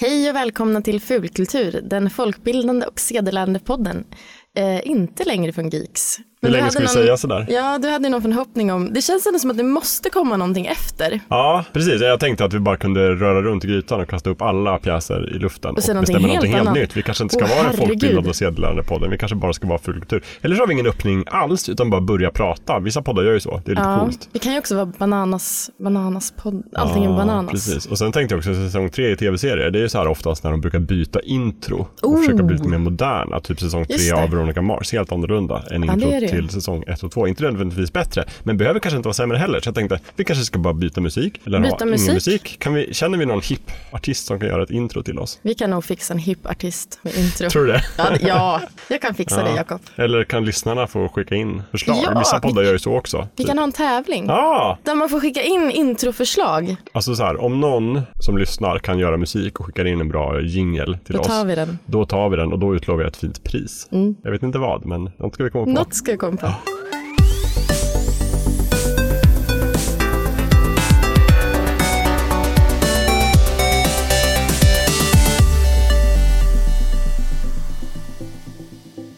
Hej och välkomna till Fulkultur, den folkbildande och sedelärande podden. Eh, inte längre från Geeks. Hur du länge hade ska vi någon- säga sådär? Ja, du hade ju någon förhoppning om, det känns ändå som att det måste komma någonting efter. Ja, precis. Jag tänkte att vi bara kunde röra runt i grytan och kasta upp alla pjäser i luften och, säga någonting bestämma någonting helt helt annat. nytt. Vi kanske inte ska Åh, vara den herregud. folkbildande och sedelärande podden. Vi kanske bara ska vara fulkultur. Eller så har vi ingen öppning alls, utan bara börja prata. Vissa poddar gör ju så. Det är lite Ja, coolt. det kan ju också vara bananas, bananas podd, allting är Ja, bananas. Precis. Och sen tänkte jag också säsong tre i tv-serier. Det är ju så här oftast när de brukar byta intro och Oh. försöka bli lite mer moderna. Typ säsong Just tre det. av Veronica Mars. Helt annorlunda än Ja, intro det är det ju. till säsong ett och två. Inte nödvändigtvis bättre, men behöver kanske inte vara sämre heller. Så jag tänkte, vi kanske ska bara byta musik. Eller Byta ha ingen musik? musik. Kan vi, känner vi någon hipp artist som kan göra ett intro till oss? Vi kan nog fixa en hipp artist med intro. Tror du det? Ja, det- ja, jag kan fixa det Ja. Jakob. Eller kan lyssnarna få skicka in förslag? Ja, Vissa poddar vi- gör ju så också. Vi kan ha en tävling. Ja, Där man får skicka in introförslag. alltså så här, om någon som lyssnar kan göra musik och skickar in en bra jingel till Då oss. tar vi den. Då tar vi den och då utlovar jag ett fint pris. Jag vet inte vad, men något ska vi komma på. Mm. Något ska jag komma på.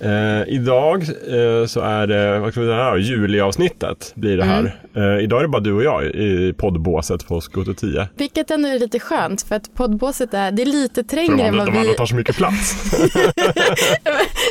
Eh, idag eh, så är det, vad ska vi säga här, juliavsnittet blir det här. Mm. Eh, idag är det bara du och jag i poddbåset på Skoter 10. Vilket ändå är lite skönt för att poddbåset är, det är lite För de trängre än andra, vad de andra vi, tar så mycket plats.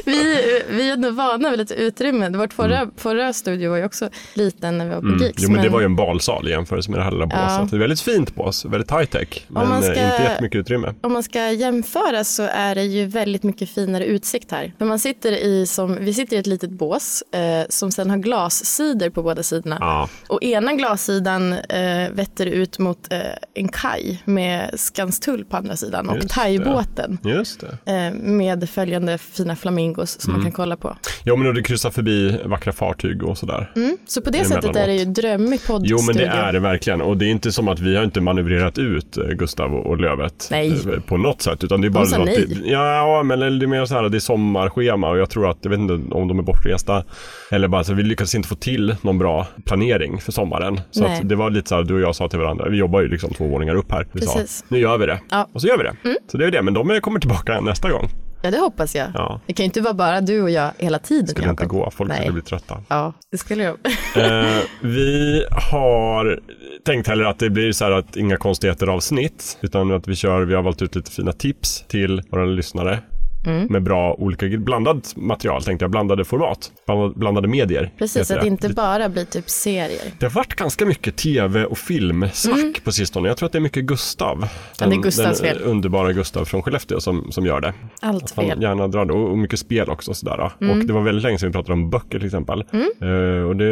vi, vi är ändå vana vid lite utrymme. Vårt förra, förra studio var ju också liten när vi var på Mm. Geeks. Jo men det var ju en balsal i jämförelse med det här lilla båset. Det är väldigt fint bås, väldigt high tech. Men man eh, ska- inte jättemycket utrymme. Om man ska jämföra så är det ju väldigt mycket finare utsikt här. För man sitter i som, vi sitter i ett litet bås eh, som sedan har glassidor på båda sidorna. Ja. Och ena glassidan eh, vetter ut mot eh, en kaj med Skanstull på andra sidan och Just det. thaibåten Just det. eh, med följande fina flamingos som Mm. man kan kolla på. Jo men och du kryssar förbi vackra fartyg och sådär. Mm, så på det Emellanåt. sättet är det ju drömmig poddstudio. Jo men det är det verkligen och det är inte som att vi har inte manövrerat ut eh, Gustav och och Lövet Nej. eh, på något sätt utan det är bara sa så att nej. det, ja, men eller det är mer så här att det är sommarschema och jag tror att jag vet inte om de är bortresta eller bara så vi lyckades inte få till någon bra planering för sommaren så Nej. att det var lite så här du och jag sa till varandra vi jobbar ju liksom två våningar upp här vi Precis. sa nu gör vi det Ja. Mm. och så gör vi det så det är det men de kommer tillbaka nästa gång Ja, det hoppas jag. Ja. Det kan ju inte vara bara du och jag hela tiden. skulle inte Jakob. gå folk Nej. skulle bli trötta Ja, det skulle jag. Eh, vi har tänkt heller att det blir så här att inga konstigheter avsnitt utan att vi kör, vi har valt ut lite fina tips till våra lyssnare Mm. med bra olika, blandat material tänkte jag, blandade format, blandad- blandade medier. Precis, heter att det inte bara blir typ serier. det har varit ganska mycket tv och filmsnack på sistone. Jag tror att det är mycket Gustav. Mm. Ja, det är Gustavs den fel. underbara Gustav från Skellefteå som, som gör det. Allt Att han fel. gärna drar det. Och och mycket spel också. Sådär. Mm. Och det var väldigt länge sedan vi pratade om böcker till exempel. Eh, och det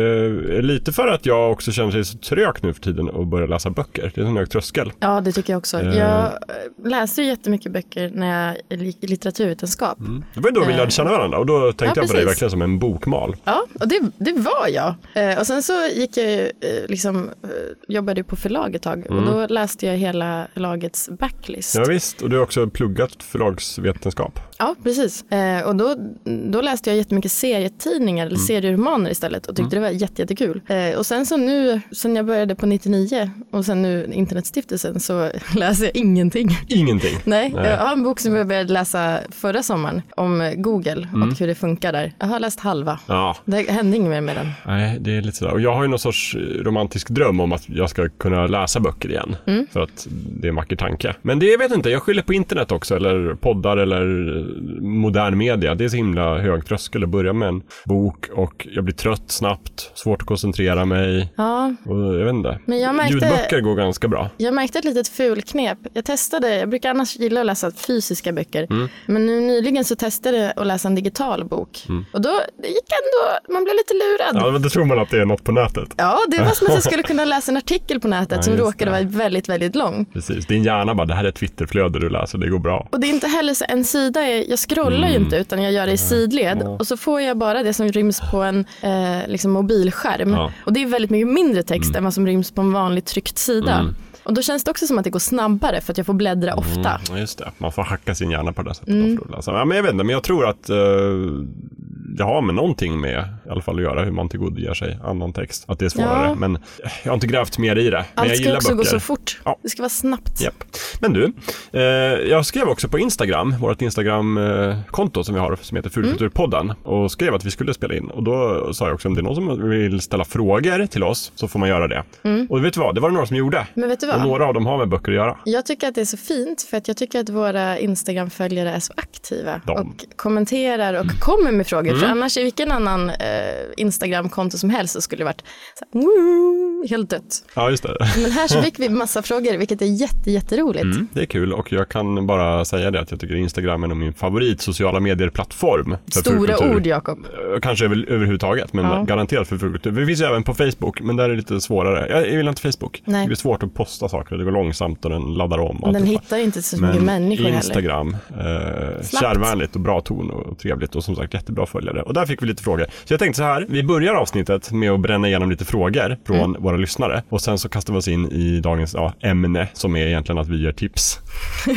är lite för att jag också känner mig så trög nu för tiden att börja läsa böcker. Det är en hög tröskel. Ja, det tycker jag också. Eh. Jag eh, läste ju jättemycket böcker när jag gick i litteraturvetenskap. Det var ju då vi Eh. lärde känna varandra och då tänkte Ja, jag på dig precis. verkligen som en bokmal. Ja, och det, det var jag. Eh, och sen så gick jag, ju, eh, liksom, eh, jobbade jag på förlag ett tag och då läste jag hela förlagets backlist. Mm. Ja, visst, och du har också pluggat förlagsvetenskap. Ja, precis. Eh, och då, då läste jag jättemycket serietidningar eller serieromaner istället och tyckte det var jätte, jättekul. Eh, och sen så nu, sen jag började på 99 och sen nu Internetstiftelsen så läser jag ingenting. Ingenting. Nej, Nej. jag har en bok som jag började läsa förra sommaren om Google och hur det funkar där. Jag har läst halva. Ja, Det hände inget mer med den. Nej, det är lite sådär. Och jag har ju någon sorts eh, romantisk dröm om att jag ska kunna läsa böcker igen. Mm. För att det är en vacker tanke. Men det jag vet inte, jag skyller på internet också, eller poddar eller eh, modern media. Det är så himla hög tröskel att börja med en bok och jag blir trött snabbt, svårt att koncentrera mig. Ja, Och jag vet inte. Men jag märkte- Ljudböcker går ganska bra. Jag märkte ett litet fulknep. Jag testade, jag brukar annars gilla att läsa fysiska böcker. Mm. Men nu nyligen så testade jag att läsa en digital bok. Och då det gick ändå, man blev lite lurad. Mm. Ja, Ja. men då tror man att det är något på nätet. det var som att jag skulle kunna läsa en artikel på nätet Ja, som just råkade det. vara väldigt, väldigt lång. Precis, din hjärna bara, det här är ett Twitterflöde du läser, det går bra. Och det är inte heller så, en sida, är, jag scrollar Mm. ju inte utan jag gör det i sidled och så får jag bara det som ryms på en eh, liksom mobilskärm. Ja. Mm. Och det är väldigt mycket mindre text än vad som ryms på en vanlig tryckt sida. Och då känns det också som att det går snabbare för att jag får Mm. bläddra ofta. Mm. Ja, just det. Man får hacka sin hjärna på det sättet. då för att läsa. Ja, men jag vet inte, men jag tror att eh, det har med någonting med i alla fall att göra hur man tillgodogör sig annan text. Att det är svårare. Ja. Men jag har inte grävt mer i det. Men Allt jag ska gillar också böcker. gå så fort. Ja. Det ska vara snabbt. Japp. Men du, eh, jag skrev också på Instagram, vårt Instagram-konto som vi har som heter Mm. Fulkulturpodden och skrev att vi skulle spela in. Och då sa jag också om det är någon som vill ställa frågor till oss så får man göra det. Mm. Och vet du vad, det var det några som gjorde. Men vet du vad? Och några av dem har med böcker att göra. Jag tycker att det är så fint för att jag tycker att våra Instagram-följare är så aktiva De. Mm. och kommenterar och kommer med frågor. För annars i vilken annan eh, Instagram-konto som helst så skulle det varit så här, "Woo", helt dött. Ja, just det. Men här så fick vi massa frågor vilket är jätte, jätteroligt. Mm, det är kul och jag kan bara säga det att jag tycker Instagram är nog min favorit sociala medier-plattform. för Stora fulkultur. ord Jakob. Eh, Kanske över, överhuvudtaget, men Ja. garanterat för fulkultur. Vi finns ju även på Facebook, men där är det lite svårare. Jag gillar inte Facebook. Nej. Det blir svårt att posta saker, det går långsamt och den laddar om. och Den alltihopa. hittar inte så mycket men människor heller. Instagram, eh, kärvänligt och bra ton och trevligt och som sagt jättebra följare. Och där fick vi lite frågor. Så jag tänkte så här, vi börjar avsnittet med att bränna igenom lite frågor från Mm. våra lyssnare och sen så kastar vi oss in i dagens ja, ämne som är egentligen att vi ger tips.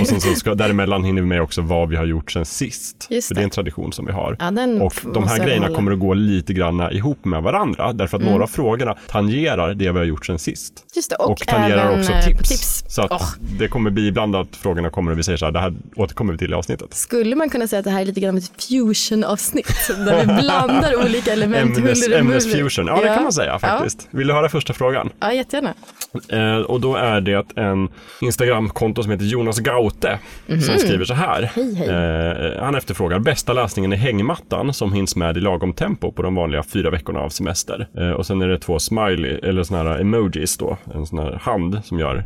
Och sen så ska, däremellan hinner vi med också vad vi har gjort sen sist. Just För det är en tradition som vi har. Ja, den och f- de måste här jag grejerna hålla. kommer att gå lite grann ihop med varandra därför att Mm. några av frågorna tangerar det vi har gjort sen sist Just det, och, och, tangerar även också eh, tips. på tips. Så att Åh. det kommer bli ibland att frågorna kommer och vi säger så här, det här återkommer vi till i avsnittet. Skulle man kunna säga att det här är lite grann av ett fusion-avsnitt där vi blandar olika element? Ämnes, huller och buller. ämnesfusion, ja det kan man säga Ja. faktiskt. Vill du höra första frågan? Ja, jättegärna. Eh, och då är det en Instagramkonto som heter Jonas Gaute som skriver så här. Mhm. Hej, hej. Eh, han efterfrågar bästa läsningen i hängmattan som hinns med i lagom tempo på de vanliga fyra veckorna av semester. Eh, och sen är det två smiley, eller såna här emojis då, en sån här hand som gör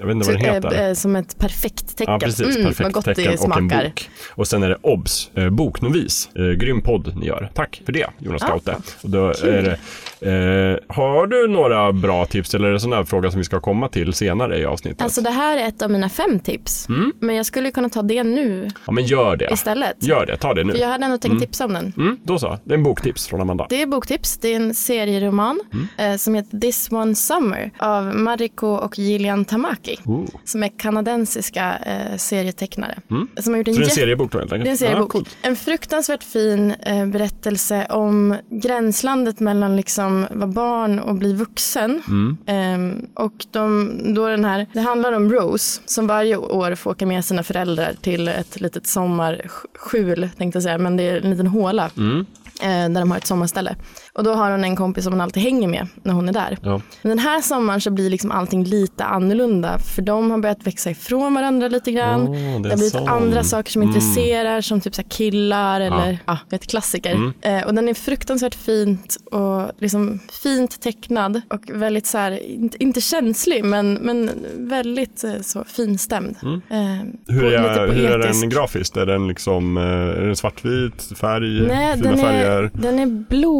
jag vet inte vad den Eh, heter. eh, Som ett perfekt tecken. Ja, precis. Mm, Perfekt vad gott tecken det smakar. och en bok. Och sen är det OBS, eh, boknovis. Eh, grym podd ni gör. Tack för det, Jonas Ah, Gaute. Och då är det, eh, har du några bra tips eller är det sån här fråga som vi ska komma till senare i avsnittet? Alltså det här är ett av mina fem tips. Mm. Men jag skulle ju kunna ta det nu ja, men gör det. istället. Ah, Gör det, ta det nu. För jag hade ändå tänkt tipsa om den. Mm, då så, det är en boktips från Amanda. Det är boktips. Det är en serieroman Mm. eh, som heter This One Summer av Mariko och Gillian Tamaki. Oh. Som är kanadensiska eh, serietecknare. Som har gjort en Mm. Så det är en jätte seriebok då helt enkelt? Det är en seriebok. Ja, coolt. En fruktansvärt fin eh, berättelse om gränslandet mellan liksom vara barn och bli vuxen. Mm. Ehm, och de, då den här, det handlar om Rose som varje år får åka med sina föräldrar till ett litet sommarskjul tänkte jag säga, men det är en liten håla. Mm. eh, Där de har ett sommarställe. Och då har hon en kompis som hon alltid hänger med när hon är där. Ja. Men den här sommaren så blir liksom allting lite annorlunda. För de har börjat växa ifrån varandra lite grann. Åh, det är Um, det har blivit sån. Mm. andra saker som intresserar. Som typ så här killar eller ja. ett klassiker. Mm. Eh, och den är fruktansvärt fint och liksom fint tecknad. Och väldigt så här, inte, inte känslig men, men väldigt eh, så finstämd. Eh, Mm. Hur, po- är, hur är poetisk. den grafiskt? Är den liksom, eh, är den svartvit färg? Nej, fina den är, färger? den är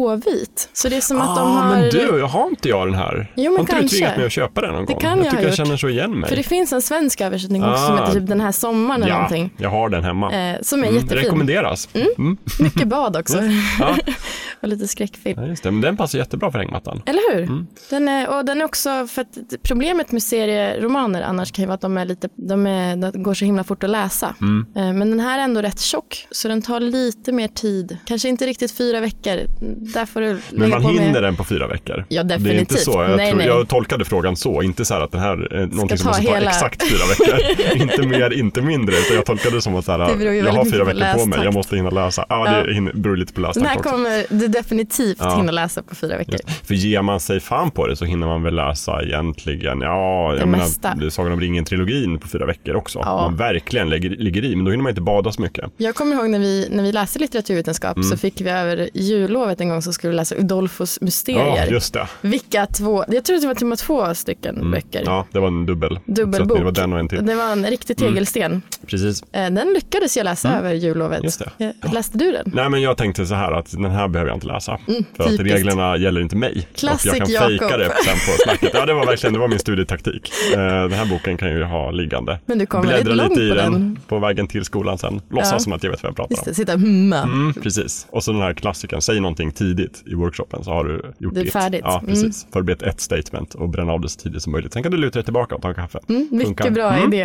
blåvit. Så det är som att de ah, har... men du, jag har inte jag den här? Jo, men har inte kanske. du tvingat mig att köpa den någon Det gång? kan jag jag ha tycker gjort. jag känner så igen mig. För det finns en svensk översättning också som Ah. heter typ Den här sommaren eller ja, någonting. jag har den hemma. Eh, som är Mm, jättefin. rekommenderas. Mm. Mycket bad också. Ja, och lite skräckfilm. ja, just det. Men den passar jättebra för hängmattan. Eller hur? Mm. Den är, och den är också, för att problemet med serieromaner annars kan ju vara att de, är lite, de, är, de går så himla fort att läsa. Mm. Eh, Men den här är ändå rätt tjock, så den tar lite mer tid. Kanske inte riktigt fyra veckor. Där får du Men man på hinner med. den på fyra veckor. Ja, Det är inte definitivt. så. Jag, Nej, tror, nej. jag tolkade frågan så, inte så här att den här är någonting som ta måste ta hela- exakt fyra veckor. inte mer, inte mindre. Utan jag tolkade det som att så Det här, beror ju jag väldigt har mycket fyra på veckor på mig, lästakt. jag måste hinna läsa. Ja, det hinner- beror lite på Den här lästakten också. kommer du definitivt Ja. hinna läsa på fyra veckor. För ger man sig fan på det så hinner man väl läsa egentligen, ja, jag Det mesta. menar, Sagan om ringen-trilogin på fyra veckor också. Ja. Om Man verkligen lägger, ligger i, men då hinner man inte bada så mycket. Jag kommer ihåg när vi, när vi läste litteraturvetenskap Mm. så fick vi över jullovet en gång så skulle vi läsa Udolfos Ja, mysterier. just det. Mm. Vilka två, jag tror att det var till och med två stycken böcker. Ja, det var en dubbel. Så Dubbelbok. att det var den och en till. Mm. Det var en riktig tegelsten. Precis. Eh, Den lyckades jag läsa över jullovet. Mm. Just det. Eh, Läste du den? Nej men jag tänkte så här att den här behöver jag inte läsa. för att Mm, typiskt. reglerna gäller inte mig. Classic och jag kan Jakob. fejka det sen på snacket. Ja det var verkligen det var min studietaktik. Eh, den här boken kan jag ju ha liggande. Men du kom Bläddra väldigt lite i långt på den, den. på vägen till skolan sen. Låtsas som att jag vet vad jag pratar Just om. det, sitta humma. Mm, precis. Och så den här klassikern, säg någonting tidigt i workshopen så har du gjort Det är ditt. färdigt. Ja, Mm. precis. Förbered ett statement och bränn av det så tidigt som möjligt. Sen kan du luta dig tillbaka och ta en kaffe. Mm, Mycket Funkar. bra Mm. idé.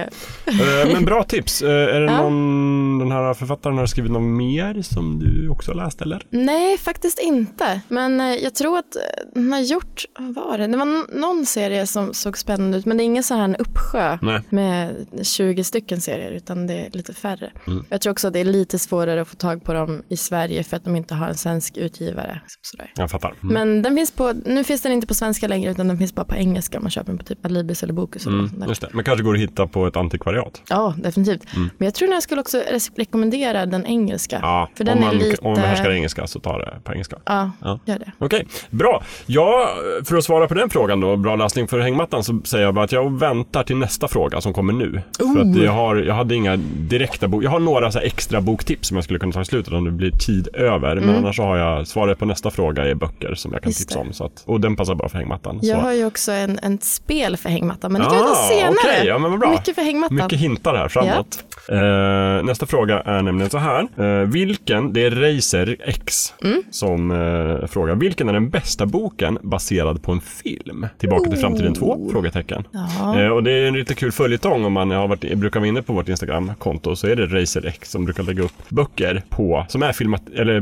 Eh, Men bra tips. tips. Eh, Är det Ja. någon, den här författaren har skrivit något mer som du också har läst eller? Nej, faktiskt inte. Men eh, jag tror att eh, den har gjort, vad var det? Det var n- någon serie som såg spännande ut, men det är ingen så här en uppsjö Nej. med 20 stycken serier, utan det är lite färre. Mm. Jag tror också att det är lite svårare att få tag på dem i Sverige för att de inte har en svensk utgivare. liksom Sådär. Jag fattar. Mm. Men den finns på, nu finns den inte på svenska längre utan den finns bara på engelska. Man köper den på typ Alibis eller Bokus. Eller något sånt Mm, där. just det. Men kanske går det att hitta på ett antikvariat? Ja, definitivt. Mm. Men jag tror att jag skulle också res- rekommendera den engelska. Ja, för den om, man, är lite... om man behärskar engelska så tar det på engelska. Ja, Ja. gör det. Okej, bra. Ja, för att svara på den frågan då, bra lösning för hängmattan, så säger jag bara att jag väntar till nästa fråga som kommer nu. För Oh. att jag, har, jag hade inga direkta bok, jag har några så här extra boktips som jag skulle kunna ta i slutet om det blir tid över. Men annars så har jag, svaret på nästa fråga är böcker som jag Mm. kan Just tipsa det. om. Så att, och den passar bra för hängmattan. Jag så. har ju också en, en spel för hängmattan, men det kan vi ta Ah, senare. okej. Ja, men vad bra. Mycket för hängmattan. Mycket hintar här framåt. Eh, nästa fråga är nämligen så här. Eh, vilken, det är Racer X Mm. som eh, frågar, vilken är den bästa boken baserad på en film? Tillbaka till framtiden 2? Frågetecken. Ja. Eh, och det är en lite kul följetong om man har varit, brukar vara inne på vårt Instagram-konto så är det Racer X som brukar lägga upp böcker på, som är filmat, eller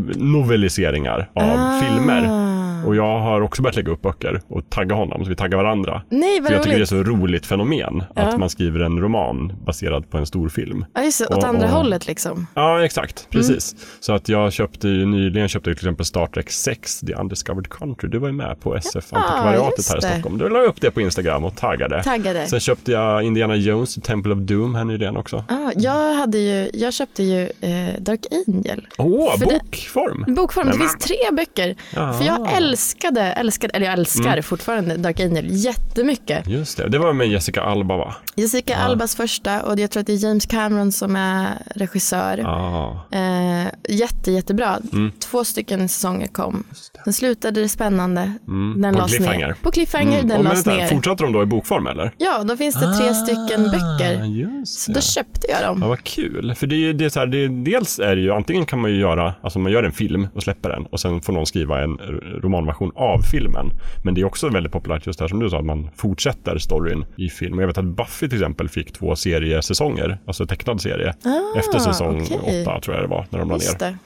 noveliseringar av Ah. filmer. Och jag har också börjat lägga upp böcker och tagga honom, så vi taggar varandra. Nej, vad För jag tycker det är roligt. så roligt fenomen Ja. att man skriver en roman baserad på en stor film. Ja, just det, åt Och- andra och- hållet liksom. Ja, exakt. Precis. Så att jag köpte ju nyligen köpte jag till exempel Star Trek 6, The Undiscovered Country. Du var ju med på SF Antikvariatet just här i det. Stockholm. Du la upp det på Instagram och taggade. Taggade. Sen köpte jag Indiana Jones, The Temple of Doom här nyligen också. Ah, jag, hade ju, jag köpte ju eh, Dark Angel. Åh, För det- bokform! Bokform, det finns tre böcker. Ah. För jag älskade, älskade, eller jag älskar Mm. fortfarande Dark Angel jättemycket. Just det, det var med Jessica Alba va? Jessica Albas första och jag tror att det är James Cameron som är regissör. Ja, Eh, jätte, jättebra. Mm. Två stycken säsonger kom. Sen slutade det spännande. Den Mm. på lades cliffhanger. ner. På cliffhanger, den Och lades vänta, ner. Fortsatte de då i bokform eller? Ja, då finns det tre stycken Ah, böcker. Just Så det. då köpte jag dem. Ja, vad kul. För det är ju det är så här, det är, dels är det ju, antingen kan man ju göra, alltså man gör en film och släpper den och sen får någon skriva en r- romanversion av filmen. Men det är också väldigt populärt just det här som du sa, att man fortsätter storyn i film. Och Jag vet att Buffy till exempel fick två seriesäsonger, alltså tecknad serie, efter säsong Ah, okej. åtta tror jag det var, när de la ner. Just det.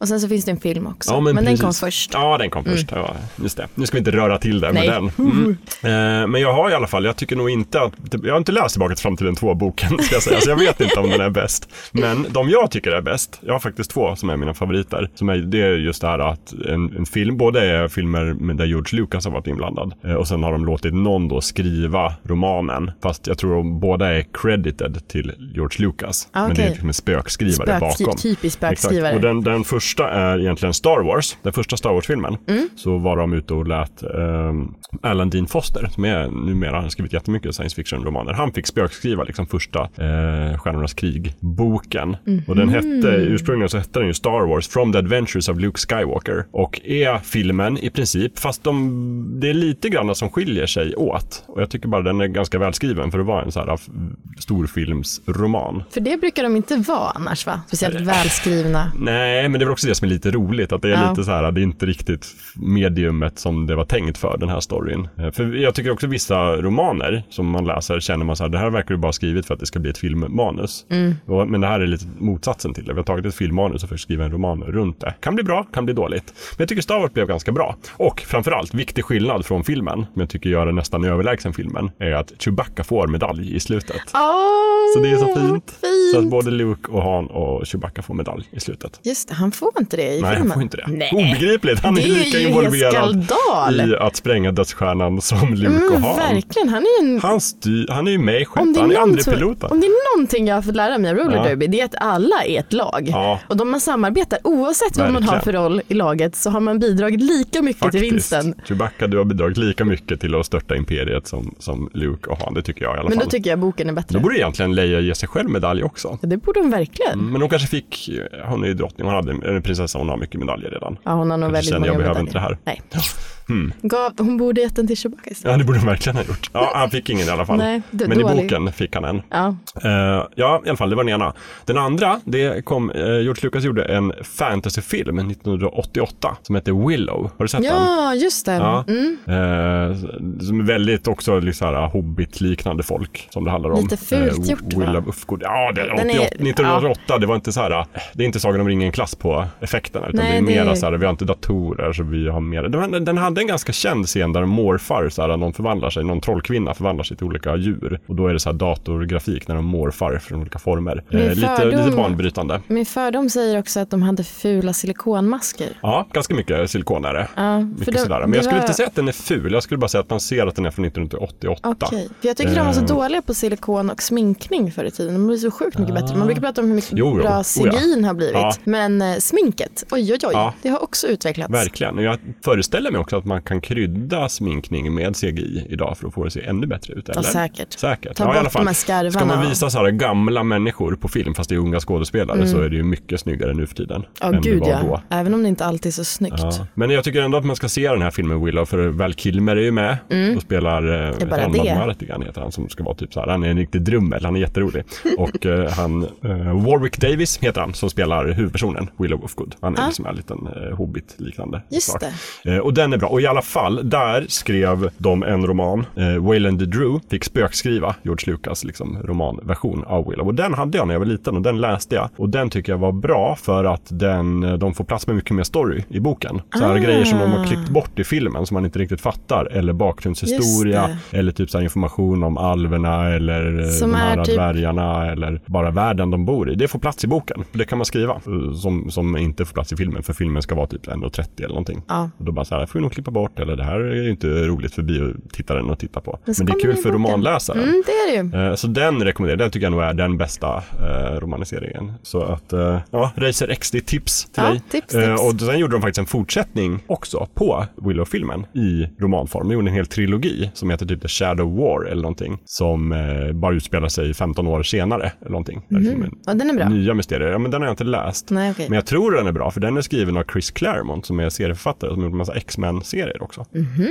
Och sen så finns det en film också. Ja, men den precis. kom först. Mm. Ja, den kom först. Ja, just det. Nu ska vi inte röra till det med Nej. den. Mm. Eh, men jag har i alla fall, jag tycker nog inte att, jag har inte läst Tillbaka till framtiden 2-boken, ska jag säga, så jag vet inte om den är bäst. Men de jag tycker är bäst, jag har faktiskt två som är mina favoriter, som är, det är just det här att en, en film, både är filmer med- där George Lucas har varit inblandad eh, och sen har de låtit någon då skriva romanen, fast jag tror de båda är credited till George Lucas. Ah, Men det är okej. liksom en spökskrivare Spökskri- bakom. typisk Exakt. spökskrivare. Och den, den första är egentligen Star Wars. Den första Star Wars-filmen. Så var de ute och lät ehm, Alan Dean Foster, som är numera, han har skrivit jättemycket science fiction-romaner. Han fick spökskriva liksom första eh, Stjärnornas krig-boken. Och den hette, ursprungligen så hette den ju Star Wars, From the Adventures of Luke Skywalker. Och är filmen i princip, fast de, det är lite grann som skiljer sig åt. Och jag tycker bara den är ganska välskriven för att vara en så här f- storfilmsroman. För det brukar de inte vara annars va? Speciellt välskrivna. Nej, men det är väl också det som är lite roligt, att det är Ja. lite så här, det är inte riktigt mediumet som det var tänkt för den här storyn. Eh, För jag tycker också vissa romaner som man läser känner man så här, det här verkar ju bara skrivet för att det ska bli ett filmmanus. Mm. Och, men det här är lite motsatsen till det. Vi har tagit ett filmmanus och försökt skriva en roman runt det. Kan bli bra, kan bli dåligt. Men jag tycker Star Wars blev ganska bra. Och framförallt, viktig skillnad från filmen, men jag tycker gör den nästan överlägsen filmen, är att Chewbacca får medalj i slutet. Åh, Så det är så fint. Så att fint. både Luke och Han och Chewbacca får medalj i slutet. Just det, han får inte det i Nej, han filmen. får inte det. Nej. Obegripligt. Han är, Det är lika ju involverad skandal. i att spränga dödsstjärnan som Luke och Mm, Han. verkligen, han är ju en... Han, styr, han är ju med Om i skeppet. det, är Han är någon som- andrepiloten. om det är någonting jag har fått lära mig av roller Ja. derby, det är att alla är ett lag. Ja. Och de man samarbetar, oavsett vad man Verkligen. har för roll i laget, så har man bidragit lika mycket till vinsten. Chewbacca, du har bidragit lika mycket till att störta imperiet som, som Luke och Han. Det tycker jag i alla Men då fall. tycker jag boken är Då bättre. borde Mm. egentligen Leia ge sig själv medalj också. Ja, det borde hon verkligen. Men hon kanske fick, hon är ju drottning, hon hade en prinsessa, hon har mycket medaljer redan. Ja, hon har nog Kanske väldigt känner många jag behöver medaljer. inte det här. Nej. Gav, hon borde gett den till Chewbacca istället. Ja, det borde de verkligen ha gjort. Ja, han fick ingen i alla fall. Nej, det- Men i dålig. boken fick han en. Ja. Eh, ja, i alla fall, det var den ena. Den andra, det kom, eh, George Lucas gjorde en fantasyfilm 1988 som hette Willow. Har du sett den? ja, just det. Ja. Mm. Eh, som är väldigt också liksom så här, hobbit-liknande folk som det handlar om. Lite fult Eh, gjort, Will va? of Ufgård. Ja, det, Den är- 88, 1908, det var inte så här, eh, det är inte Sagan om ringen-klass på effekterna. Utan Nej, det är det mera är- så här, vi har inte datorer så vi har mer. Den, den hade en ganska känd scen där de morfar, så här, någon förvandlar sig, någon trollkvinna förvandlar sig till olika djur. Och då är det så här datorgrafik när de morfar från olika former. Min Eh, lite, fördom- lite banbrytande. Min fördom säger också att de hade fula silikonmasker. Ja, ganska mycket silikon är det. Ja, Mycket de- sådär. Men det jag skulle var- inte säga att den är ful, jag skulle bara säga att man ser att den är från 1988. Okej, för jag tycker de var så Eh. dåliga på silikon och sminkning förr i tiden. De blev så sjukt mycket bättre. Man brukar prata om hur mycket Ah. Jo, jo. Oh, bra ja. CGI har blivit. Ja. Men eh, sminket, oj oj oj, Ja. det har också utvecklats. Verkligen. Och jag föreställer mig också att man kan krydda sminkning med CGI idag för att få det att se ännu bättre ut. Eller? Ja, säkert. Säkert. Ta ja, i bort alla fall. de här skarvarna. Ska man visa så här gamla människor på film, fast det är unga skådespelare, så är det ju mycket snyggare nu för tiden. Mm. Ja, än gud det var då. ja. Även om det inte alltid är så snyggt. Ja. Men jag tycker ändå att man ska se den här filmen Willow för Val Kilmer är ju med och spelar eh, är bara Helma Mm. det. Maret, igen, heter han som ska vara typ så här. Han är en riktig drummel, han är jätterolig. och eh, han, eh, Warwick Davis heter han som spelar huvudpersonen Willow Wolfgood. Han är liksom en liten eh, hobbit liknande. Just sak. Eh, och den är bra. Och i alla fall, där skrev de en roman. Eh, Wayland Drew fick spökskriva George Lucas liksom, romanversion av Willow. Och den hade jag när jag var liten och den läste jag. Och den tycker jag var bra för att den, eh, de får plats med mycket mer story i boken. Så här Ah. grejer som de har klippt bort i filmen som man inte riktigt fattar. Eller bakgrundshistoria. Just Eller typ så här information om alverna eller eh, Som de här är typ- dvärgarna. Eller bara världen de bor i. Det får plats i boken. Det kan man skriva. eh, Som, som inte får plats i filmen. För filmen ska vara typ 1.30 eller någonting. Ja. Och då bara så här, får vi nog klippa bort eller det här är ju inte roligt för biotittaren att titta på. Men, så det är kommer kul den i för boken. romanläsaren. Mm, det är det ju. Eh, Så den rekommenderar jag, den tycker jag nog är den bästa eh, romaniseringen. Så att, eh, ja, Racer X, det är tips till Ja, dig. tips, Eh, tips. och sen gjorde de faktiskt en fortsättning också på Willow-filmen i romanform. De gjorde en hel trilogi som heter typ The Shadow War eller någonting. Som eh, bara utspelar sig 15 år senare eller någonting. Där filmen Mhm. Ja, den är bra. Nya mysterier, ja men den har jag inte läst. Nej, okej. Men jag tror den är bra, för den är skriven av Chris Claremont som är serieförfattare som har gjort en massa X-Men-serier också.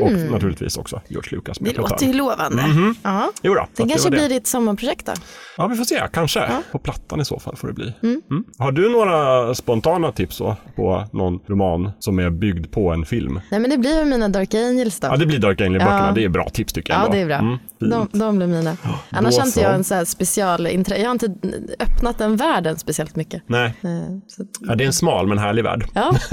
Och naturligtvis också George Lucas. Mhm. Det låter ju lovande. Ja. Jo då, så Det att kanske Mhm. var blir ditt sommarprojekt då. Ja, vi får se. Kanske. På plattan i så fall får det bli. Mm. Har du några spontana tips då, på någon roman som är byggd på en film? Nej men det blir väl mina Dark Angels då. Ja, det blir Dark Angel-böckerna. Ja. Det är bra tips tycker jag. Ja, ändå. det är bra. Mm, fint. de, de blir mina. Annars då har inte jag så. en så här specialintresse. Jag har inte öppnat den världen speciellt mycket. Nej, Eh, Så, att- ja, det är en smal men härlig värld. ja,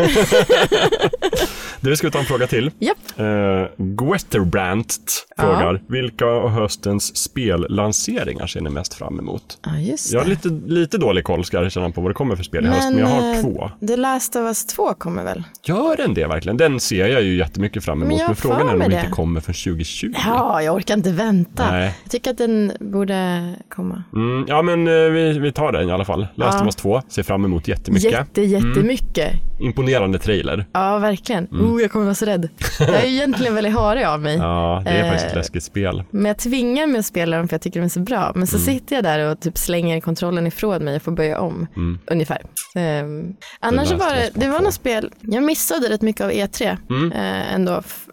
Du, ska vi ta en fråga till? japp. Uh, Gwetterbrandt Ja. frågar, vilka av höstens spellanseringar ser ni mest fram emot? Ja, just Jag har det. lite, lite dålig koll ska jag erkänna på vad det kommer för spel i höst, men jag har eh, två. The Last of Us 2 kommer väl? Gör den det verkligen? Den ser jag ju jättemycket fram Men emot, men, jag har frågan för är om den mig inte det. kommer för 2020. Ja, jag orkar inte vänta. Nej. Jag tycker att den borde komma. Mm, ja, men eh, vi, vi tar den i alla fall. Last Ja. of Us 2 ser fram emot jättemycket. Jätte, jättemycket. Imponerande trailer. Ja, verkligen. Oh, jag kommer vara så rädd. Jag är egentligen väldigt harig av mig. Mm. Ja, det är Eh. faktiskt ett läskigt spel. Men jag tvingar mig att spela dem för jag tycker de är så bra. Men så Mm. sitter jag där och typ slänger kontrollen ifrån mig och får börja om. Ungefär. Ehm, annars så Mm. Last var of Us det, det var två. Mm. något spel, jag missade rätt mycket av E3 eh, ändå. F-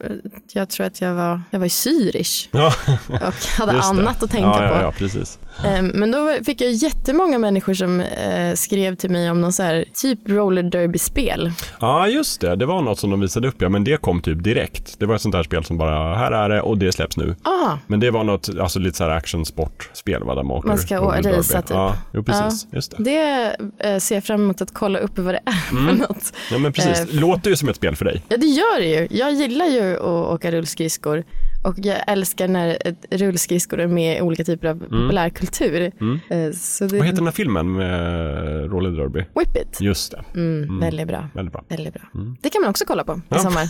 Jag tror att jag var, jag var i Zürich Ja, och hade just det. annat att tänka ja, ja, på. Ja, precis. Ehm, Men då var- fick jag jättemånga människor som eh, skrev till mig om någon så här typ roller derby-spel. Ja, just det. Det var något som de visade upp, ja, men det kom typ direkt. Det var ett sånt här spel som bara, här är det och det släpps nu. Ah, Men det var något, alltså lite så här actionsportspel, va, där man åker Man ska roller racea, derby. typ. Ja, jo, precis. Just det. det eh, ser jag fram emot att kolla upp vad det är för Mm. något. Ja, men precis. Eh, Låter ju som ett spel för dig. Ja, det gör det ju. Jag gillar ju att åka rullskridskor. Och jag älskar när ett rullskridskor är med i olika typer av populärkultur. Eh, Så det... Mm. Vad heter den här filmen med roller derby? Whip it. Just det. Mm, Väldigt bra. Väldigt bra. Väldigt bra. Mm. Det kan man också kolla på i sommar.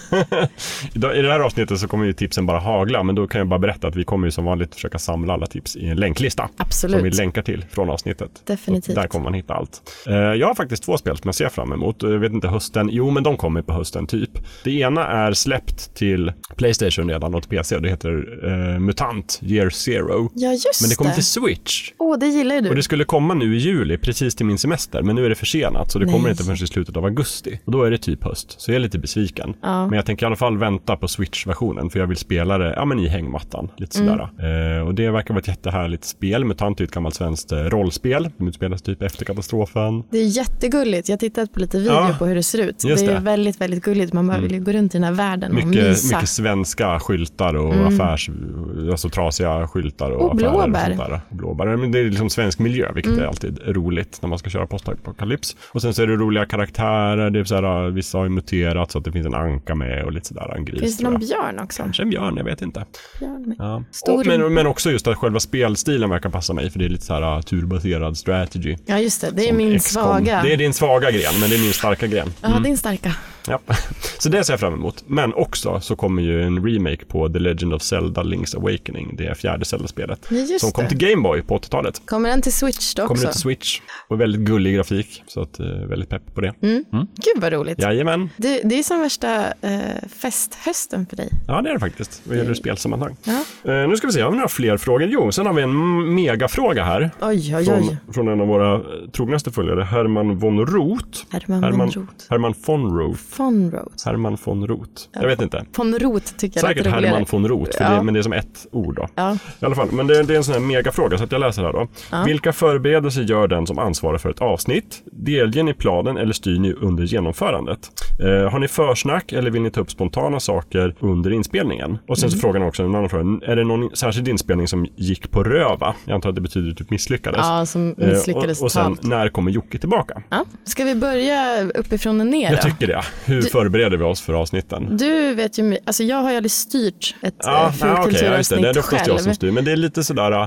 Idag- I det här avsnittet så kommer ju tipsen bara hagla, men då kan jag bara berätta att vi kommer ju som vanligt försöka samla alla tips i en länklista. Som vi Absolut. länkar till från avsnittet. Definitivt. Och där kommer man hitta allt. Eh, Jag har faktiskt två spel som jag ser fram emot. Jag vet inte hösten. Jo, men de kommer på hösten typ. Det ena är släppt till Playstation redan och till PC och det det heter eh, Mutant Year Zero. Ja, just Men det kommer det. till Switch. Åh, det gillar ju du. Och det skulle komma nu i juli, precis till min semester, men nu är det försenat så det Nej. kommer inte förrän i slutet av augusti. Och då är det typ höst, så jag är lite besviken. Ja. Men jag tänker i alla fall vänta på Switch-versionen för jag vill spela det ja, men i hängmattan. Lite Mm. sådär. Eh, och det verkar vara ett jättehärligt spel. MUTANT är ett gammalt svenskt eh, rollspel. De utspelas typ efter katastrofen. Det är jättegulligt. Jag har tittat på lite video Ja, på hur det ser ut. just det är det. Mm. väldigt, väldigt gulligt. Man bara vill ju gå runt i den här världen och Mycket, mysa. Mm. mycket svenska skyltar och affärs, alltså trasiga skyltar och, Och blåbär. Mm. affärer. Och sånt där. Blåbär. Men det är liksom svensk miljö, vilket är alltid roligt när man ska köra postapokalyps. Och sen så är det roliga karaktärer, det är så här, vissa har ju muterat så att det finns en anka med och lite sådär, en gris Finns det tror någon jag. björn också? Kanske en björn, jag vet inte. Björn. Ja. Stor- Och, men, men också just att själva spelstilen verkar passa mig, för det är lite så här uh, turbaserad strategy. Ja, just det. Det är Som min XCOM. svaga. Det Mm. är din svaga gren, men det är min starka gren. Ja, din starka. Ja. Så det ser jag fram emot. Men också så kommer ju en remake på The Legend of Zelda Link's Awakening, det fjärde Zelda-spelet. Ja, just Som kom det. till Game Boy på 80-talet. Kommer den till Switch då Kommer också? ut till Switch och väldigt gullig grafik, så att, eh, väldigt pepp på det. Mm. Gud vad roligt. Jajamän, Du, det är som värsta eh, festhösten för dig. ja det är det faktiskt vad gäller spelsammanhang. Mm. Ja. Eh, nu ska vi se, har vi några fler frågor? Jo, sen har vi en megafråga här. Oj, oj, oj. Från, från en av våra eh, trognaste följare, Herman von Roth. Herman von Herman, Roth. Herman von Roth. Von Roth. Herman von Roth. Jag vet inte. Von Roth tycker jag Säkert lät roligare. Herman von Roth, för Ja. det, men det är som ett ord då. Ja. I alla fall, men det, det är en sån här megafråga så att jag läser här då. Vilka förberedelser gör den som ansvarar för ett avsnitt? Delger ni planen eller styr ni under genomförandet? Eh, har ni försnack eller vill ni ta upp spontana saker under inspelningen? Och Mm. sen så frågar han också en annan fråga. Är det någon särskild inspelning som gick på röva? Jag antar att det betyder typ misslyckades. Ja, som Eh, misslyckades och, och sen, totalt. när kommer Jocke tillbaka? Ja. Ska vi börja uppifrån och ner Jag då? tycker det. Hur förbereder vi oss för avsnitten? Du vet ju, my- alltså jag har ju aldrig styrt ett Ja, ja, ja, okej, ja, just det. fulkulturavsnitt det är oftast jag själv. som styr. Men det är lite sådär,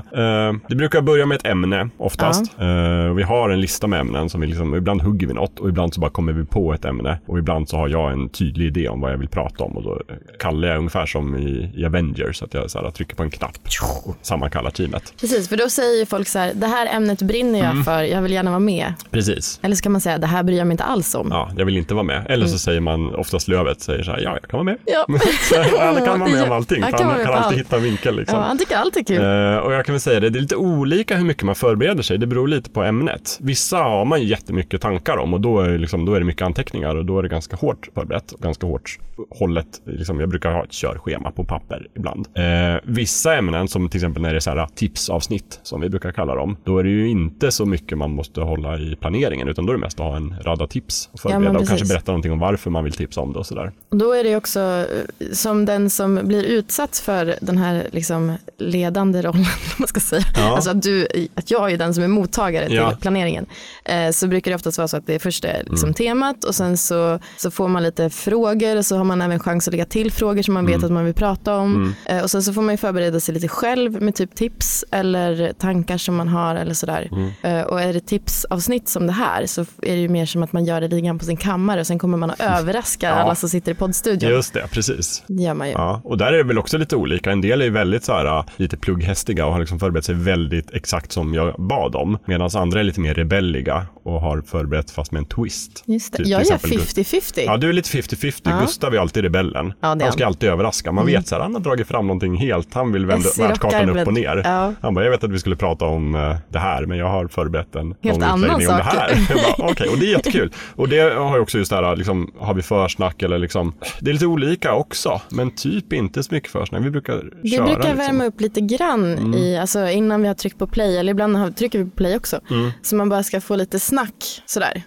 eh, vi brukar börja med ett ämne oftast. Eh, vi har en lista med ämnen som vi liksom, ibland hugger vi något och ibland så bara kommer vi på ett ämne. Och ibland så har jag en tydlig idé om vad jag vill prata om och då kallar jag ungefär som i, i Avengers, att jag såhär, trycker på en knapp och sammankallar teamet. Precis, för då säger ju folk så här, det här ämnet brinner jag Mm. för, jag vill gärna vara med. Precis. Eller så kan man säga, det här bryr jag mig inte alls om. Ja, jag vill inte vara med. Eller så säger man oftast Lövet, säger så här, ja, jag kan vara med. Mm. Ja. så, han kan vara med om allting, Jag för kan vara han med kan på alltid allt. hitta en vinkel. Liksom. Ja, han tycker allt är kul. Eh, och jag kan väl säga det, det är lite olika hur mycket man förbereder sig. Det beror lite på ämnet. Vissa har man ju jättemycket tankar om och då är, det liksom, då är det mycket anteckningar och då är det ganska hårt förberett och ganska hårt hållet. Liksom, jag brukar ha ett körschema på papper ibland. Eh, vissa ämnen, som till exempel när det är så här tipsavsnitt som vi brukar kalla dem, då är det ju inte så mycket man måste hålla i planeringen utan då är det mest att ha en radda tips och men förbereda och kanske precis. berätta någonting om varför man vill tipsa om det och sådär. Och då är det ju också eh, som den som blir utsatt för den här liksom ledande rollen, om man ska säga. Ja. Alltså att, du, att jag är den som är mottagare till Ja. Mm. planeringen. Eh, så brukar det oftast vara så att det först är liksom temat och sen så, så får man lite frågor och så har man även chans att lägga till frågor som man Mm. vet att man vill prata om. Eh, och sen så får man ju förbereda sig lite själv med typ tips eller tankar som man har eller sådär. Mm. Eh, och är det tipsavsnitt som det här så är det ju mer som att man gör det lite grann på sin kammare och sen kommer man att överraska Ja. alla som sitter i poddstudion. Just det, precis. Det gör man ju. Ja, och där är det väl också lite olika. En del är ju väldigt så här, äh, lite plugghästiga och har liksom förberett sig väldigt exakt som jag bad om. Medan andra är lite mer rebelliga och har förberett fast med en twist. Just det. Typ jag till gör exempel Gust- 50-50. Ja, du är lite 50-50. Gustav är alltid rebellen. det är han ska han. Mm. alltid överraska. Man vet så här, han har dragit fram någonting helt. Han vill vända SJ-rockar världskartan upp och vänd- ner. Ja. Han bara, jag vet att vi skulle prata om eh, det här, men jag har förberett en Helt lång annan utläggning om det sak. här. Jag bara, Okej, och det är jättekul. Och det har ju också just det här, liksom, har vi försnack eller liksom, det är lite olika också, men typ inte så mycket försnack. Vi brukar det köra. brukar liksom. Mm. värma upp lite grann i, alltså innan vi har tryckt på play, eller ibland har, trycker vi på play också. Mm. Så man bara ska få lite snack sådär.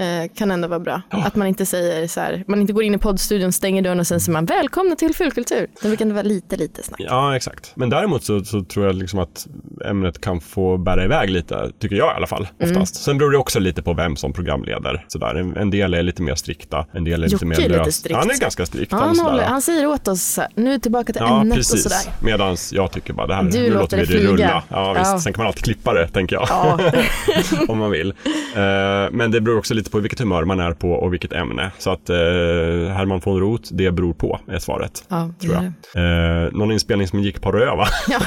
Eh, kan ändå vara bra. Att man inte säger så här, man inte går in i poddstudion, stänger dörren och sen säger man välkomna till fullkultur. Då brukar det vara lite, lite snack. Ja, exakt. Men däremot så, så tror jag liksom att ämnet kan få bära iväg lite, tycker jag i alla fall, Mm. oftast. Sen beror det också lite på vem som programleder. Sådär. En, en del är lite mer strikta, en del är lite Jocke mer är lite löst. strikt. Han är ganska strikt. Ja, han är han, sådär, håller, ja. han säger åt oss så här, nu tillbaka till Ja, ämnet precis. och sådär. Medan jag tycker bara det här, Du nu låter låter vi det det flyga. rulla. Ja, visst. Ja. Sen kan man alltid klippa det, tänker jag, Ja, om man vill. Eh, men det beror också lite på vilket humör man är på och vilket ämne. Så att eh, Herman von Roth, det beror på, är svaret. Ja, det, Tror jag. är det. Mm. Eh, någon inspelning som gick på röva. ja,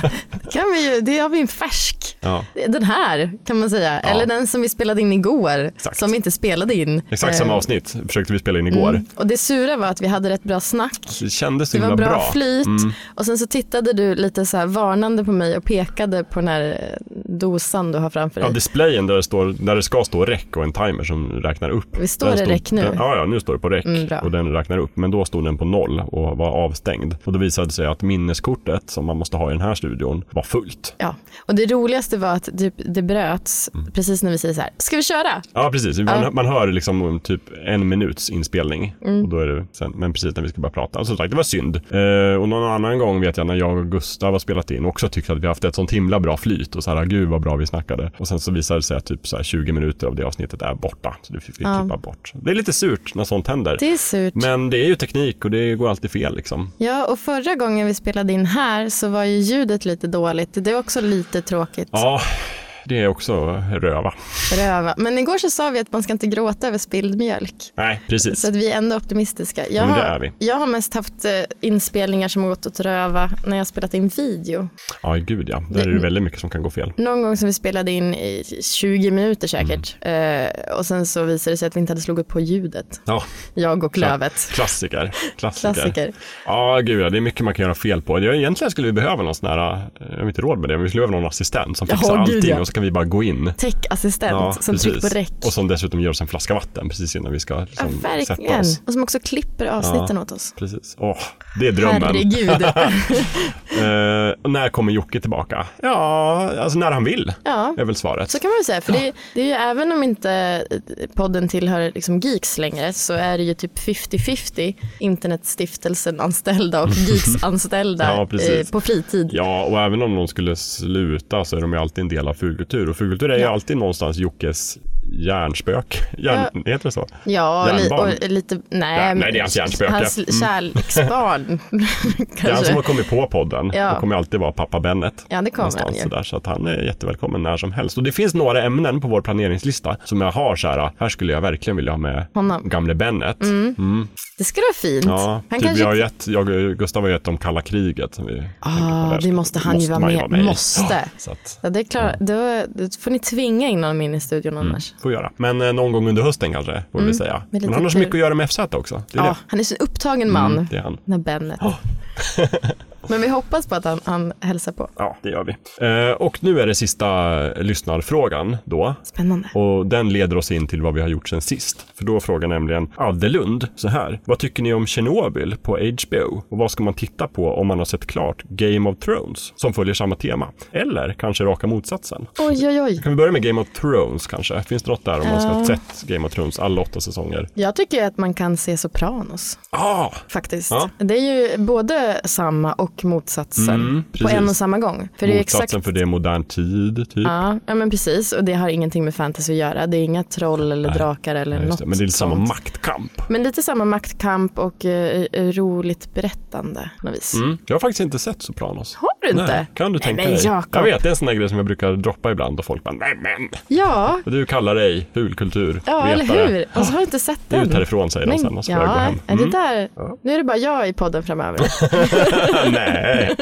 det kan vi ju, det har vi en färsk. ja. Den här kan man säga, Ja. eller den som vi spelade in igår, Exakt. som vi inte spelade in. Exakt Eh, samma avsnitt försökte vi spela in igår. mm. Och det sura var att vi hade rätt bra snack. Det kändes så Det himla var bra, bra. Mm. flyt och sen så tittade du lite så här varnande på mig och pekade på den här eh, dosan du har framför Ja, dig. displayen där det, står, där det ska stå räck och en timer som räknar upp. Vi står Den det stod- räck nu? Den, ja, ja, nu står det på räck Mm, bra. och den räknar upp. Men då stod den på noll och var avstängd. Och då visade det sig att minneskortet som man måste ha i den här studion var fullt. Ja, och det roligaste var att typ, det bröts Mm. precis när vi säger så här, ska vi köra? Ja, precis. Man, Ja. Mm. man hör liksom om typ en minuts inspelning. Och då är det sen, men precis när vi ska börja prata. Och som sagt, det var synd. Eh, och någon annan gång vet jag när jag och Gustav har spelat in och också tyckte att vi haft ett sånt himla bra flyt och så här, gud vad bra vi snackade. Och sen så visade det sig att typ så här 20 minuter av det avsnittet är borta. Så det fick vi Ja. klippa bort. Det är lite surt när sånt händer. Det är surt. Men det är ju teknik och det går alltid fel liksom. Ja, och förra gången vi spelade in här så var ju ljudet lite dåligt. Det var också lite tråkigt. Ja, det är också röva. Röva. Men igår så sa vi att man ska inte gråta över spilld mjölk. Nej, precis. Så att vi är ändå optimistiska. Jag, Ja, men det är har, vi. jag har mest haft eh, inspelningar som har gått åt röva när jag spelat in video. Ja, gud ja. Där är det väldigt mycket som kan gå fel. Någon gång som vi spelade in i 20 minuter säkert. Mm. Eh, och sen så visade det sig att vi inte hade slagit på ljudet. Ja, Jag och Lövet. klassiker. Klassiker. Klassiker. Ja, gud ja, det är mycket man kan göra fel på. Jag, egentligen skulle vi behöva någon sån här, eh, jag har inte råd med det, men vi skulle behöva någon assistent som Ja, fixar gud, allting ja. och så kan vi bara gå in. Tech-assistent som trycker på räck. Och som dessutom ger oss en flaska vatten precis innan vi ska Ja, liksom, sätta verkligen. oss. Och som också klipper avsnitten åt oss. Precis. Åh, det är drömmen. Herregud. Eh, och när kommer Jocke tillbaka? Ja, alltså när han vill, Ja, är väl svaret. så kan man väl säga. För det, det är ju även om inte eh, podden tillhör liksom Geeks längre så är det ju typ 50-50 Internetstiftelsen-anställda och Geeks-anställda Ja, precis. eh, på fritid. Ja, och även om någon skulle sluta så är de ju alltid en del av fulkultur. Och fulkultur är ju Ja. alltid någonstans Jockes hjärnspök. Hjärn, Heter det så? Ja, li, Järnbarn. och lite... Nej, Ja, nej, men det är hans hjärnspöke. Hans Mm. kärleksbarn. Det är han som har kanske. kommit på podden Alltså. Ja. och kommer alltid vara pappa Bennet. Ja, det kommer han någonstans ju. sådär, så att han är jättevälkommen när som helst. Och det finns några ämnen på vår planeringslista som jag har så här, här skulle jag verkligen vilja ha med Honom. gamle Bennet. Det skulle vara fint. Ja, han typ kanske... jag, har gett, jag och Gustav har gett om kalla kriget. Som vi tänker på Ah, där. det måste han ju vara man med. i. Måste. Ja, så att, Ja, det är klart. Då, då får ni tvinga in honom in i studion annars. får göra. Men eh, någon gång under hösten kanske, får vi säga. Mm, med lite Men han har så tur. mycket att göra med FZ också. Det är Ja, han är så upptagen man. det. Det är han. Den här Bennet. Ja. Men vi hoppas på att han, han hälsar på. Ja, det gör vi. Eh, och nu är det sista eh, lyssnarfrågan då. Spännande. Och den leder oss in till vad vi har gjort sen sist. För då frågar nämligen Adelund så här. Vad tycker ni om Tjernobyl på HBO? Och vad ska man titta på om man har sett klart Game of Thrones som följer samma tema? Eller kanske raka motsatsen? Oj, oj, oj. Kan vi börja med Game of Thrones kanske? Finns det något där om man ska ha Ja. sett Game of Thrones alla åtta säsonger? Jag tycker att man kan se Sopranos Ah! faktiskt. Ja. Det är ju både samma och motsatsen Mm, på precis. en och samma gång. För det är motsatsen exakt... för det är modern tid, typ. Ja, ja, men precis. Och det har ingenting med fantasy att göra. Det är inga troll eller Nej. drakar eller Ja, just något det. Men det är samma sånt. maktkamp. Men lite samma maktkamp och eh, roligt berättande på något vis. Mm. Jag har faktiskt inte sett Sopranos. Har du inte? Nej, kan du Nej, tänka men dig? Jakob. Jag vet, det är en sån där grej som jag brukar droppa ibland och folk bara nej men. Ja, Och Du kallar dig fulkultur. ja eller vetare. hur? Och så har du inte sett den. Ut härifrån säger de sen och så får jag gå hem. Mm. är det där, nu är det bara jag i podden framöver. Nej.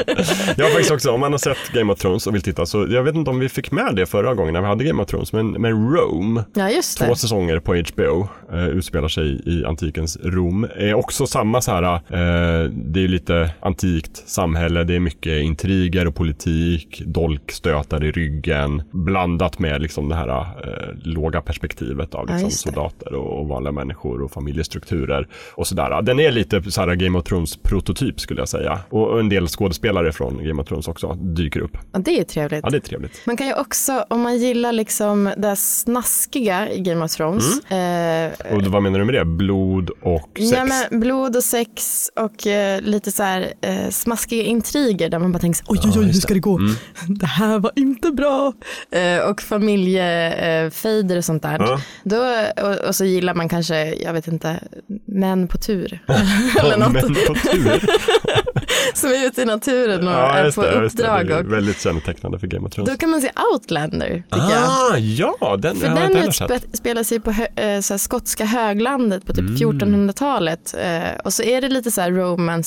Jag har faktiskt också, om man har sett Game of Thrones och vill titta, så jag vet inte om vi fick med det förra gången när vi hade Game of Thrones, men, men Rome, Ja, just två det. säsonger på HBO, eh, utspelar sig i antikens Rom. Är också samma så här, eh, det är ju lite antikt samhälle, det är mycket intriger och politik, dolkstötar i ryggen, blandat med liksom det här eh, låga perspektivet av Ja, liksom, just det. soldater och, och vanliga människor och familjestrukturer och sådär. Den är lite så här Game of Thrones prototyp skulle jag säga. Och och en del skådespelare från Game of Thrones också dyker upp. Ja, det är trevligt. Ja, det är trevligt. Man kan ju också, om man gillar liksom det snaskiga i Game of Thrones, eh, Och vad menar du med det? Blod och Mm. sex? ja, men blod och sex och eh, lite så här eh, smaskiga intriger där man bara tänker så, oj, oj, oj, hur ska det gå? Det här var inte bra. Eh, och familjefejder eh, fejder och sånt där. Ja. Då, och, och så gillar man kanske, jag vet inte, män på tur. Eller något. Men på tur. som är ute i naturen och är just på det, just det. uppdrag. Det är och, Väldigt kännetecknande för Game of Thrones. då kan man se Outlander, tycker jag. Ah, ja, den För har jag den inte heller sett. Mm. utspelar sig på hö- eh, så här, skotska höglandet på typ 1400-talet. Eh, och så är det lite så här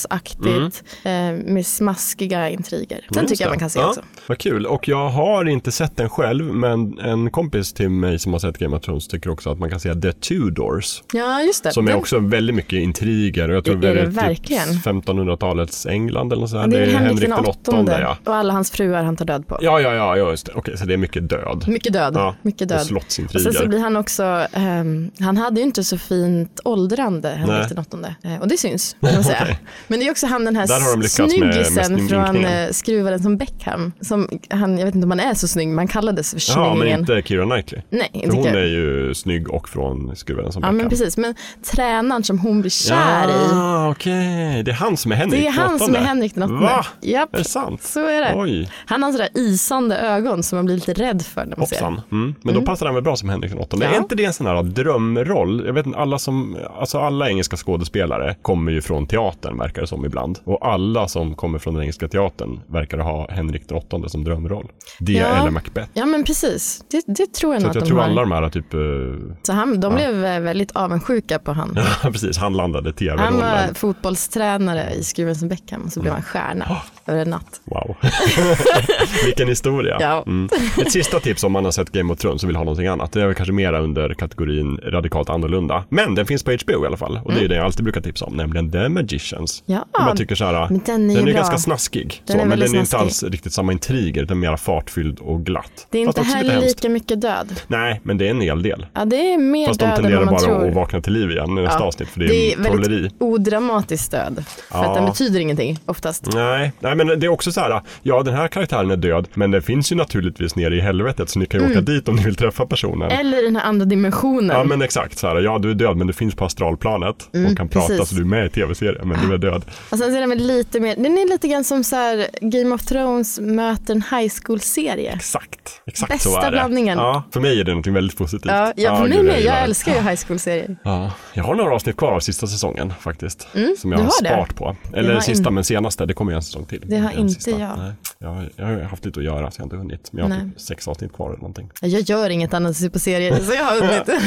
romance-aktigt eh, med smaskiga intriger. Den Just tycker jag det. man kan se Mm. ja, också. Vad kul. Och jag har inte sett den själv, men en kompis till mig som har sett Game of Thrones tycker också att man kan se The Tudors. Ja, just det. Som är Den- också väldigt mycket intriger. Och jag tror Det är det typ verkligen. 1500-talets England eller något sånt. det här. är Henrik den den åttonde, åttonde ja. och alla hans fruar han tar död på. Ja, ja, ja, ja, just det. Okej, så det är mycket död. Mycket död. Ja, mycket död. Och Och sen så slottsintriger. blir han också, ehm, han hade ju inte så fint åldrande Henrik Nej. den åttonde. Eh, och det syns, kan man säga. Okej. Men det är också han den här Där har de lyckats med- med snyggisen från sminkningen. eh, skruvaren som Beckham. Som han, jag vet inte om han är så snygg, men han kallades för Ja, men snyggingen. inte Keira Knightley. Nej, För inte hon kul. är ju snygg och från Skruvaren som Ja, men Beckham. precis. Men tränaren som hon blir kär i. Ja, Ah, okej. Det är han som är Henrik Det är han som är åttonde. Henrik den åttonde. Va? Japp, Är det sant? så är det. Oj, Han har sådär isande ögon som man blir lite rädd för när man ser. hoppsan. Mm. Men då passar han väl bra som Henrik den åttonde. Ja. Är inte det en sån här drömroll? Jag vet inte, alla som, alltså alla engelska skådespelare kommer ju från teatern verkar det som ibland. Och alla som kommer från den engelska teatern verkar ha Henrik den åttonde som drömroll. Det Ja. eller Macbeth. Ja men precis, det, det tror jag Så nog att att jag de tror har. alla de här typ, eh, Så han, de blev eh, väldigt avundsjuka på han. ja precis, han landade Han var tv-rollen. fotbollstränare i Skruven som Beckham och så blev han Mm. stjärna över en natt. Wow, vilken historia. Ja. Mm. Ett sista tips om man har sett Game of Thrones och vill ha någonting annat. Det är väl kanske mera under kategorin radikalt annorlunda. Men den finns på HBO i alla fall. Och det är det jag alltid brukar tipsa om, nämligen The Magicians. Ja, Om jag tycker så här, men den är ju den är bra. ganska snaskig. Den så, är men väldigt den är inte alls snaskig. riktigt samma intriger, utan mera fartfylld och glatt. det är Fast inte också lite heller hemskt. lika mycket död. Nej, men det är en hel del. Ja, det är mer Fast de död än tenderar vad man bara tror. att vakna till liv igen i nästa Ja. avsnitt, för det är, det trolleri. väldigt odramatiskt död. För Ja. att den betyder ingenting oftast. Nej, nej, men det är också så här, ja den här karaktären är död, men den finns ju naturligtvis nere i helvetet, så ni kan ju åka dit om ni vill träffa personen. Mm. Eller i den här andra dimensionen. Mm. Ja men exakt, så här, ja du är död men du finns på astralplanet och kan prata Mm, precis. så du är med i tv-serien men du är död. Och sen så är Alltså, den väl lite mer, den är lite grann som så här Game of Thrones möter en high school-serie. Exakt, exakt Bästa så är det. blandningen. Ja, för mig är det något väldigt positivt. Ja, ja, för mig gud, med, gillar jag det. älskar ju high school-serier. Ja, jag har några avsnitt kvar av sista säsongen faktiskt. som jag Mm, du har har det. sparat på. Eller har sista in- men senaste, det kommer ju en säsong till. Det har Den inte sista. jag. Nej, jag. har- Jag har haft lite att göra så jag har inte hunnit. Men jag har Nej. typ sex avsnitt kvar eller någonting. Jag gör inget annat än att se på serier, så jag har hunnit.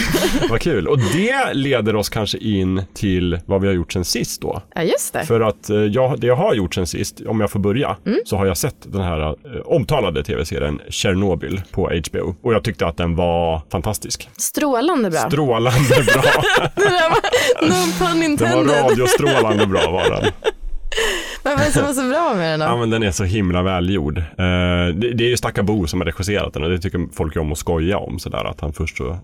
Vad kul. Och det leder oss kanske in till vad vi har gjort sen sist då. Ja, just det. För att eh, jag, det jag har gjort sen sist, om jag får börja, så har jag sett den här eh, omtalade tv-serien Chernobyl på HBO. Och jag tyckte att den var fantastisk. Strålande bra. Strålande bra. Det där var- No pun Den var intended. radiostrålande bra var den. Vad var det som var så bra med den Ja, då? men den är så himla välgjord. Eh, det, det är ju Stakabo som har regisserat den och det tycker folk ju om att skoja om. Sådär, att han först så, eh,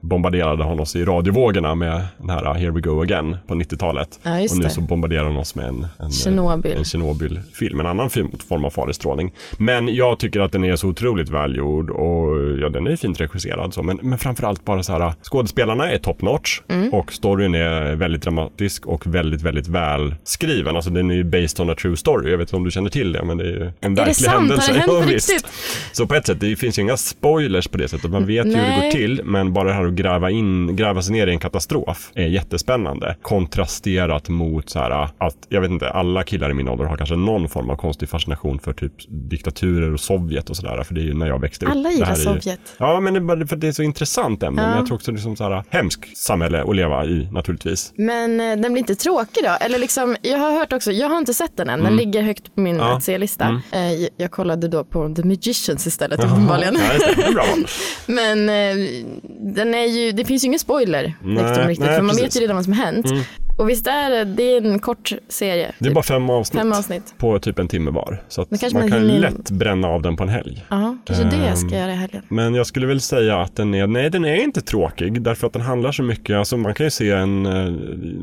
bombarderade han oss i radiovågorna med den här eh, Here We Go Again på 90-talet. Ja, just och nu det. så bombarderar han oss med en, en, Tjernobyl. en Tjernobyl-film, en annan film, form av farlig strålning. Men jag tycker att den är så otroligt välgjord och ja, den är fint regisserad. Så, men, men framförallt bara så här, skådespelarna är top notch Mm. och storyn är väldigt dramatisk och väldigt, väldigt välskriven. Alltså den är ju based on a true story. Jag vet inte om du känner till det, men det är ju en verklig sant? Har det händelse. hänt på Ja, visst. riktigt? Så på ett sätt, det finns ju inga spoilers på det sättet. Man vet ju hur det Nej. går till, men bara det här att gräva, in, gräva sig ner i en katastrof är jättespännande. Kontrasterat mot så här att, jag vet inte, alla killar i min ålder har kanske någon form av konstig fascination för typ diktaturer och Sovjet och sådär. För det är ju när jag växte upp. Alla Det gillar här är ju- Sovjet. Ja, men det är bara för att det är så intressant ämne. Men jag tror också det är som så här hemskt samhälle att leva i naturligtvis. Men eh, den blir inte tråkig då? Eller liksom, jag har hört också, jag har inte sett den än, den ligger högt på min Mm. Ja. Mm. att se-lista. Eh, jag- Jag kollade då på The Magicians istället uppenbarligen. Ja, just det. Det är bra val. Men eh, den är ju, det finns ju ingen spoiler Nej, liksom, riktigt, nej, för man precis. Mm. vet ju redan vad som har hänt. Och visst är det, det är en kort serie. Det är bara fem avsnitt. Typ. Fem avsnitt. På typ en timme var. Så att Men man, kanske man kan ju hinner- lätt bränna av den på en helg. Ja, kanske det jag Ehm. ska göra i helgen. Men jag skulle väl säga att den är, nej den är inte tråkig därför att den handlar så mycket, alltså man kan ju se en, eh,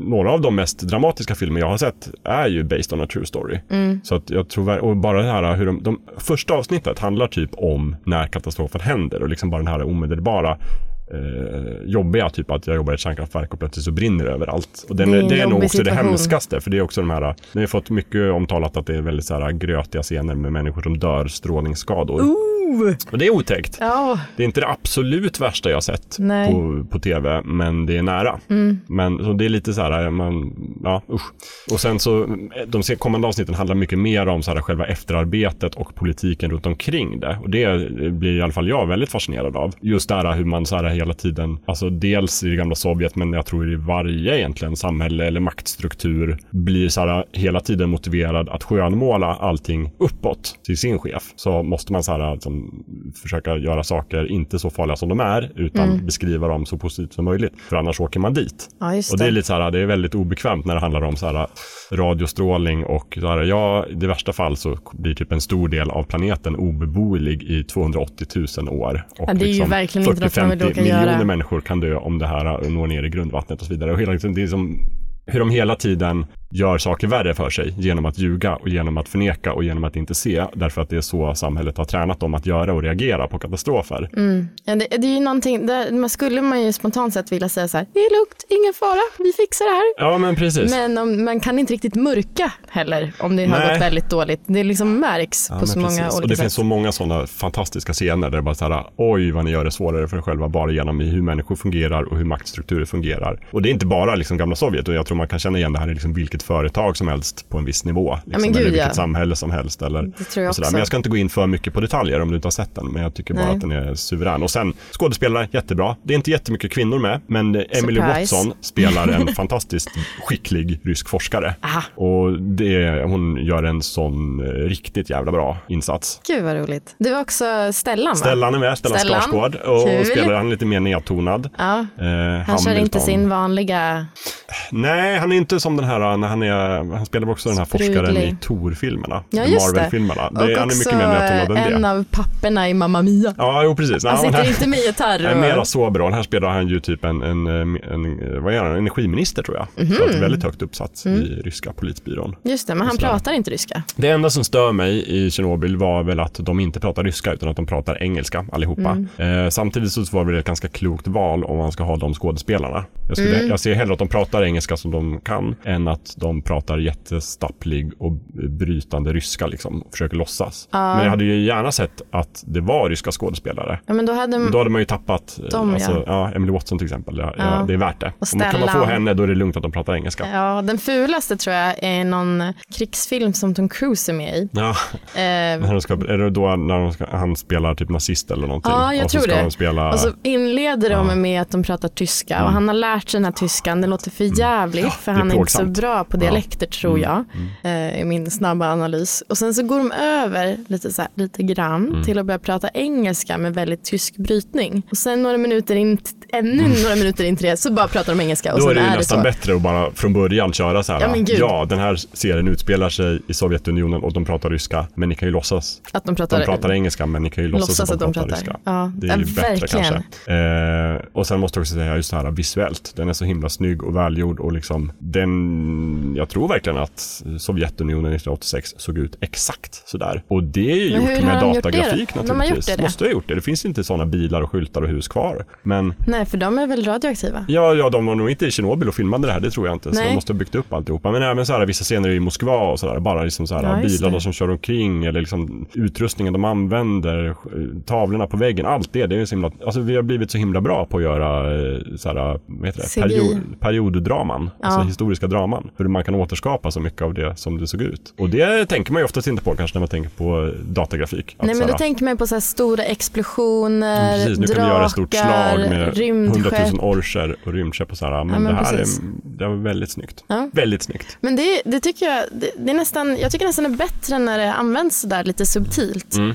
några av de mest dramatiska filmer jag har sett är ju based on a true story. Mm. Så att jag tror, ver- och bara det här hur de, de första avsnittet handlar typ om när katastrofen händer och liksom bara den här omedelbara Eh, jobbiga, typ att jag jobbar i ett kärnkraftverk och plötsligt så brinner det överallt. Och den, Det är det är, en det är nog jobbig också det situation. hemskaste, för det är också de här, nu har jag fått mycket omtalat att det är väldigt så här grötiga scener med människor som dör, strålningsskador. Oh! Och det är otäckt. Ja, Det är inte det absolut värsta jag har sett Nej. på, på tv, men det är nära. Men så det är lite så här, man, ja usch. Och sen så, de se- kommande avsnitten handlar mycket mer om så här, själva efterarbetet och politiken runt omkring det. Och det blir i alla fall jag väldigt fascinerad av. Just det här hur man så här hela tiden, alltså dels i det gamla Sovjet, men jag tror i varje egentligen samhälle eller maktstruktur blir så här äh, hela tiden motiverad att skönmåla allting uppåt till sin chef. Så måste man så här, liksom, försöka göra saker inte så farliga som de är, utan beskriva dem så positivt som möjligt. För annars åker man dit. ja just Och det är det. lite så här, det är väldigt obekvämt när det handlar om så här, radiostrålning och så här, ja, i det värsta fall så blir typ en stor del av planeten obeboelig i 280 000 år. Och Ja, det är ju verkligen inte något man vill 40-50 råka miljoner göra. människor kan dö om det här når ner i grundvattnet och så vidare. Och hela, liksom, det är som hur de hela tiden gör saker värre för sig genom att ljuga och genom att förneka och genom att inte se därför att det är så samhället har tränat dem att göra och reagera på katastrofer. Mm. Ja, det, det är ju någonting, där, man skulle man ju spontant sett vilja säga så här, det är lugnt, ingen fara, vi fixar det här. Ja men precis. Men om, man kan inte riktigt mörka heller om det har Nej. gått väldigt dåligt. Det liksom märks Ja, på men så många precis. olika Och det sätt. finns så många sådana fantastiska scener där det bara så här, oj vad ni gör det svårare för er själva bara genom hur människor fungerar och hur maktstrukturer fungerar. Och det är inte bara liksom gamla Sovjet och jag tror man kan känna igen det här i liksom vilket företag som helst på en viss nivå. Liksom, men gud, eller vilket ja. samhälle som helst. Eller, Det tror jag och sådär. också. Men jag ska inte gå in för mycket på detaljer om du inte har sett den, men jag tycker bara Nej. att den är suverän. Och sen skådespelare, jättebra. Det är inte jättemycket kvinnor med, men Emily Surprise. Watson spelar en fantastiskt skicklig rysk forskare. Aha. Och det, hon gör en sån eh, riktigt jävla bra insats. Gud vad roligt. Du var också Stellan va? Stellan är med, Stellan, Stellan. Skarsgård. Och Kul. spelar han är lite mer nedtonad. Ja. Eh, Han kör inte Hamilton. sin vanliga, Nej, han är inte som den här, när han, är, han spelar också den här Sprudlig. forskaren i Thor-filmerna. Ja, i just det. Marvel-filmerna. och Det, han är också eh, mycket mer nedtonad än det. en av papperna i Mamma Mia. Ja, jo precis. Han Nej, men sitter här- inte med gitarr. Nej, och- mera sober. Här spelar han ju typ en, en, en, en eh, vad är han, energiminister tror jag. Mhm. Så att väldigt högt uppsatt Mm. i ryska politbyrån. Just det, men han Just det. pratar inte ryska. Det enda som stör mig i Tjernobyl var väl att de inte pratar ryska utan att de pratar engelska allihopa. Mm. Eh, samtidigt så var det ett ganska klokt val om man ska ha de skådespelarna. Jag, skulle, Mm. jag ser hellre att de pratar engelska som de kan än att de pratar jättestapplig och brytande ryska liksom, och försöker låtsas. Men jag hade ju gärna sett att det var ryska skådespelare. Ja, men då hade Då hade man ju tappat eh, De, Mm. ja. alltså, ja. Emily Watson till exempel. Ja, Ja. ja. Det är värt det. Och Om man kan man få Stellan. henne då är det lugnt att de pratar engelska. Ja, den fulaste tror jag är någon krigsfilm som Tom Cruise är med i. Ja. Eh, När de ska, är det då när de ska, han spelar typ nazist eller någonting? Ja, jag och så tror ska det. De spela, och så inleder de med att de pratar tyska och han har lärt sig den här tyskan. Den låter för jävligt för Mm. det är han är inte så plågsamt. Mm. bra på dialekter tror jag. eh, I min snabba analys. Och sen så går de över lite, så här, lite grann Mm. till att börja prata engelska med väldigt tysk brytning. Och sen några minuter in, ännu några minuter in till det så bara pratar de engelska. Och Mm. då sen är det ju är nästan så. bättre att bara från början köra så här. Ja, men gud. ja, den här serien utspelar sig i Sovjetunionen och de pratar ryska, men ni kan ju låtsas. Att de pratar, De pratar engelska, men ni kan ju låtsas, Låtsas att de pratar, ryska. Ja, Det är ju ja, bättre verkligen. kanske. Eh, och sen måste jag också säga just det här visuellt. Den är så himla snygg och välgjord och liksom den, jag tror verkligen att Sovjetunionen 1986 såg ut exakt sådär. Och det är ju Men hur gjort har med de gjort det då? datagrafik De har naturligtvis. gjort det, det. Måste ha gjort det. Det finns inte sådana bilar och skyltar och hus kvar. Men Nej, för de är väl radioaktiva? Ja, ja, de var nog inte i Tjernobyl och filmade det här, det tror jag inte. Så Nej. de måste ha byggt upp alltihopa. Men även så här, vissa scener i Moskva och sådär, bara liksom så här, Ja, just bilarna det. som kör omkring eller liksom utrustningen de använder, eh, tavlorna på väggen, allt det. det är så himla, alltså, vi har blivit så himla bra på att göra eh, så här, vad heter det? CGI. Period, perioddraman, alltså Ja. historiska draman. För man kan återskapa så mycket av det som det såg ut. Och det tänker man ju oftast inte på kanske när man tänker på eh, datagrafik. Att Nej så men här, då tänker man på så här stora explosioner, alltså. Precis, nu drakar, kan vi göra ett stort slag med 100 rymdskepp. 000 orcher och rymdskepp och så här. Men, Ja, men det här är, precis. det var väldigt snyggt. Ja. Väldigt snyggt. Men det, det tycker jag, det, det är nästan, jag tycker nästan det är bättre när det används så där lite subtilt. Mm.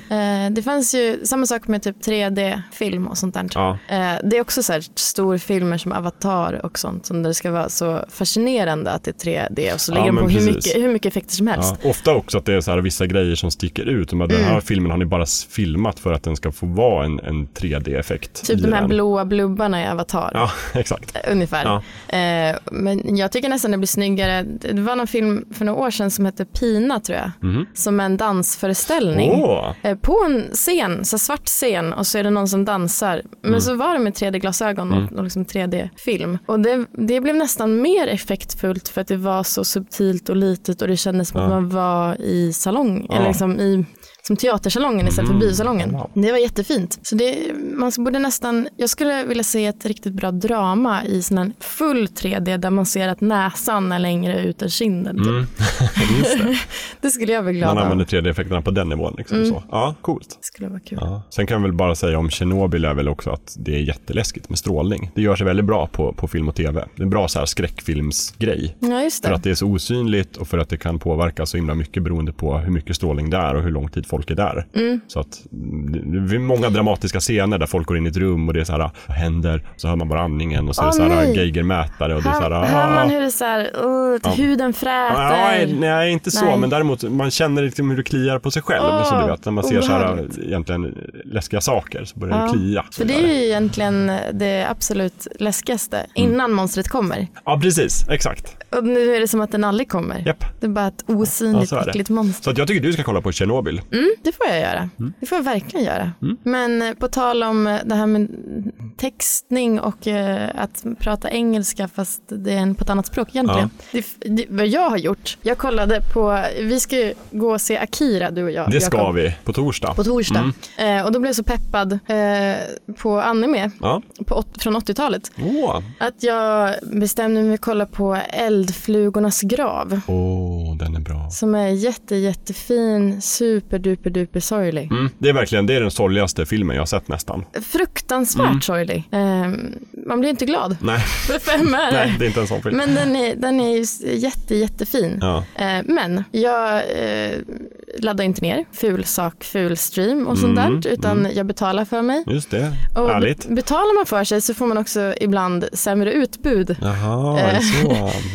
Eh, det fanns ju samma sak med typ 3D-film och sånt där. Ja. Eh, det är också så här storfilmer som Avatar och sånt som där det ska vara så fascinerande att det är 3D och så Ja, lägger de men på hur precis. mycket, hur mycket effekter som helst. Ja. Ofta också att det är så här vissa grejer som sticker ut. Men Den Mm. här filmen har ni bara s- filmat för att den ska få vara en, en 3D-effekt. Typ i de här den. blåa blubbarna i Avatar. Ja, exakt. Ungefär. Ja. Eh, men jag tycker nästan det blir snyggare. Det var någon film för några år sedan som hette Pina tror jag. Som en dansföreställning. Mhm. Åh, Eh, På en scen, så här svart scen och så är det någon som dansar. Men Mm. så var det med 3D-glasögon och, och liksom 3D-film. Och det, det blev nästan mer effektfullt för att det var så subtilt och litet och det kändes som att man var i salong. Eller liksom i som teatersalongen istället Mm. för biosalongen. Wow. Det var jättefint. Så det, man borde nästan, jag skulle vilja se ett riktigt bra drama i sån här full 3D där man ser att näsan är längre ut än kinden. typ. Mm. Just det. Det skulle jag bli glad Man av. använder 3D-effekterna på den nivån. Mm. Liksom, så. Ja, coolt. Det skulle vara kul. Ja. Sen kan jag väl bara säga om Tjernobyl är väl också att det är jätteläskigt med strålning. Det gör sig väldigt bra på, på film och tv. Det är en bra så här skräckfilmsgrej. Ja, just För det. att det är så osynligt och för att det kan påverka så himla mycket beroende på hur mycket strålning det är och hur lång tid folk är där. Mm. Så att det det är många dramatiska scener där folk går in i ett rum och det är så här, vad händer? Och så hör man bara andningen och så är det Åh, så här nej. geigermätare och det är så här, Hör, hör "Ah." man hur det så här, uh, huden fräter. Nej, nej, inte så, Nej. men däremot man känner liksom hur det kliar på sig själv. Åh, som du vet, när man ser så här, obehagligt. egentligen läskiga saker så börjar det Ja. klia. För det är ju egentligen det absolut läskigaste Mm. innan monstret kommer. Ja, precis. Exakt. Och nu är det som att den aldrig kommer. Japp. Det är bara ett Ja, osynligt så är det. äckligt monster. Så att jag tycker du ska kolla på Tjernobyl. Mm, det får jag göra. Det får jag verkligen göra. Mm. Men eh, på tal om eh, det här med textning och eh, att prata engelska fast det är en på ett annat språk egentligen. Det, f- det, vad jag har gjort, jag kollade på, vi ska ju gå och se Akira du och jag. Det ska Jakob, vi på torsdag. På torsdag. Mm. Eh, och då blev jag så peppad eh, på anime Ja. på, åt- från 80-talet. Åh, Att jag bestämde mig att kolla på Eldflugornas grav. Åh, den är bra. Som är jätte, jättefin, superduper, duper sorglig. Mm, det är verkligen det är den sorgligaste filmen jag har sett nästan. Fruktansvärt Mm. sorglig. Ehm, man blir inte glad. Nej, För fem är nej, det. det är inte en sån film. Men den är, den är ju s- jätte, jättefin. Ja. Eh, Men jag eh, laddar inte ner ful sak, ful stream och sånt Mm, där, utan jag betalar för mig. Just det, Och ärligt. be- betalar man för sig så får man också ibland sämre utbud. Mm. Jaha, är det så?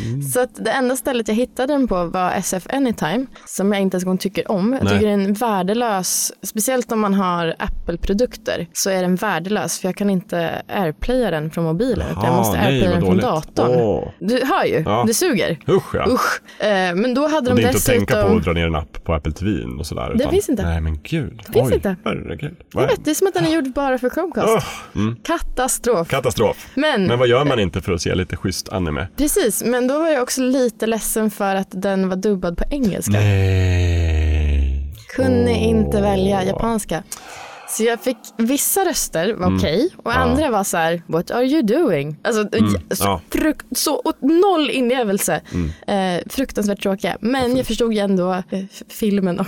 Mm. Så att det enda stället jag hittade den på var SF Anytime, som jag inte ens en gång tycker om. Jag Nej. tycker den är värdelös, speciellt om man har Apple-produkter, så är den värdelös, för jag kan inte airplaya den från mobilen, utan jag Jaha, måste nej, airplaya vad den från dåligt. datorn. Åh. Du hör ju, Ja. det suger. Usch ja. Usch. Eh, Men då hade Och de det är inte att dessutom... tänka på att dra ner en app på Apple TV och sådär. utan- finns inte. Nej men gud. Det finns inte. Herregud. jag Vad är- vet, det är som att den är gjord bara för Chromecast. Åh, mm, Katastrof. katastrof. men, Men vad gör man inte för att se lite schysst anime? precis, men då var jag också lite ledsen för att den var dubbad på engelska. Nej. Kunde Åh. inte välja japanska. Så jag fick, vissa röster var Mm. okej och andra var så här, what are you doing? Alltså, så, Mm. ja. Mm. frukt, så åt noll inlevelse. Eh, fruktansvärt tråkiga. Men jag förstod ju ändå eh, f- filmen och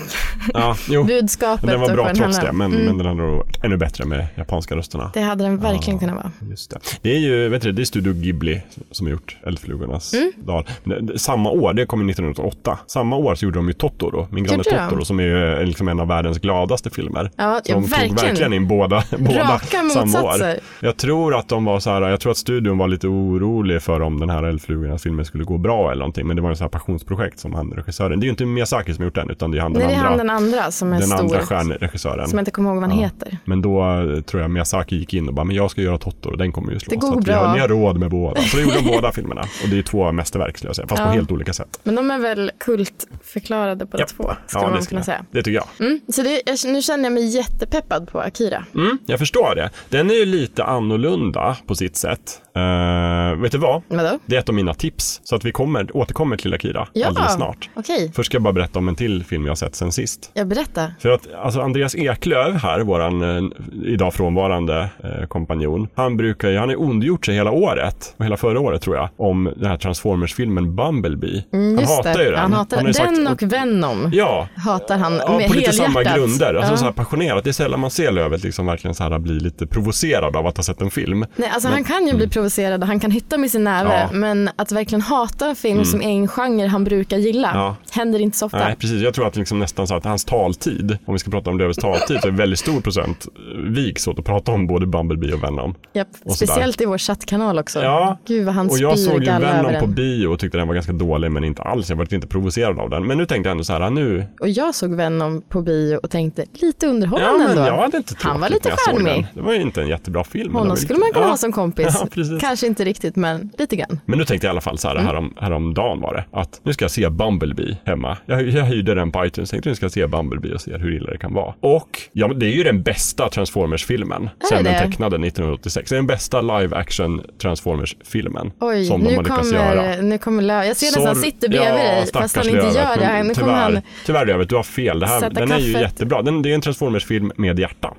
Ja, jo. budskapet. Den var och bra vad den trots handlar det, om. men, men den hade nog varit ännu bättre med japanska rösterna. Det hade den verkligen kunnat vara. Just det. det är ju vet du, det är Studio Ghibli som har gjort Eldflugornas Mm. dal. Men det- det- Samma år, det kom ju 1908, samma år så gjorde de ju Totoro, Min granne Gjorde de? Totoro som är ju eh, liksom en av världens gladaste filmer. Ja, så ja, de verkligen. tog verkligen in båda, båda Raka samma år. motsatser. Jag tror att de var så här, jag tror att studion var lite orolig för om den här Eldflugornas filmen skulle gå bra eller någonting. Men det var ju så här passionsprojekt som han regissören, det är ju inte Miyazaki som har gjort den utan det är han den Nej, det är andra, han den andra som är den stor. andra stjärnregissören. Som jag inte kommer ihåg vad han Ja. heter. Men då eh, tror jag Miyazaki gick in och bara, men jag ska göra Totoro, den kommer ju slå. Det går så att vi bra. har, ni har råd med båda. Så då gjorde de båda filmerna. Och det är två mästerverk skulle jag säga, fast på Ja. helt olika sätt. Men de är väl kultförklarade båda två, skulle man kunna säga. Det tycker jag. Mm, så det, jag, nu känner jag mig jättepeppad på Akira. Mm, jag förstår det. Den är ju lite annorlunda på sitt sätt. Eh, vet du vad? Vadå? Det är ett av mina tips. Så att vi kommer, återkommer till Akira Ja, alldeles snart. okej. Först ska jag bara berätta om en till film jag har sett sen sist. Jag berättar. För att alltså Andreas Eklöv här, våran eh, idag frånvarande eh, kompanjon, han brukar ju, han har ondgjort sig hela året, och hela förra året tror jag, om den här Transformers-filmen Bumbleby. han Mm, Just hatar det. ju den. Han hatar har ju sagt- den och Venom Ja, hatar han Ja, med på lite samma helhjärtat. grunder. Alltså Ja. så här passionerat. Det är sällan man ser Lövet liksom verkligen så här bli lite provocerad av att ha sett en film. Nej, alltså han kan ju bli provocerad och han kan hitta med sin näve. Mm. Ja. Mm. Men att verkligen hata en film som är en genre han brukar gilla Ja. händer inte så ofta. Nej, precis. Jag tror att liksom nästan så att hans taltid, om vi ska prata om Lövets taltid, så är väldigt stor procent eh, viks åt att prata om både Bumblebee och Venom. Japp. Och sådär. Speciellt i vår chattkanal också. Ja, Gud vad han Och jag spyr såg ju galla över Venom på den. bio och tyckte den var ganska dålig men inte alls, jag var inte provocerad av den. Men nu tänkte jag ändå så här, nu... och jag såg Venom på bio och tänkte lite Ja underhållande men, ändå. jag hade inte Han var tråkigt lite när jag såg charmig. den. Det var ju inte en jättebra film. men den var Honom ju skulle lite- man kunna Ja. ha som kompis. Ja, precis. Kanske inte riktigt, men lite grann. Men nu tänkte jag i alla fall så Mm. här, härom, häromdagen var det, att nu ska jag se Bumblebee hemma. Jag, jag hyrde den på iTunes, tänkte nu ska jag se Bumblebee och se hur illa det kan vara. Och ja, men det är ju den bästa Transformers-filmen sen det? den tecknade 1986. Det är den bästa live action Transformers-filmen Oj, som de nu har lyckats göra. kommer, nu kommer Lö. Jag ser nästan han Sorry- sitter bredvid ja, dig, fast han stackars inte Lövet, gör det. men Han, nu kommer tyvärr, han, tyvärr Lövet, du har fel. Det här, Sätta den är ju kaffet. jättebra. Den, det är en Transformers-film med hjärta.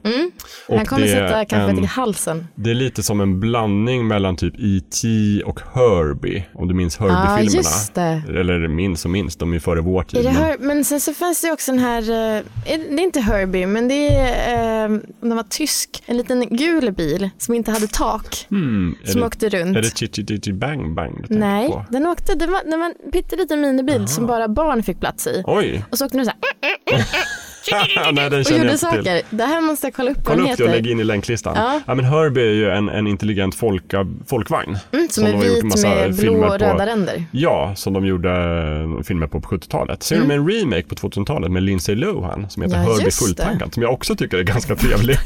Och han kommer det är sätta kaffet en- i halsen. det är lite som en blandning mellan typ E.T. och Herbie, om du minns Ja, Herbie-filmerna. just det. Eller minns och minns, de är ju före vår Är tid. det men- Her- men sen så fanns det också den här, eh, är- det är inte Herbie, men det är, eh, den var tysk, en liten gul bil som inte hade tak, Mm, är som det, åkte runt. Är det Chichi Chichi Bang Bang du tänker Nej, på? den åkte, den var, den var en pytteliten minibil som bara barn fick plats i. Oj! Och så åkte den så här Nej, den och känner jag gjorde inte till. saker. Det här måste jag kolla upp vad den Kolla upp det och lägg heter. in i länklistan. Ja. Ja. men Herbie är ju en, en intelligent folka, folkvagn. Mm, Som de är har gjort vit massa med blå filmer och på. röda ränder. Ja, som de gjorde eh, filmer på på 70-talet. Sen gjorde de en remake på 2000-talet med Lindsay Lohan som heter Mm. Ja, Herbie just det. Fulltankad som jag också tycker är ganska trevlig.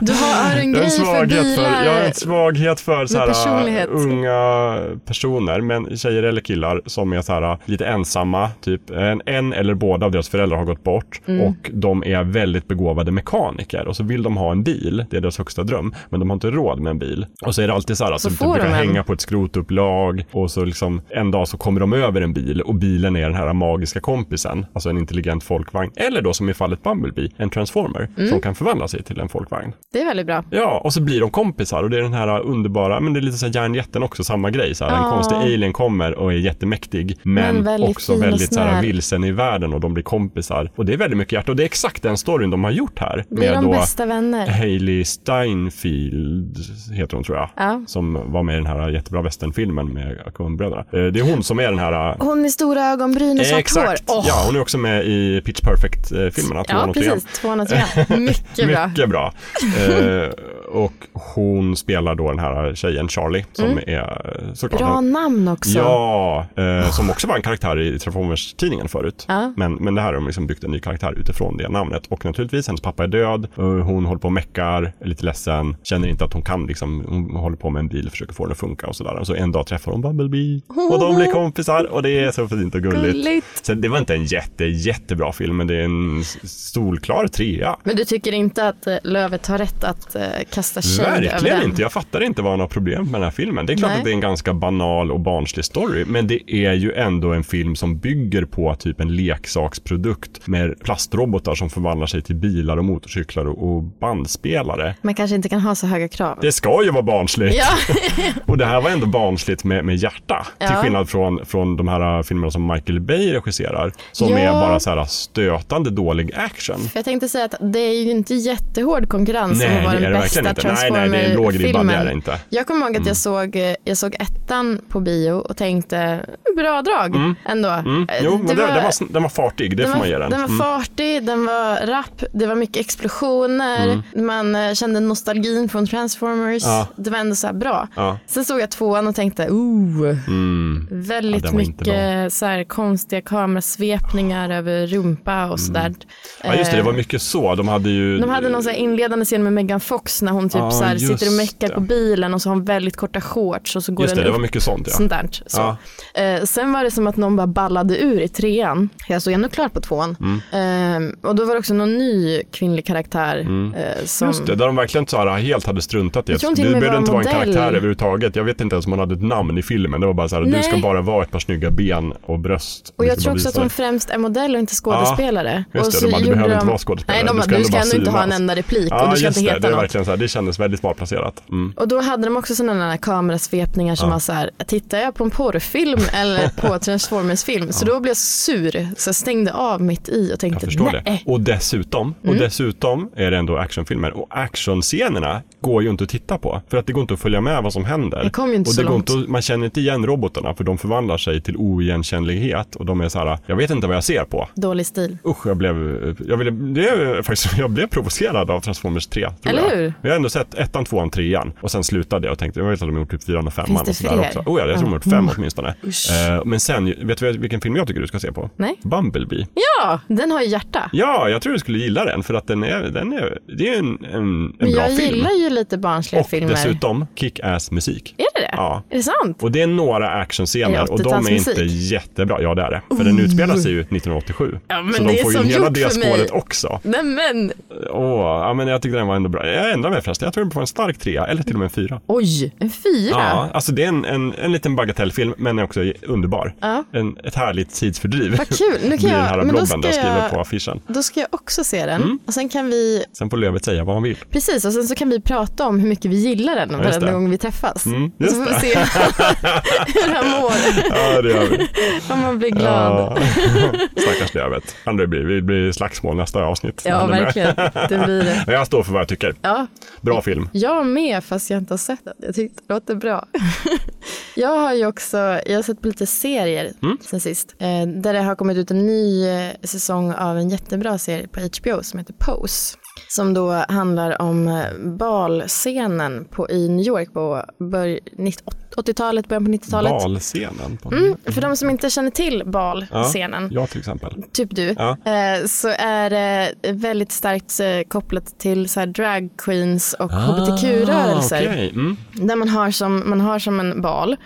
Du har, har en Jag har grej en för svaghet för, bilar. jag har en svaghet för så här, personlighet. unga personer, men tjejer eller killar som är så här, lite ensamma. Typ en, en eller båda av deras föräldrar har gått bort Mm. och de är väldigt begåvade mekaniker och så vill de ha en bil. Det är deras högsta dröm, men de har inte råd med en bil. Och så är det alltid så här att Så de får brukar de en. hänga på ett skrotupplag och så liksom en dag så kommer de över en bil och bilen är den här magiska kompisen, alltså en intelligent folkvagn. Eller då som i fallet Bumblebee, en transformer Mm. som kan förvandla sig till en folkvagn. Det är väldigt bra. Ja, och så blir de kompisar och det är den här underbara, men det är lite så här järnjätten också, samma grej. Så här. En Ja. konstig alien kommer och är jättemäktig, men, Men väldigt också fin och väldigt så här, snäll. vilsen i världen och de blir kompisar. Och det är väldigt mycket hjärta och det är exakt den storyn de har gjort här. Vi är de bästa Eh. vänner. Hailey Steinfeld heter hon tror jag. Ja. Som var med i den här jättebra västernfilmen med Coenbröderna. Eh, Det är hon som är den här eh, Hon med stora ögonbryn och svart Exakt! hår. Åh, Ja, hon är också med i Pitch eh, Perfect-filmerna. ja precis. 203. Mycket bra. Eh. Mycket bra. Eh, och hon spelar då den här tjejen Charlie som är eh, såklart Mm. Bra namn också. Ja, eh, som också var en karaktär i Transformers-tidningen förut. Ja. Men, men det här har de liksom byggt en ny karaktär utifrån det namnet. Och naturligtvis, hennes pappa är död. eh, Hon håller på och meckar, är lite ledsen, känner inte att hon kan. Liksom, hon håller på med en bil, försöker få den att funka och sådär. Och så en dag träffar hon Bumblebee och de blir kompisar och det är så fint och gulligt. Gulligt. Så det var inte en jätte, jättebra film, men det är en s- solklar trea. Men du tycker inte att eh, Lövet har rätt att eh, kasta shade över Verkligen den? inte. Jag fattar inte vad han har problem med den här filmen. Det är klart Nej. att det är en ganska banal och barnslig story, men det är ju ändå en film som bygger på typ en leksaksprodukt med plastrobotar som förvandlar sig till bilar och motorcyklar och och bandspelare. Man kanske inte kan ha så höga krav. Det ska ju vara barnsligt. Ja, Och det här var ändå barnsligt med, med hjärta. Till Ja. skillnad från, från de här äh, filmerna som Michael Bay regisserar. Som Ja. är bara så här stötande dålig action. för jag tänkte säga att det är ju inte jättehård konkurrens om Nej, att det vara är det den verkligen bästa inte. Nej, nej, det är en låg ribba, det är det Transformer-filmen. inte. Jag kommer ihåg att Mm. jag, såg, eh, jag såg ettan på bio och tänkte, bra drag ändå. Mm. Eh, Jo, men det, det var- den, var, sn- den var fartig, det får man ge den. Den var Mm. fartig, den var rapp, det var mycket explosioner, man eh, kände nostalgin från Transformers. Mm. Ja. Det var ändå så här bra. Ja. Sen såg jag tvåan och tänkte, ooh, Mm. väldigt Ja, den var inte mycket så här konstiga kamerasvepningar över rumpa och sådär. Mm. Ja just det, det Eh, var mycket så. De hade ju... de hade någon så här inledande scen med Megan Fox när hon typ Ja, så här sitter och just meckar det. på bilen och så har hon väldigt korta shorts och så går Just det, den det upp var mycket sånt ja. Sånt där. Så. Eh, sen var det som att någon bara ballade ur i trean. Jag såg ändå klart på tvåan. Mm. Eh, och då var det också någon ny kvinnlig karaktär. Eh, som, Mm. Just det, där de verkligen så här, helt hade struntat i Jag att tror hon till och med behövde var inte vara en modell. karaktär överhuvudtaget. Jag vet inte ens om hon hade ett namn i filmen. Det var bara så här, du Nej. ska bara vara ett par snygga ben och bröst. och Vi jag ska tror bara också att visa hon det. främst är modell och inte skådespelare. det, och de bara, du gjorde behöver inte vara skådespelare, Nej, de du bara, ska du ändå ska bara ändå inte ha en synas." enda replik Ja, och du ska just inte det, heta det, är något. verkligen så här, det kändes väldigt smart placerat. Mm. Och då hade de också sådana där kamerasvepningar som var så här, tittar jag på en porrfilm eller på Transformers-film? Så då blev jag sur, så jag stängde av mitt i och Jag tänkte, förstår nej. Mm. det. Och dessutom, och dessutom är det ändå actionfilmer. Och actionscenerna går ju inte att titta på. För att det går inte att följa med vad som händer. Det kom ju inte och så det går långt. inte, att- Man känner inte igen robotarna för de förvandlar sig till oigenkännlighet och de är så här, jag vet inte vad jag ser på. Dålig stil. Usch, jag blev, jag, ville, det är faktiskt, jag blev provocerad av Transformers 3. Tror Eller jag. hur? Men Jag har ändå sett ettan, tvåan, trean och sen slutade jag och tänkte, jag vet att de har gjort typ fyran och femman det och sådär fler? Mm. också. Oh, ja, jag tror de har gjort fem åtminstone. Usch. Eh, men sen, vet du vilken film jag tycker du ska se på? Nej. Bumblebee. Ja, den har ju hjärta. Ja, jag tror du skulle gilla den för att den är, den är, det är ju en, en, en Men bra jag film. gillar ju lite barnsliga Och filmer. dessutom kick-ass musik. Är det det? Ja. Är det sant? Och det är några Är det actionscener och de är 80-talsmusik? inte jättebra. Ja, det är det. För den utspelar sig ju 1987. Ja, men så de det är får ju som hela gjort det för mig. spåret också. Nej men, Åh, ja, men jag tyckte den var ändå bra. Jag ändrar mig förresten. Jag tror den får en stark trea eller till och med en fyra. oj, en fyra. Ja, alltså det är en, en, en liten bagatellfilm men också underbar. Ja. En, ett härligt tidsfördriv. Vad kul. Nu kan Blir den jag- här men då blobben ska där jag skriver jag- på affischen. Då ska jag också se den. Mm. Och sen kan vi, Sen får Lövet säga vad han vill. precis, och sen så kan vi prata om hur mycket vi gillar den just varenda det. gång vi träffas. Mm, så just får vi se hur han mår, Ja, det gör vi. om man blir glad. Ja. Stackars Lövet. Han det blir, det blir slagsmål nästa avsnitt. Ja, Han är med. verkligen. Det blir det. Men jag står för vad jag tycker. Ja, Bra film. jag med fast jag inte har sett den. Jag tyckte det låter bra. jag har ju också, jag har sett på lite serier sen sist. Eh, där det har kommit ut en ny eh, säsong av en jättebra serie på HBO som heter Pose. Som då handlar om eh, balscenen på, i New York på bör, 80-talet, början på 90-talet. Valscenen. På... Mm, för de som inte känner till balscenen, Ja, till exempel. typ du, Ja. eh, så är det väldigt starkt eh, kopplat till så här drag queens och hbtq-rörelser. Ah, okej. mm. Där man har som, man har som en bal,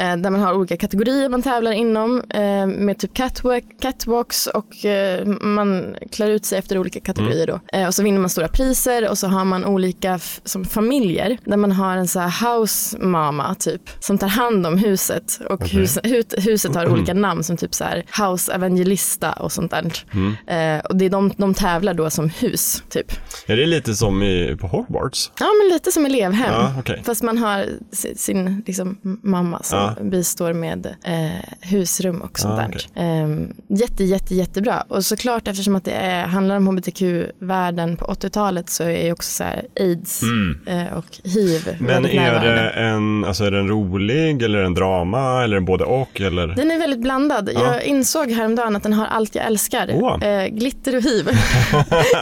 eh, där man har olika kategorier man tävlar inom eh, med typ catwalk, catwalks och eh, man klär ut sig efter olika kategorier då. Eh, och så vinner man stora priser och så har man olika f- som familjer där man har en så här house mama typ som tar hand om huset och hus, hut, huset har olika namn som typ så här house evangelista och sånt där. Eh, och det är de, de tävlar då som hus typ. Är det lite som i, på Hogwarts? Ja, men lite som elevhem. Ja, okej. Fast man har sin, sin liksom, mamma som Ja. bistår med eh, husrum och sånt Ja, där. Ehm, jätte, jätte, jättebra. Och såklart eftersom att det är, handlar om hbtq-världen på 80-talet så är ju också så här aids eh, och hiv Mm. Men väldigt är närvarande. det, en, alltså är det en rolig eller en drama eller en både och? Eller? Den är väldigt blandad. Jag insåg häromdagen att den har allt jag älskar. Åh. Eh, glitter och hiv.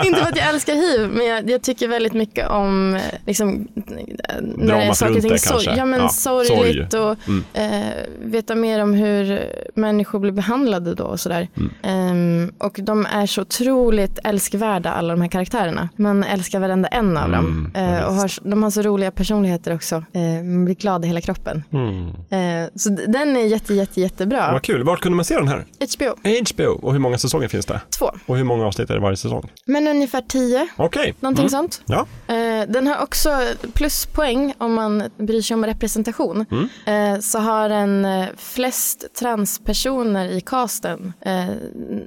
Inte för att jag älskar hiv, men jag, jag tycker väldigt mycket om eh, liksom, eh, när det är Dramat saker och runt ting det sorg. kanske. Ja, men Ja, Mm. sorgligt och eh, veta mer om hur människor blir behandlade då och sådär. Mm. Ehm, och de är så otroligt älskvärda alla de här karaktärerna. Man älskar varenda en av dem. Mm, Eh, och har, de har så roliga personligheter också. Eh, man blir glad i hela kroppen. Eh, så d- den är jätte, jätte, jättebra. Hmm. Vad kul. Vart kunde man se den här? HBO HBO. Och hur många säsonger finns det? 2. Och hur många avsnitt är det varje säsong? Men ungefär 10, Okej. Mm. någonting sånt. Ja. Eh, Den har också pluspoäng om man bryr sig om representation. Mm. Eh, Så har den eh, flest transpersoner i casten eh,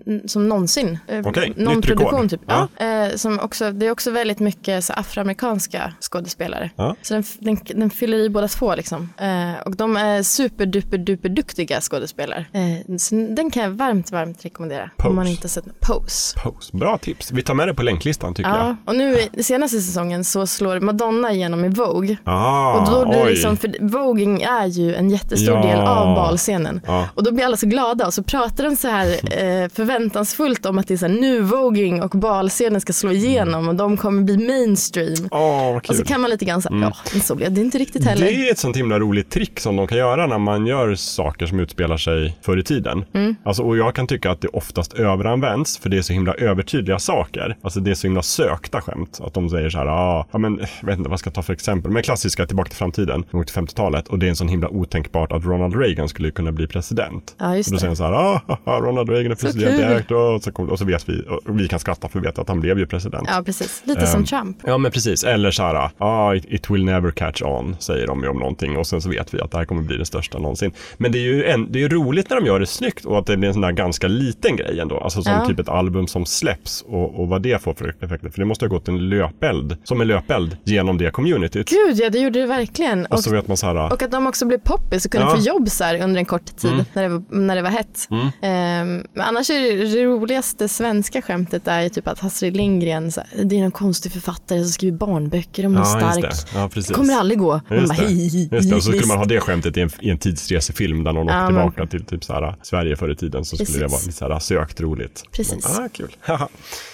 n- som någonsin. Eh, Okej, Någon nytt produktion rekord. typ. Ja. Eh, Som också, det är också väldigt mycket så afroamerikanska skådespelare. Ja. Så den, f- den, den fyller i båda två liksom. Eh, Och de är superduper duper duktiga skådespelare. Eh, Så den kan jag varmt, varmt rekommendera. Om Pose. man inte har sett den. Pose. Pose. Bra tips. Vi tar med det på länklistan tycker jag. Ja, och nu i senaste säsongen så slår Madonna igenom i Vogue. Ah, Och då blir det oj. liksom, för Voging är ju en jättestor Ja. del av balscenen. Ja. Och då blir alla så glada och så pratar de så här eh, förväntansfullt om att det är så här, nu Voging och balscenen ska slå igenom och de kommer bli mainstream. Åh, vad Och så Ah, kul. Alltså, Mm. kan man lite grann säga, ja men så blev det inte riktigt heller. Det är ett sånt himla roligt trick som de kan göra när man gör saker som utspelar sig förr i tiden. Mm. Alltså, och jag kan tycka att det oftast överanvänds för det är så himla övertydliga saker. Alltså det är så himla sökta skämt. Att de säger så här, ah, ja men eh, jag vet inte vad jag ska ta för exempel. Men klassiska Tillbaka till framtiden, de åkte till 50-talet och det är en sån himla otänkbart att Ronald Reagan skulle kunna bli president. Ja, just och då det. säger de så här, ah, haha, Ronald Reagan är president kul. direkt och så, kom, och så vet vi, och vi kan skratta för vi vet att han blev ju president. Ja precis, Eh. lite som Trump. Ja men precis, eller så här, ah, it, it will never catch on, säger de ju om någonting och sen så vet vet vi att det här kommer bli den största någonsin. Men det är ju en, det är ju roligt när de gör det snyggt och att det blir en sån där ganska liten grej ändå. Alltså som Ja. typ ett album som släpps och, och vad det får för effekter. För det måste ha gått en löpeld, som en löpeld genom det communityt. Gud ja, det gjorde det verkligen. Och Och, så vet man så här, och att de också blev poppis och kunde Ja. Mm. få jobb så här under en kort tid när, det var, när det var hett. Ehm, men annars är det, det roligaste svenska skämtet är ju typ att Astrid Lindgren, så här, det är någon konstig författare som skriver barnböcker om någon ja, stark. ah, just det. Ja, precis. Det kommer aldrig gå. Hon Just bara, det. hej, hej, Just det. Och så skulle visst. man ha det skämtet i en, i en tidsresefilm där någon Ja, åker men- tillbaka till typ så här, Sverige förr i tiden så skulle det Precis. vara lite så här, äh, sökt roligt. Precis. Men, ah, kul. Haha.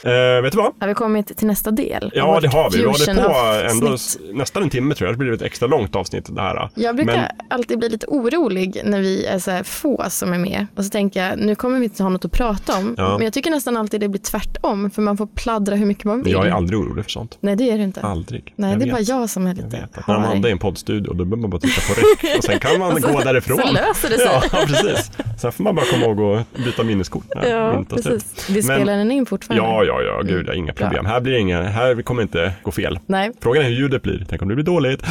eh, vet du vad? Har vi kommit till nästa del? Ja, Vårt det har vi. Vi håller på ändå fusion-avsnitt. s- nästan en timme tror jag. Det blir ett extra långt avsnitt det här. äh. Jag brukar Men alltid bli lite orolig när vi är så här få som är med. Och så tänker jag, nu kommer vi inte ha något att prata om. Ja. Men jag tycker nästan alltid det blir tvärtom, för man får pladdra hur mycket man vill. jag är aldrig orolig för sånt. Nej, det är du inte. Aldrig. Nej, jag det är vet. bara jag som är Jag lite vet att när man hamnar i en poddstudio då behöver man bara titta på räck och sen kan man gå därifrån. så löser det sig. Ja, precis. Sen får man bara komma ihåg och byta minneskort. när Ja, myntet är slut. precis. Vi spelar den in fortfarande. Ja, ja, ja, gud, ja, inga problem. Här, blir det inga, här kommer inte gå fel. Nej, Frågan är hur ljudet blir. Tänk om det blir dåligt. Ah,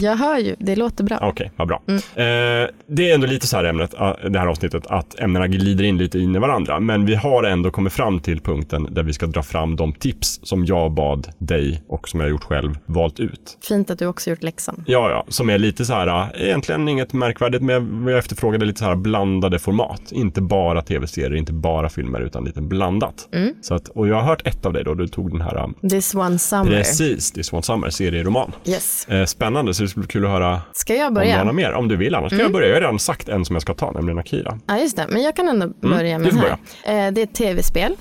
jag hör ju. Det låter bra. Okej, vad bra. Eh, det är ändå lite så här ämnet, ah, det här avsnittet, att ämnena glider in lite in i varandra. Men vi har ändå kommit fram till punkten där vi ska dra fram de tips som jag bad dig och som jag gjort själv valt ut. Fint att du också gjort läxan. Ja, ja, som är lite så här, ah, egentligen inget märkvärdigt, men jag efterfrågade lite så här blandade format. Inte bara tv-serier, inte bara filmer, utan lite blandat. Så att, och jag har hört ett av dig då, du tog den här ah, This one summer. Precis, det är Swan Summer, serieroman. Yes. Eh, Spännande, så det skulle bli kul att höra Ska jag om du har börja? Mm. något mer. Om du vill, annars kan jag börja. Jag har redan sagt en som jag ska ta, nämligen Akira. Ja, just det. Men jag kan ändå börja Mm. du med får den här. Eh, Det är ett tv-spel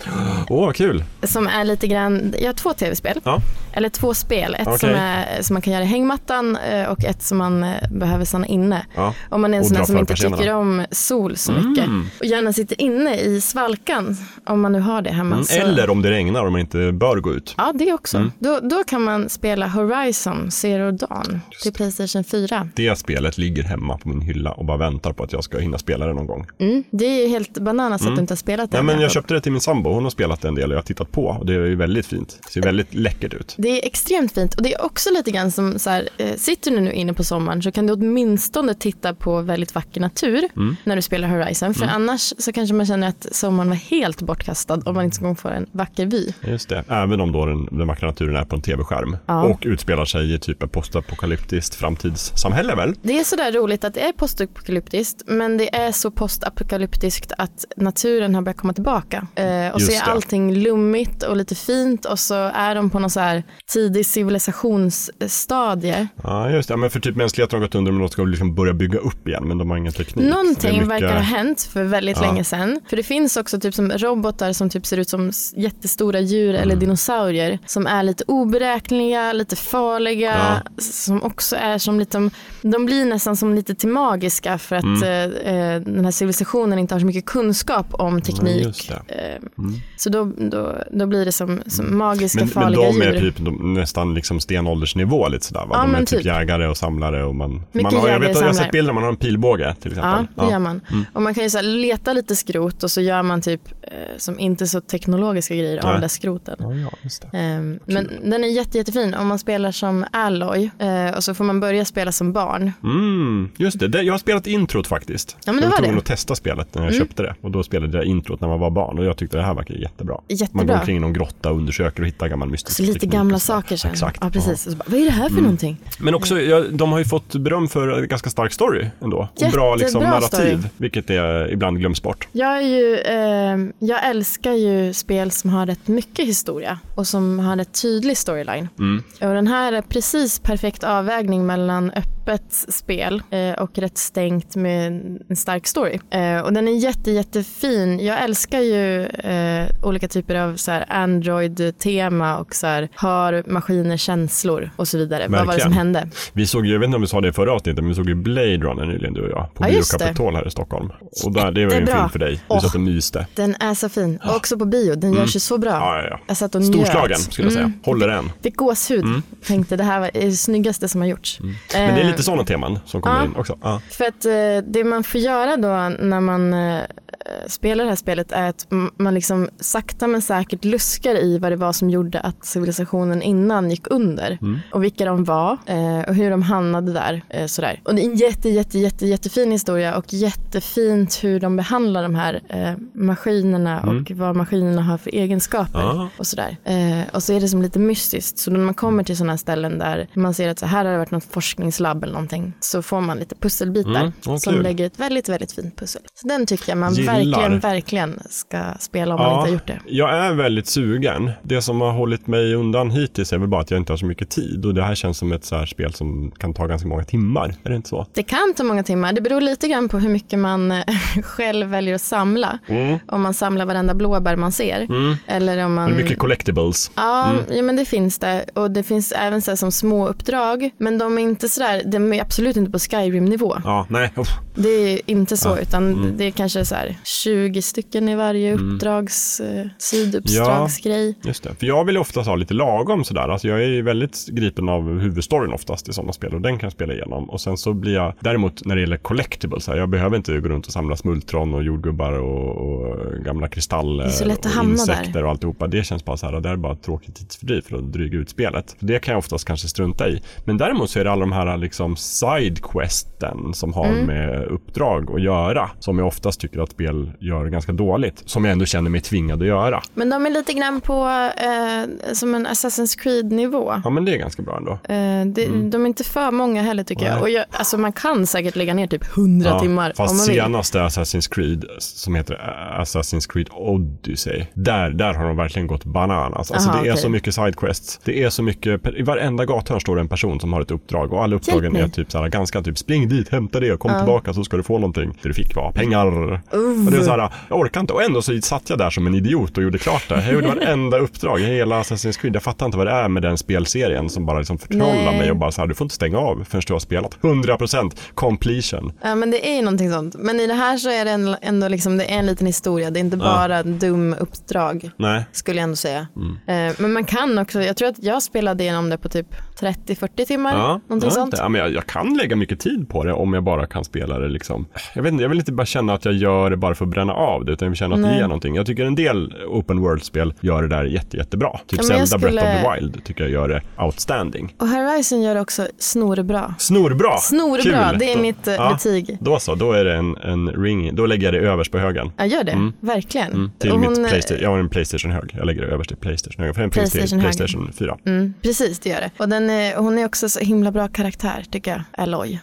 Åh, vad kul! som är lite grann, jag har två tv-spel. Ja. Mm. Eller två spel, ett Okej. som, är, som man kan göra i hängmattan eh, och ett som man eh, behöver stanna inne. Ja. Om man är en Och sån här dra som för inte persiennerna. tycker om sol så mycket och gärna sitter inne i svalkan om man nu har det hemma. Mm, så- Eller Mm. om det regnar och man inte bör gå ut. Ja, det också. Då, då kan man spela Horizon Zero Dawn till Playstation Mm. 4. Det spelet ligger hemma på min hylla och bara väntar på att jag ska hinna spela det någon gång. Mm. Det är ju helt bananas att du inte har spelat det. Nej, än, Mm. men jag Jakob. köpte det till min sambo. Hon har spelat det en del och jag har tittat på. Och det är ju väldigt fint. Det ser väldigt läckert ut. Det är extremt fint och det är också lite grann som så här, eh, sitter du nu inne på sommaren så kan du åtminstone titta på väldigt vacker natur Mm. när du spelar Horizon. För annars så kanske man känner att sommaren var helt bortkastad om man inte ska få en vacker vy. Just det. Även om då den, den vackra naturen är på en tv-skärm Ja. och utspelar sig i typ ett postapokalyptiskt framtidssamhälle väl? Det är sådär roligt att det är postapokalyptiskt men det är så postapokalyptiskt att naturen har börjat komma tillbaka. Eh, och så Just är det. allting lummigt och lite fint och så är de på någon så här tidig eh, civilisationsstadie. Ja, just det. Ja, men för typ mänskligheten har gått under, men de ska liksom börja bygga upp igen, men de har ingen teknik. Det är Någonting mycket- verkar ha hänt för väldigt Ja. länge sedan. För det finns också typ som robotar som typ ser ut som s- jättestora djur Mm. eller dinosaurier. Som är lite oberäkneliga, lite farliga. s- Som också är som lite, de blir nästan som lite till magiska för att Mm. eh, eh, den här civilisationen inte har så mycket kunskap om Ja, teknik. just det. Mm. Eh, Så då, då, då blir det som, som magiska Men, men farliga de är djur. typ de, nästan liksom stenåldersnivå lite sådär va? Ja, de är men typ, typ. jägare och samlare och man... man Mycket har, jag, jägare vet, och jag har sett samlare. bilder, man har en pilbåge till Ja, exempel. det gör man. Mm. Och man kan ju så här leta lite skrot och så gör man typ eh, som inte så teknologiska grejer av Nej. den där skroten. Ja, ja, just det. Ehm, Men den är jätte, jättefin om man spelar som Alloy eh, och så får man börja spela som barn. Mm, just det. det. Jag har spelat introt faktiskt. Ja, men jag det var var tvungen det. Mm. att testa spelet när jag köpte det. Och då spelade jag introt när man var barn och jag tyckte det här verkar jättebra. Man går Jättebra. omkring i någon grotta och undersöker och hittar gammal mystisk Så lite teknik gamla och sådär. saker sen. Exakt. Mm. Ja, precis. Och så bara, vad är det här för någonting? Men också, Mm. ja, de har ju fått beröm för ganska stark story ändå. Och bra Jättebra liksom, narrativ, story. vilket är, ibland glöms bort. Jag, är ju, ehm, jag älskar ju spel som har rätt mycket historia och som har en tydlig storyline. Och den här är precis perfekt avvägning mellan öppet spel eh, och rätt stängt med en stark story. Eh, och den är jätte, jättefin. Jag älskar ju eh, olika typer av så här Android-tema och så här, har maskiner känslor och så vidare. Vad var det som Verkligen. hände? Vi såg ju, jag vet inte om vi sa det i förra avsnittet, men vi såg ju Blade Runner nyligen du och jag på Ja, Bio just det. Capitol här i Stockholm. Och där, det var ju en Jättebra. film för dig. Du Åh. satt och myste. Den är så fin. Och också på bio. Den görs ju så bra. Mm. Ja, ja, ja. Jag satt och njöt. Mm. Storslagen skulle jag säga. Håller än. Fick gåshud. Tänkte det här var det snyggaste som har gjorts. Mm. Men det är lite sådana teman som kommer Eh. ja. in också. Ja. För att eh, det man får göra då när man eh, spelar det här spelet är att m- man liksom sakta men säkert luskar i vad det var som gjorde att civilisationen innan gick under. Och vilka de var eh, och hur de hamnade där. Eh, sådär. Och det är en jätte, jätte, jätte, jättefin historia och jättefint hur de behandlar de här eh, maskinerna och vad maskinerna har för egenskaper. Ah. Och, sådär. Eh, och så är det som lite mystiskt. Så när man kommer till sådana ställen där man ser att så här har det varit något forskningslabb eller någonting. Så får man lite pusselbitar Mm, vad som kul. lägger ett väldigt, väldigt fint pussel. Så den tycker jag man Gillar. verkligen, verkligen ska spela om man inte har gjort det. Jag är väldigt sugen. Det som har hållit mig undan hittills är väl bara att jag inte har så mycket tid och det här känns som ett så här spel som kan ta ganska många timmar. Är det inte så? Det kan ta många timmar. Det beror lite grann på hur mycket man eh, själv väljer att samla. Mm. Om man samlar varenda blåbär man ser. Eller om man... Det Mm. är mycket Mm. collectibles. Ja, ja, men det finns det. Och det finns även så här som små uppdrag. Men de är inte sådär, de är absolut inte på Skyrim-nivå. Ja, nej. uff. Det är inte så, utan Mm. det är kanske så här 20 stycken i varje uppdrags, eh, sidouppdragsgrej. Just det. För jag vill ju oftast ha lite lagom sådär. Alltså jag är ju väldigt gripen av huvudstoryn oftast i sådana spel och den kan jag spela igenom. Och sen så blir jag, däremot när det gäller collectibles, här, jag behöver inte gå runt och samla smultron och jordgubbar och, och gamla kristaller Det är så lätt att och hamna där. insekter och alltihopa. Det känns bara så här, det är bara ett tråkigt tidsfördriv för att dryga ut spelet. Det kan jag oftast kanske strunta i. Men däremot så är det alla de här liksom sidequesten som har Mm. med uppdrag att göra, som jag oftast tycker att spel gör ganska dåligt, som jag ändå känner mig tvingad att göra. Men de är lite grann på eh, som en Assassin's Creed-nivå. Ja, men det är ganska bra ändå. Eh, det, De är inte för många heller tycker jag. Nej. Och jag alltså, man kan säkert lägga ner typ 100 timmar om man fast vill. senaste Assassin's Creed som heter Assassin's Creed Odyssey. Där, där har de verkligen gått bananas. Alltså, Aha, det är okej. så mycket sidequests. Det är så mycket, i varenda gathörn står det en person som har ett uppdrag och alla uppdragen mig. är typ så här, ganska typ spring dit, hämta det, kom tillbaka så ska du få någonting. Det du fick var pengar. Och det är så här, jag orkar inte. Och ändå så satt jag där som en idiot och gjorde klart det. Jag gjorde varenda uppdrag i hela Assassin's Creed. Jag fattar inte vad det är med den spelserien som bara liksom förtrollar Nej. mig och bara så här, du får inte stänga av förrän du har spelat 100% completion. Ja, men det är ju någonting sånt. Men i det här så är det en- ändå liksom, det är en liten historia. Det är inte bara dum uppdrag. Nej. Skulle jag ändå säga. Mm. Eh, Men man kan också, jag tror att jag spelade igenom det på typ 30-40 timmar. någonting ja, sånt. inte. Ja, men jag, jag kan lägga mycket tid på det om jag bara kan spela det. Liksom. Jag, vet inte, jag vill inte bara känna att jag gör det bara för att bränna av det, utan jag vill känna att det ger någonting. Jag tycker en del open world-spel gör det där jätte, jättebra. Typ Ja, men Zelda jag skulle- Breath of the Wild tycker jag gör det outstanding. Och Horizon gör det också snorbra. Snorbra! Snorbra, Kul! det är Då- mitt eh, betyg. Då så, då är det en, en ring, då lägger jag det överst på högen. Ja, gör det. Verkligen. Mm. Till Och mitt hon- eh, Playstation, jag har en Playstation-hög, jag lägger det överst till Playstation-högen, för den finns till PlayStation-högen. Playstation 4. Mm, precis, det gör det. Och den är, hon är också så himla bra karaktär, tycker jag. Aloy.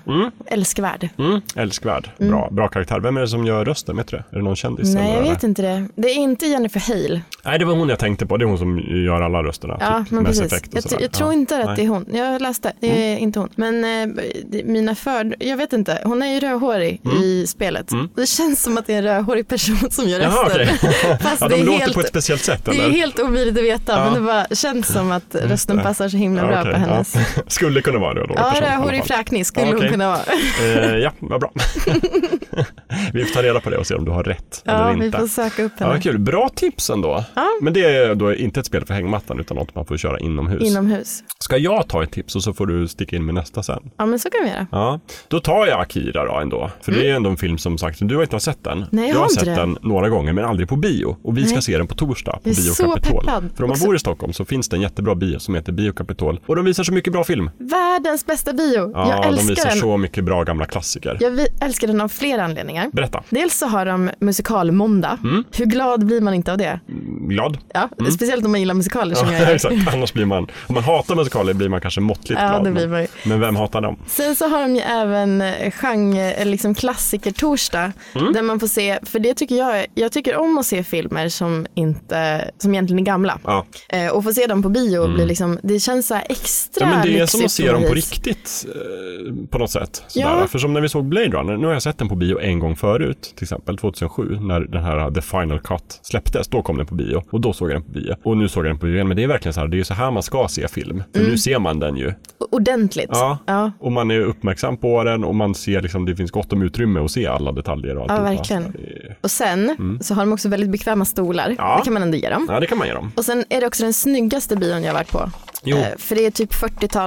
Älskvärd. Mm, älskvärd, bra, bra karaktär. Vem är det som gör rösten, vet du det? Är det någon kändis? Nej, eller? jag vet inte det. Det är inte Jennifer Hale. Nej, det var hon jag tänkte på. Det är hon som gör alla rösterna. Ja, typ, men Mass precis. Effect och Jag, sådär. tr- jag tror ja. inte att Nej. Mm. det är hon. Jag läste, det är inte hon. Men eh, det- mina för... Jag vet inte. Hon är ju rödhårig i spelet. Det känns som att det är en rödhårig person som gör Mm. Jaha, rösten. Fast Ja, Alltså, det de är låter helt... på ett speciellt sätt, Det eller? är helt omöjligt att veta, Ja. men det bara känns som att rösten det. passar så himla bra okej, på hennes. Ja, ja. Skulle kunna vara en rödhårig person. i alla rödhårig fall. fräknig skulle Ja, okej. hon kunna vara. Eh, ja, vad bra. vi får ta reda på det och se om du har rätt Ja, eller vi inte. får söka upp Ja, henne. vad kul. Bra tips ändå. Men det är då inte ett spel för hängmattan utan något man får köra inomhus. Inomhus. Ska jag ta ett tips och så får du sticka in med nästa sen? Ja, men så kan vi göra. Ja, då tar jag Akira då ändå. För det är ändå en film som sagt, du har inte sett den. Mm. Nej, jag jag har har inte sett det. den några gånger men aldrig på bio. Och vi ska Nej. se den på torsdag på Jag är Bio så Capitol. peppad. För om man Också- bor i Stockholm så finns det en jättebra bio som heter Bio Capitol. Och de visar så mycket bra film. Världens bästa bio. Ja, jag de älskar visar den. så mycket bra gamla klassiker. Jag vi- älskar den av flera anledningar. Berätta. Dels så har de musikalmåndag. Mm. Hur glad blir man inte av det? Glad? Ja, Speciellt om man gillar musikaler som jag Mm. Ja, gör. exakt. Annars blir man, om man hatar musikaler blir man kanske måttligt Ja, glad. det blir man ju. men, men vem hatar dem? Sen så har de ju även eh, genre, eh, liksom klassikertorsdag. Mm. Där man får se, för det tycker jag, jag tycker om att se filmer som, inte, som egentligen är gamla. Ja. Eh, och få se dem på bio, blir liksom, det känns så här extra Mm. Ja, men det är som att lyxigt se dem på något vis. riktigt eh, på något sätt. Sådär. Ja. För som när vi såg Blade Runner, nu har jag sett den på bio en gång förut, till exempel 2007 när den här eh, The Final Cut släpptes. Då kom den på bio och då såg jag den på bio och nu såg jag den på bio igen. Men det är verkligen så här, det är ju så här man ska se film. För nu ser man den ju. Ordentligt. Ja. Mm. Ja. Och man är uppmärksam på den och man ser liksom, det finns gott om utrymme att se alla detaljer och Ja, alltihopa. verkligen. Så det är- Och sen så har de också väldigt bekväma stolar. Mm. Ja. Det kan man ändå ge dem. Ja, det kan man ge dem. Och sen är det också den snyggaste bion jag har varit på. Jo. Mm. Eh, För det är typ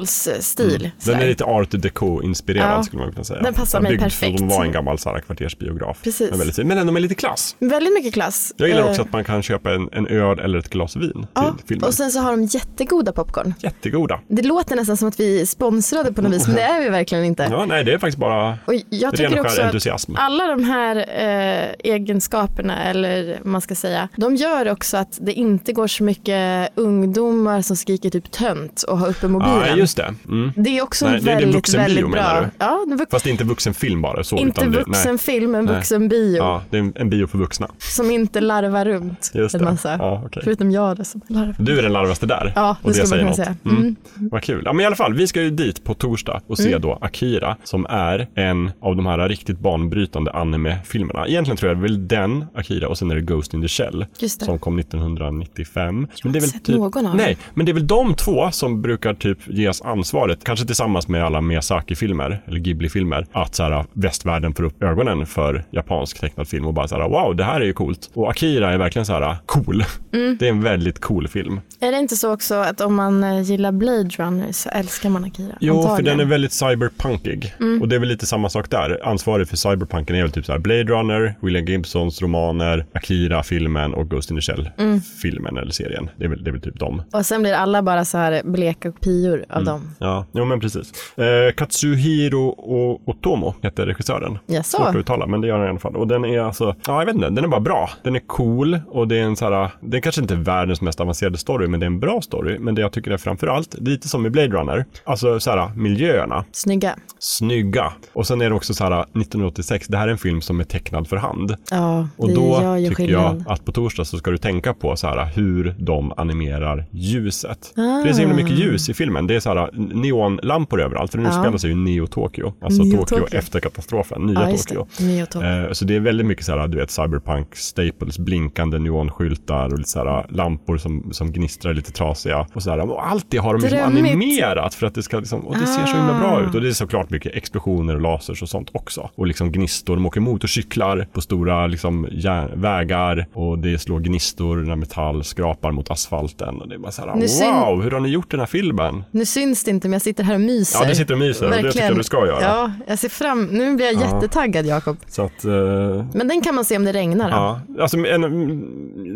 40-talsstil. Den sådär. är lite art deco-inspirerad Ja. skulle man kunna säga. Den passar mig byggd perfekt. För att vara en gammal så här, kvartersbiograf. Precis. Men, väldigt, fin. men ändå med lite klass. Väldigt mycket klass. Jag gillar Eh, också att man kan köpa en, en öl eller ett glas vin till ja. filmen. Och sen så har de jättegoda popcorn. Jättegoda. Det låter nästan som att vi är sponsrade på något vis, men det är vi verkligen inte. Ja, nej, det är faktiskt bara Och jag ren tycker och också skär att entusiasm. alla de här eh, egenskaperna, eller vad man ska säga, de gör också att det inte går så mycket ungdomar som skriker typ tönt och har uppe mobilen. Ja, just det. Mm. Det är också Nej, en det är det väldigt, vuxenbio, väldigt bra. menar du? Ja, det är vux- Fast det är inte vuxenfilm bara. Så, inte utan det, nej. vuxenfilm, men Nej. vuxenbio Ja, det är en, en bio för vuxna. som inte larvar runt Just en det. massa. Ja, okej. Förutom jag då som larvar. Du är den larvaste där. Ja, det och skulle man säger kunna något. säga. Mm. Vad kul. Ja, men i alla fall, vi ska ju dit på torsdag och se Mm. då Akira som är en av de här riktigt banbrytande anime-filmerna. Egentligen tror jag det är väl den, Akira, och sen är det Ghost in the Shell Just det. som kom 1995. Men det är väl typ- sett någon av dem. Nej, men det är väl de två som brukar typ ges ansvaret, kanske tillsammans med alla Miyazaki-filmer eller Ghibli-filmer, att så här, västvärlden får upp ögonen för japansk tecknad film och bara så här, wow, det här är ju coolt. Och Akira är verkligen så här cool. Mm. Det är en väldigt cool film. Är det inte så också att om man eh, gillar Blade Runner så älskar man Akira? Jo, för Antagligen. Mm. den är väldigt cyberpunkig. Och det är väl lite samma sak där. Ansvarig för cyberpunken är väl typ så här Blade Runner, William Gibsons romaner, Akira-filmen och Ghost in the Mm. Shell-filmen eller serien. Det är, väl, det är väl typ dem. Och sen blir alla bara så här bleka kopior av dem. Ja, jo men precis. Eh, Katsuhiro O- Otomo heter regissören. Jaså? Svårt att uttala, men det gör den i alla fall. Och den är alltså, ja jag vet inte, den är bara bra. Den är cool och det är en så här, det är kanske inte världens mest avancerade story, men det är en bra story. Men det jag tycker är framför allt, lite som i Blade Runner, alltså så här miljöerna, Snygga. snygga. Och sen är det också så här, 1986, det här är en film som är tecknad för hand. Ja, Och det då gör ju tycker skillnad. jag att på torsdag så ska du tänka på så här, hur de animerar Ah. ljuset. För det är så himla mycket ljus i filmen. Det är så här, neonlampor överallt, för nu spelar sig ju Neo-Tokyo. Alltså Neo Tokyo Tokyo. efter katastrofen, nya Ja, just Tokyo. det. Neo Tokyo. Eh, Så det är väldigt mycket så här, du vet, cyberpunk staples, blinkande neonskyltar och lite så här, eh, lampor som, som gnistrar lite trasiga. Och, så här, och allt det har de liksom Drömmigt. Ah. animerat för att det ska liksom, och det ser så himla bra ut. Och det är såklart mycket explosioner och lasers och sånt också. Och liksom gnistor, de åker motorcyklar på stora liksom järn- vägar och det slår gnistor när metall skrapar mot asfalten. Och det är bara så här, Nu syn- wow, hur har ni gjort den här filmen? Nu syns det inte men jag sitter här och myser. Ja, du sitter och myser, och det tycker jag du ska göra. Ja, jag ser fram Nu blir jag jättetaggad Jakob. Så att, eh, Men den kan man se om det regnar. då. Ja, alltså en,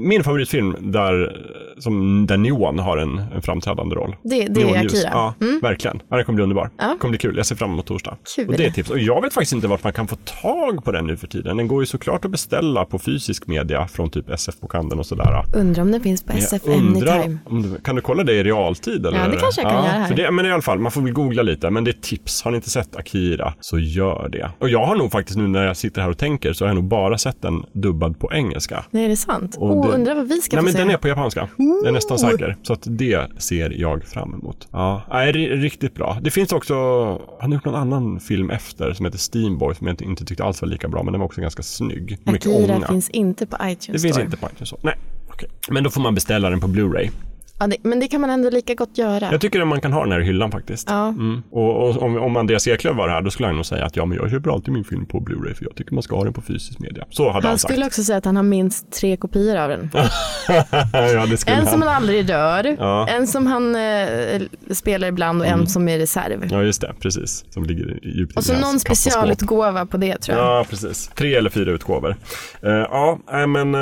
min favoritfilm där, som, där neon har en, en framträdande roll. Det, det är Neonljus. Akira. Mm. Ja, verkligen. Ja, den kommer bli underbar. Det kommer bli kul. Jag ser fram emot torsdag. Kul. Och det är ett tips. Och jag vet faktiskt inte vart man kan få tag på den nu för tiden. Den går ju såklart att beställa på fysisk media från typ SF-bokhandeln och sådär. Undrar om den finns på SF Jag undrar Anytime. om du, kan du kolla det i realtid? Eller? Ja, det kanske jag kan göra här. För det, men i alla fall, man får väl googla lite. Men det är ett tips. Har ni inte sett Akira så gör det. Och jag har nog faktiskt nu när jag sitter här och tänker så har jag nog bara sett den dubbad på engelska. Nej, är det sant? Och oh, det- undrar vad vi ska Nej, få men se. den är på japanska. Jag är nästan säker. Så att det ser jag fram emot. Ja, nej, det är riktigt bra. Det finns också, han har gjort någon annan film efter som heter Steamboy som jag inte- inte tyckte alls var lika bra, men den var också ganska snygg. Mycket Akira ånga. finns inte på iTunes det finns Store. inte på iTunes. Store. Nej, okej. Men då får man beställa den på Blu-ray. Ja, det, men det kan man ändå lika gott göra. Jag tycker att man kan ha den här i hyllan faktiskt. Ja. Mm. Och, och om, om Andreas Eklöf var här, då skulle han nog säga att ja, men jag köper alltid min film på Blu-ray för jag tycker man ska ha den på fysisk media. Så hade han, Han sagt. skulle också säga att han har minst tre kopior av den. ja, det skulle En som han. han aldrig rör, Ja. Mm. en som han eh, spelar ibland och en som är reserv. Ja, just det. Precis. Som ligger i- djupt Och så i hans någon kassaskåp. specialutgåva på det tror jag. Ja, precis. Tre eller fyra utgåvor. Eh, ja, nej, men eh,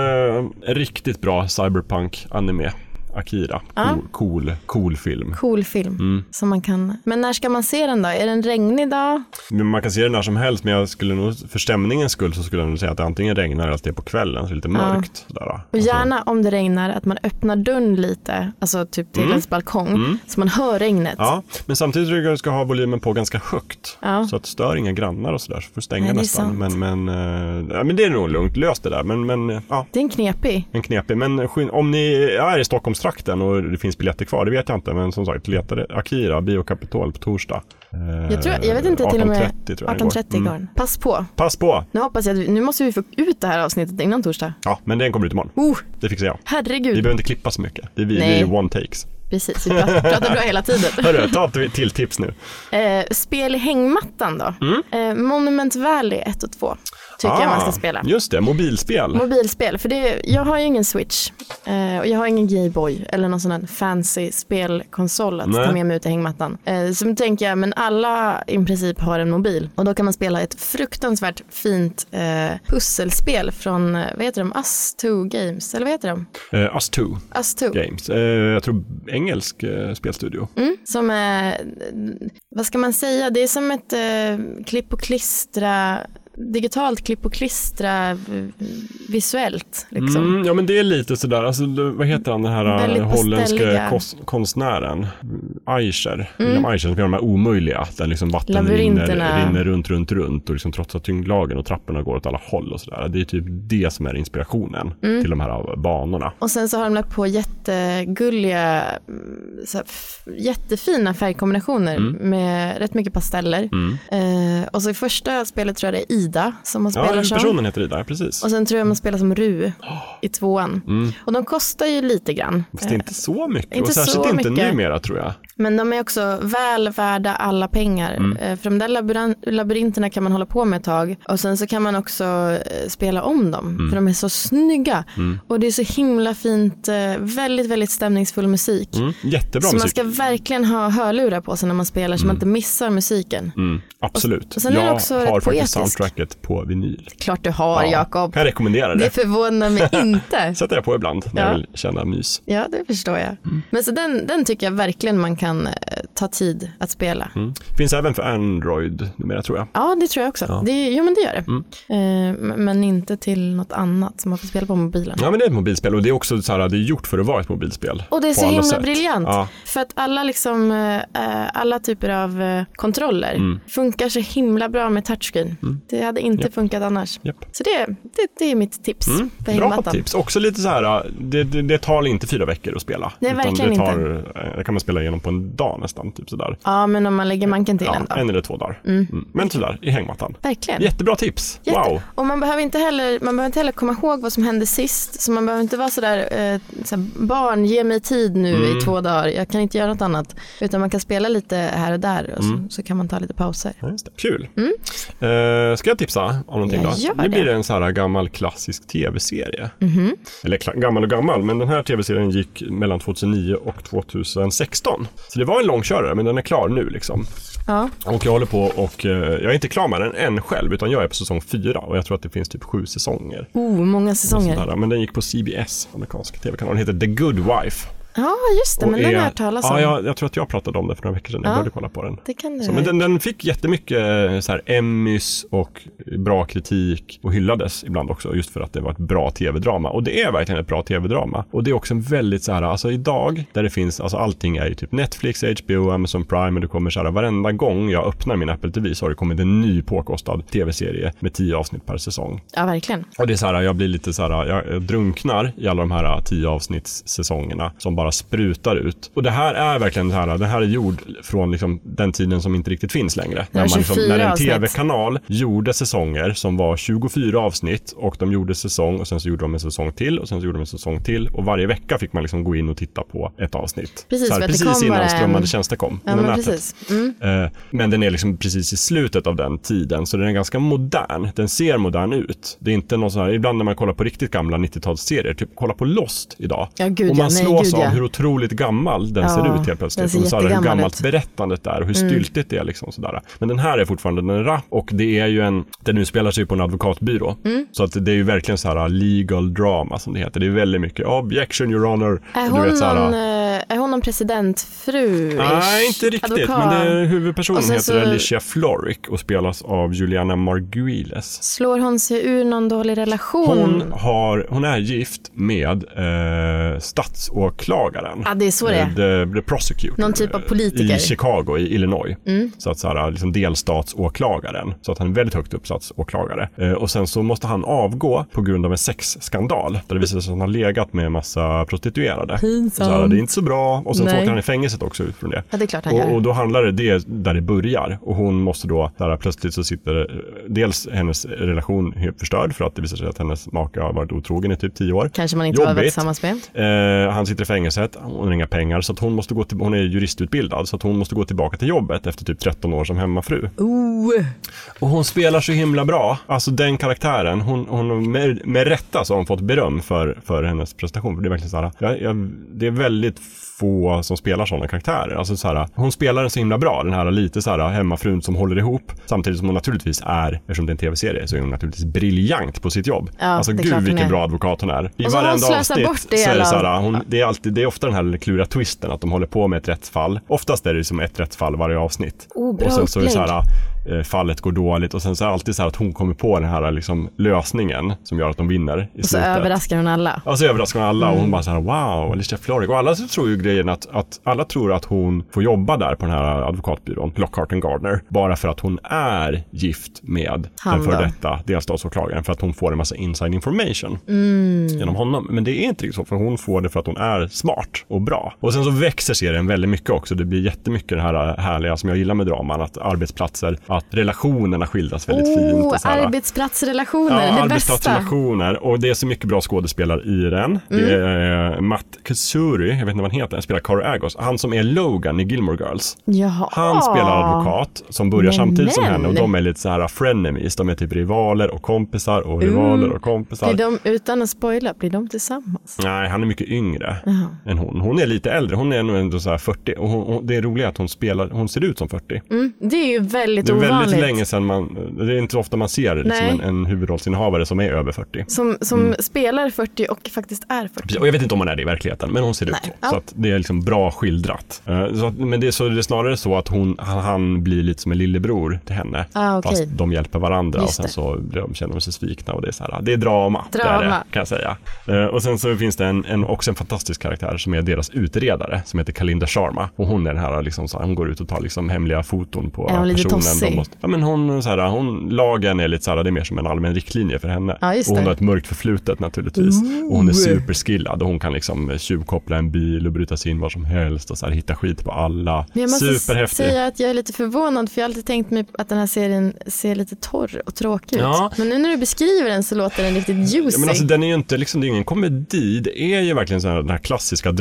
en riktigt bra cyberpunk-anime. Akira. Cool, cool, cool film. Cool film Mm. som man kan. Men när ska man se den då? Är det en regnig dag? Men man kan se den när som helst, men jag skulle nog, för stämningens skull så skulle jag nog säga att det antingen regnar eller att det är på kvällen, så det är lite mörkt. Sådär. Alltså, Och gärna om det regnar att man öppnar dörren lite, alltså typ till ens balkong, så man hör regnet. Mm. Ja, men samtidigt tycker jag att du ska ha volymen på ganska högt. Ja. Så att stör inga grannar och sådär, så får du Nej, stänga det är nästan. sant. Men, men, eh, ja, men det är nog lugnt, lös det där. Men, men eh, ja, Det är en knepig. en knepig. Men skyn- om ni är i Stockholmstrakten och det finns biljetter kvar, det vet jag inte. Men som sagt, leta det- Akira, Biokapitol på torsdag. Eh, Jag, tror, jag vet inte, till och med 18.30 tror jag den 18.30 går. går Mm. den. Pass på. Pass på! Nu hoppas jag att vi, nu måste vi få ut det här avsnittet innan torsdag. Ja, men den kommer ut imorgon. Oh, Det fixar jag. Vi herregud. behöver inte klippa så mycket. Det är vi, vi Mm. Nej. är one takes. Precis, vi pratar, pratar bra hela tiden. Hörru, ta ett till tips nu. Eh, spel i hängmattan då. Eh, Monument Valley 1 och 2. tycker jag man ska spela. Ah, Just det, mobilspel. Mobilspel, för det, jag har ju ingen Switch eh, och jag har ingen Gameboy eller någon sån där fancy spelkonsol att Nej. ta med mig ut i hängmattan. Eh, så då tänker jag, men alla i princip har en mobil och då kan man spela ett fruktansvärt fint eh, pusselspel från, eh, vad heter de, Us2 Games, eller vad heter de? Eh, Us 2 Us2. Games. Eh, jag tror engelsk eh, spelstudio. Mm, som är, vad ska man säga, det är som ett eh, klipp och klistra, digitalt klipp och klistra eh, visuellt. Liksom. Mm, ja men det är lite sådär, alltså, det- vad heter han den här Väldigt eh, holländska pastelliga. Mm. kos- konstnären? Eicher. William Eicher som gör de här omöjliga, där liksom vatten rinner, Labyrinterna. rinner runt, runt, runt och liksom trotsar tyngdlagen och trapporna går åt alla håll och sådär. Det är typ det som är inspirationen Mm. till de här eh, banorna. Och sen så har de lagt på jättegulliga, mm, så här, f- jättefina färgkombinationer Mm. med rätt mycket pasteller. Eh, och så i första spelet tror jag det är Ida som man Ja, spelar som. personen heter Ida, precis. Och sen tror jag man spelar som Ru i tvåan. Mm. Och de kostar ju lite grann. Fast det är inte så mycket, inte och särskilt så inte mycket. numera tror jag. Men de är också väl värda alla pengar. Mm. Eh, För de där labyran- labyrinterna kan man hålla på med ett tag och sen så kan man också eh, spela om dem Mm. för de är så snygga. Och det är så himla fint, eh, väldigt, väldigt stämningsfull musik. Mm. Jättebra Så man musik. ska verkligen ha hörlurar på sig när man spelar så man inte missar musiken. Mm, absolut. Och sen är det jag också har rätt faktiskt poetiskt. soundtracket på vinyl. Klart du har Jakob. Kan jag rekommendera Det det. förvånar mig inte. Sätter jag på ibland när Ja. jag vill känna mys. Ja, det förstår jag. Mm. Men så den, den tycker jag verkligen man kan eh, ta tid att spela. Mm. Finns även för Android numera tror jag. Ja, det tror jag också. Det, jo, men det gör det. Eh, m- men inte till något annat som man får spela på mobilen. Mm. Ja men det är ett mobilspel och det är också så här, det är gjort för att vara ett mobilspel. Och det är på så alla himla sätt. briljant. Ja. För att alla, liksom, eh, alla typer av eh, kontroller Mm. funkar så himla bra med touchscreen. Det hade inte funkat annars. Japp. Mm. Så det, det, det är mitt tips på Bra hängmattan. tips. Också lite så här, det, det, det tar inte fyra veckor att spela. Nej, verkligen det inte. tar, eh, Det kan man spela igenom på en dag nästan. Typ sådär. Ja, men om man lägger manken till Ja, en dag. en eller två dagar. Mm. Men sådär, i hängmattan. Verkligen. Jättebra tips. Jätte- Wow. Och man behöver, inte heller, man behöver inte heller komma ihåg vad som hände sist. Så man behöver inte vara sådär, eh, såhär, barn ge mig tid nu Mm. i två dagar, jag kan inte göra något annat. Utan man kan spela lite här och där och så, Mm. så kan man ta lite pauser. Ja, just det. Kul. Eh, ska jag tipsa om någonting Mm. Ja, då? gör Nu det. Mm-hmm. blir det en så här gammal klassisk tv-serie. Eller kla- gammal och gammal, men den här tv-serien gick mellan 2009 och 2016. Så det var en långkörare, men den är klar nu liksom. Ja. Och jag håller på och eh, jag är inte klar med den än själv, utan jag är på säsong fyra och jag tror att det finns typ sju säsonger. Oh, många säsonger. Sådär, men den gick på CBS, amerikanska tv-kanalen, den heter The Good Wife. Ja, just det, men Och den har är- jag hört talas om. Ja, jag, jag tror att jag pratade om det för några veckor sedan, jag Ja. började kolla på den. Det kan du Så, men den, den fick jättemycket eh, så här, Emmys och bra kritik och hyllades ibland också just för att det var ett bra tv-drama. Och det är verkligen ett bra tv-drama. Och det är också en väldigt så här, alltså idag där det finns, alltså allting är ju typ Netflix, HBO, Amazon Prime och det kommer så här varenda gång jag öppnar min Apple TV så har det kommit en ny påkostad tv-serie med tio avsnitt per säsong. Ja, verkligen. Och det är så här, jag blir lite så här, jag drunknar i alla de här tio avsnittssäsongerna som bara sprutar ut. Och det här är verkligen det här, det här är gjord från liksom den tiden som inte riktigt finns längre. Ja, liksom, 24 när en avsnitt. tv-kanal gjorde säsonger som var 24 avsnitt och de gjorde säsong och sen så gjorde de en säsong till och sen så gjorde de en säsong till och varje vecka fick man liksom gå in och titta på ett avsnitt. Precis, så för här, att det precis kom bara innan en- strömmande tjänster kom. Ja, innan men nätet. precis. Mm. Eh, Men den är liksom precis i slutet av den tiden, så den är ganska modern. Den ser modern ut. Det är inte någon sån här, ibland när man kollar på riktigt gamla 90-talsserier, typ kolla på Lost idag. Ja, gud och man ja, nej, slås gud av ja. hur otroligt gammal den Ja, ser ut helt den plötsligt. ser Och så här, hur jättegammal gammalt ut. Mm. berättandet är och hur styltigt det är. Liksom, sådär. Men den här är fortfarande en rap och det är ju en, den utspelar sig på en advokatbyrå. Mm. Så att det är ju verkligen så här legal drama som det heter. Det är väldigt mycket "Oh, objection your honor. Är Du hon, vet, så här, någon, eh, är hon någon presidentfru Nej, inte riktigt. Advokat. Men det, huvudpersonen Och sen heter så- Alicia Florrick och spelas av Juliana Margulies. Slår hon sig ur någon dålig relation? Hon, har, hon är gift med eh, statsåklagaren. eh, Ja, det är så det är. The, the prosecutor. eh, Någon typ av politiker. Mm. I Chicago, i Illinois. Så att så här, liksom delstatsåklagaren. Så att han är väldigt högt uppsatt åklagare. Eh, och sen så måste han avgå på grund av en sexskandal. Där det visar sig att han har legat med en massa prostituerade. Pinsamt. Så här, det är inte så bra Och sen så Nej. åker han i fängelset också utifrån det. Ja, det är klart han Och, gör. och då handlar det, det där det börjar. Och hon måste då, där plötsligt så sitter eh, dels hennes relation helt förstörd för att det visar sig att hennes make har varit otrogen i typ tio år. Kanske man inte har varit Jobbigt. tillsammans med. Eh, han sitter i fängelset, hon har inga pengar så att hon måste gå till, hon är juristutbildad så att hon måste gå tillbaka till jobbet efter typ 13 år som hemmafru. Oh. Och hon spelar så himla bra, alltså den karaktären. Hon, hon med, med rätta så har hon fått beröm för, för hennes prestation. För det är verkligen så här, jag, jag, det är väldigt få som spelar sådana karaktärer. Alltså så här, hon spelar den så himla bra, den här lite så här hemmafrun som håller ihop. Samtidigt som hon naturligtvis är, eftersom det är en tv-serie, så är hon naturligtvis briljant på sitt jobb. Ja, alltså det är klart gud hon vilken är. bra advokat hon är. I Och så har hon varenda slösat avsnitt bort det så är det hela. så här, hon, det, är alltid, det är ofta den här kluriga twisten att de håller på med ett rättsfall. Oftast är det ju som ett rättsfall varje avsnitt. Oh, bra och sen så är det så upplägg. här, eh, fallet går dåligt och sen så är det alltid så här att hon kommer på den här liksom, lösningen som gör att de vinner i Och så slutet. överraskar hon alla. Ja, så överraskar hon alla och Mm. hon bara så här wow, Alicia Florrick. Och alla så tror ju grejen att, att alla tror att hon får jobba där på den här advokatbyrån, Lockhart and Gardner, bara för att hon är gift med Han den före då. detta delstatsåklagaren för att hon får en massa inside information Mm. genom honom. Men det är inte riktigt så, för hon får det för att hon är smart och bra. Och sen så växer serien väldigt mycket också. Det blir jättemycket det här härliga som jag gillar med draman, att arbetsplatser, att relationerna skildras väldigt fint. Oh, och så här- arbetsplatsrelationer, det bästa. arbetsplatsrelationer. Och det är så mycket bra skådespelare i den. Det Mm. är eh, Matt Kusuri, jag vet inte vad han heter, han spelar Carl Agos. Han som är Logan i Gilmore Girls. Jaha. Han spelar advokat som börjar Men, samtidigt som men. henne och de är lite så här frenemies. De är typ rivaler och kompisar och rivaler och kompisar. Blir Mm. de, utan att spoila, blir de tillsammans? Nej, han är mycket yngre än hon. Hon är lite äldre, hon är nog ändå så här 40. Och hon, hon, det är roliga är att hon, spelar, hon ser ut som 40. Mm, det är ju väldigt Det är ovanligt. väldigt länge sedan man, det är inte ofta man ser liksom Nej. en, en huvudrollsinnehavare som är över 40. Som, som Mm. spelar 40 och faktiskt är 40. Precis, och jag vet inte om hon är det i verkligheten, men hon ser ut Nej, så. ja. Så att det är liksom bra skildrat. Eh, Så att, men det är, så, det är snarare så att hon, han, han blir lite som en lillebror till henne. Ah, okej. Fast de hjälper varandra Just och sen det. så blir de, känner de sig svikna. Och det, är så här, ah, det är drama, Det är det, Drama. kan jag säga. Eh, Och sen så finns det en, en, också en fantastisk karaktär som är deras utredare som heter Kalinda Sharma. Och hon är den här, liksom, så här hon går ut och tar liksom, hemliga foton på Är hon lite personen. tossig? måste, ja, men hon, så här, hon, lagen är lite så här, det är mer som en allmän riktlinje för henne. Ja, just och hon det. har ett mörkt förflutet naturligtvis. Och hon är superskillad och hon kan liksom tjuvkoppla en bil och bryta sig in var som helst och så här, hitta skit på alla. Men jag måste Superhäftig. säga att jag är lite förvånad för jag har alltid tänkt mig att den här serien ser lite torr och tråkig Ja. ut. Men nu när du beskriver den så låter den riktigt Ja, juicy. men alltså, den är ju inte, liksom, det är ingen komedi, det är ju verkligen så här, den här klassiska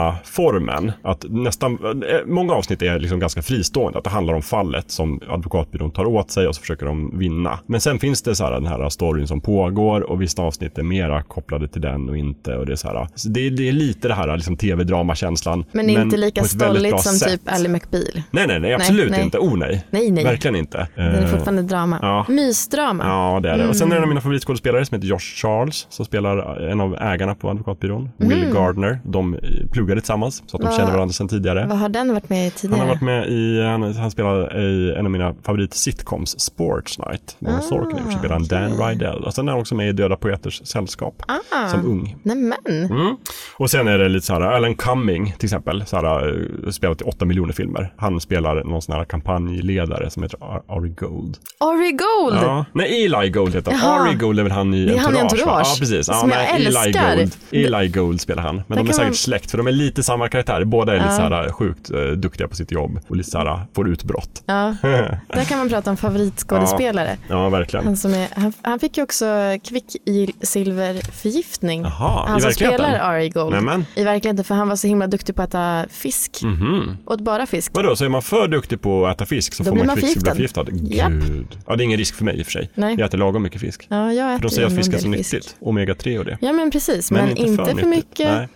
dramaformen. Att nästan, eh, många avsnitt är liksom ganska fristående, att det handlar om fallet som advokatbyrån tar åt sig och så försöker de vinna. Men sen finns det så här, den här storyn som pågår och vissa avsnitt är mera kopplade till den och inte. Och det, är så här, så det, är- det är lite det här liksom, tv-dramakänslan. Men på inte lika ett väldigt bra stolligt som sätt. typ Ally McBeal. Nej, nej, nej, absolut nej. inte. Oh nej. Nej, nej. Verkligen inte. Den är Eh, fortfarande Mm. drama. ja. Mysdrama. Ja, det är det. Och sen är det en av mina favoritskådespelare som heter Josh Charles som spelar eh, en av ägarna på advokatbyrån, Will Gardner. De eh, pluggade tillsammans så att de Mm. Vad- känner varandra sedan tidigare. Vad har den varit med i tidigare? Han har varit med i, han, han spelar i en av mina favorit-sitcoms, Sports Night. Ah. Där han Sorkin försöker spela en Dan Rydell. Och sen är han också med i Döda Poeters Sällskap Ah. som ung. Nej men, Mm. Och sen är det lite så här, Alan Cumming till exempel, så här, eh, spelat i åtta miljoner filmer. Han spelar någon sån här kampanjledare som heter Ar- Ari Gold. Ari Gold. Ja. Nej, Eli Gold heter han. Jaha. Ari Gold är väl han i är han i va? Entourage. Ja, precis. Ja, Som jag Eli älskar. Gold. Eli Gold spelar han. Men de är kan säkert man- släkt, för de är lite samma karaktärer. Båda är lite så här sjukt eh, duktiga på sitt jobb och lite så här eh, får utbrott. Ja. Där kan man prata om favoritskådespelare. Ja, verkligen. Han, som är, han, han fick ju också eh, kvicksilverförgiftning. Jaha, han i som verkligheten? spelar Ari Gold. Nämen. I verkligheten, för han var så himla duktig på att äta fisk. Mm. Åt bara fisk. Mhm. Vadå, så är man för duktig på att äta fisk så Då får blir man man förgiftad. kvicksilverförgiftad? Japp. Gud. Ja, det är ingen risk för mig i och för sig. Nej. Jag äter lagom mycket fisk. Ja, jag äter De säger att ju en fisk är del så nyttigt. Omega-3 och det. Ja, men precis. Men, inte, för, nyttigt. mycket. Nej.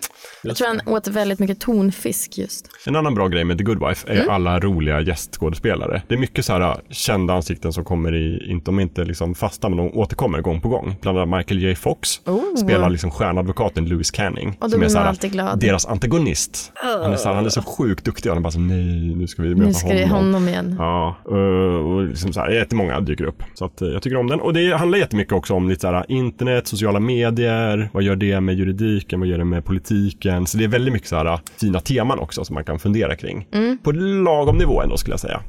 Jag tror han åt väldigt mycket tonfisk just. En annan bra grej med The Good Wife är Mm. alla roliga gästskådespelare. Det är mycket så här äh, kända ansikten som kommer i, inte om inte liksom fasta, men de återkommer gång på gång. Bland annat Michael J Fox Oh. spelar liksom stjärnadvokaten Louis Canning. då som är blir så man här, alltid glad. Deras antagonist. Han, är så här, han är så sjukt duktig och han bara så, nej, nu ska vi möta Nu ska det honom. honom igen. Ja, eh, och liksom så här, jättemånga dyker upp. Så att eh, jag tycker om den. Och det handlar jättemycket också om lite så här, internet, sociala medier, vad gör det med juridiken, vad gör det med politiken. Så det är Mm. väldigt mycket så här, fina teman också som man kan fundera kring. På lagom nivå ändå skulle jag säga.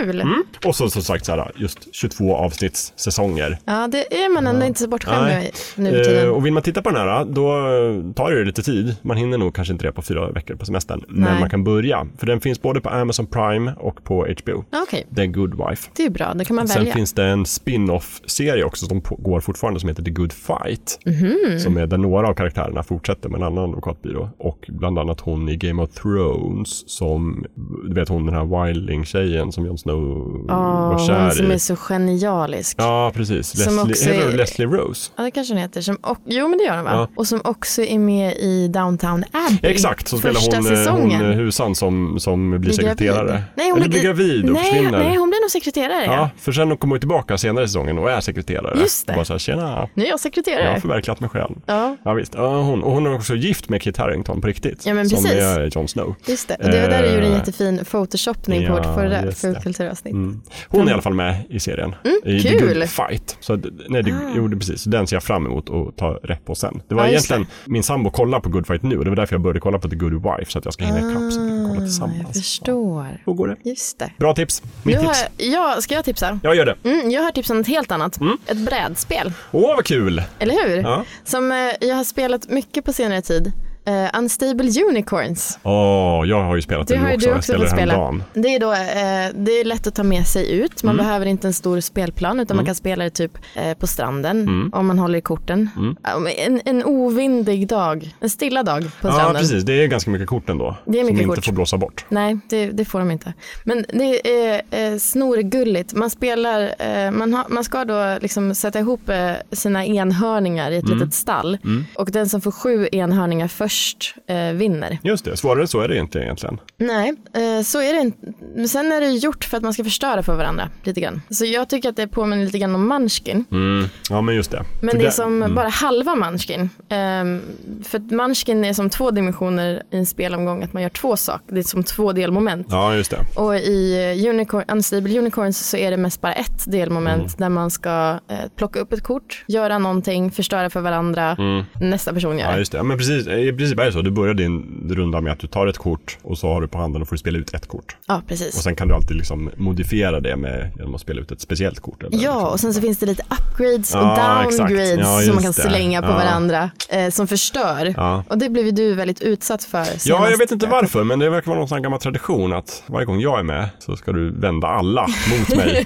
Kul! Och så som sagt så här, just 22 avsnittssäsonger. Ja, det är man ändå inte så bortskämd Nej. med nu för Eh, tiden. och vill man titta på den här, då eh, tar det ju lite tid. Man hinner nog kanske inte det på fyra veckor på semestern. Men Nej. man kan börja. För den finns både på Amazon Prime och på HBO. Ja, Okej, The Good Wife. det är bra. Då kan man Sen välja. finns det en spin-off-serie också som på- går fortfarande som heter The Good Fight. Mhm. Som är där några av karaktärerna fortsätter med en annan advokatbyrå. Och bland annat hon i Game of Thrones som, du vet hon den här Wildling-tjejen som Jon Snow Åh, var hon som kär är i. så genialisk. Ja. Ja, precis. Som också Leslie, heter hon är- Leslie Rose. det kanske hon heter. Som och, jo, men det gör hon va? Ja. Och som också är med i Downtown Abbey. Exakt, så spelar första hon, eh, hon säsongen. eh, husan som, som blir, sekreterare. gravid. Nej, hon Eller blir gravid och nej, försvinner. Nej, hon blir nog sekreterare. Ja, för sen hon kommer hon tillbaka senare i säsongen och är sekreterare. Just det. Och Bara så här, tjena, Nu är jag jag har sekreterare. förverkligat mig själv. Ja, Ja, visst. Ja, hon, och hon är också gift med Kit Harington på riktigt. Ja, men som precis. är Jon Snow. just det. Och det var där du Eh, gjorde en jättefin photoshopning på ja, vårt förra just det. fulkulturavsnitt. Mm. Hon är i alla fall med i serien. I The Mm, kul. Ah. Good Fight. Så, d- nej, det, jo, det, precis. Så den ser jag fram emot att ta rätt på sen. Det var Ja, just egentligen min sambo kollar på Good Fight nu och det var därför jag började kolla på The Good Wife så att jag ska hinna ikapp så att vi kan kolla Ah, jag tillsammans. förstår. Hur går det? Just det. Bra tips. Mitt Nu har tips. jag, ja, ska jag tipsa? Jag gör det. Mm, jag har tips om något helt annat. Ett brädspel, Åh, vad kul! eller hur? Mm. Ja. Som eh, jag har spelat mycket på senare tid. Eh, Unstable Unicorns. Åh, jag har ju spelat Det den har nu ju också. du Jag också spelade fått den spela. häromdagen. Mm. Det är, då, eh, det är lätt att ta med sig ut. Man behöver inte en stor spelplan utan man kan spela det typ eh, på stranden Mm. om man håller i korten. Om En, en ovindig dag, en stilla dag på Ja, stranden. precis. Det är ganska mycket kort ändå. Det är som mycket inte kort. får blåsa bort. Nej, det, det får de inte. Men det är eh, snorgulligt. Man spelar, eh, man, har- man ska då liksom sätta ihop eh, sina enhörningar i ett Mm. litet stall. Och den som får sju enhörningar först eh, vinner. Just det, svårare än så är det inte egentligen. Nej, eh, så är det inte. Men Sen är det ju gjort för att man ska förstöra för varandra lite grann. Så jag tycker att det påminner lite grann om Munchkin. Mm. Ja, men just det. Men För det är där- mm. som bara halva Munchkin. Ehm, för att Munchkin är som två dimensioner i en spelomgång, att man gör två saker. Det är som två delmoment. Ja, just det. Och i eh, unicorn, Unstable Unicorns så är det mest bara ett delmoment Mm. där man ska eh, plocka upp ett kort, göra någonting, förstöra för varandra, nästa person gör Mm. Ja, det. just det. Ja, men precis, I princip är det så. Du börjar din runda med att du tar ett kort och så har du på handen och får du spela ut ett kort. Ja, Och precis. sen kan du alltid liksom modifiera det med, genom att spela ut ett speciellt kort. Eller Ja, och sen så finns det lite upgrades och Liksom. Ja, exakt. downgrades Ja, som man kan just det. slänga på Ja. varandra eh, som förstör. Ja. Och det blev ju du väldigt utsatt för. senast. Ja, jag vet inte varför, men det verkar vara någon sån här gammal tradition att varje gång jag är med så ska du vända alla mot mig.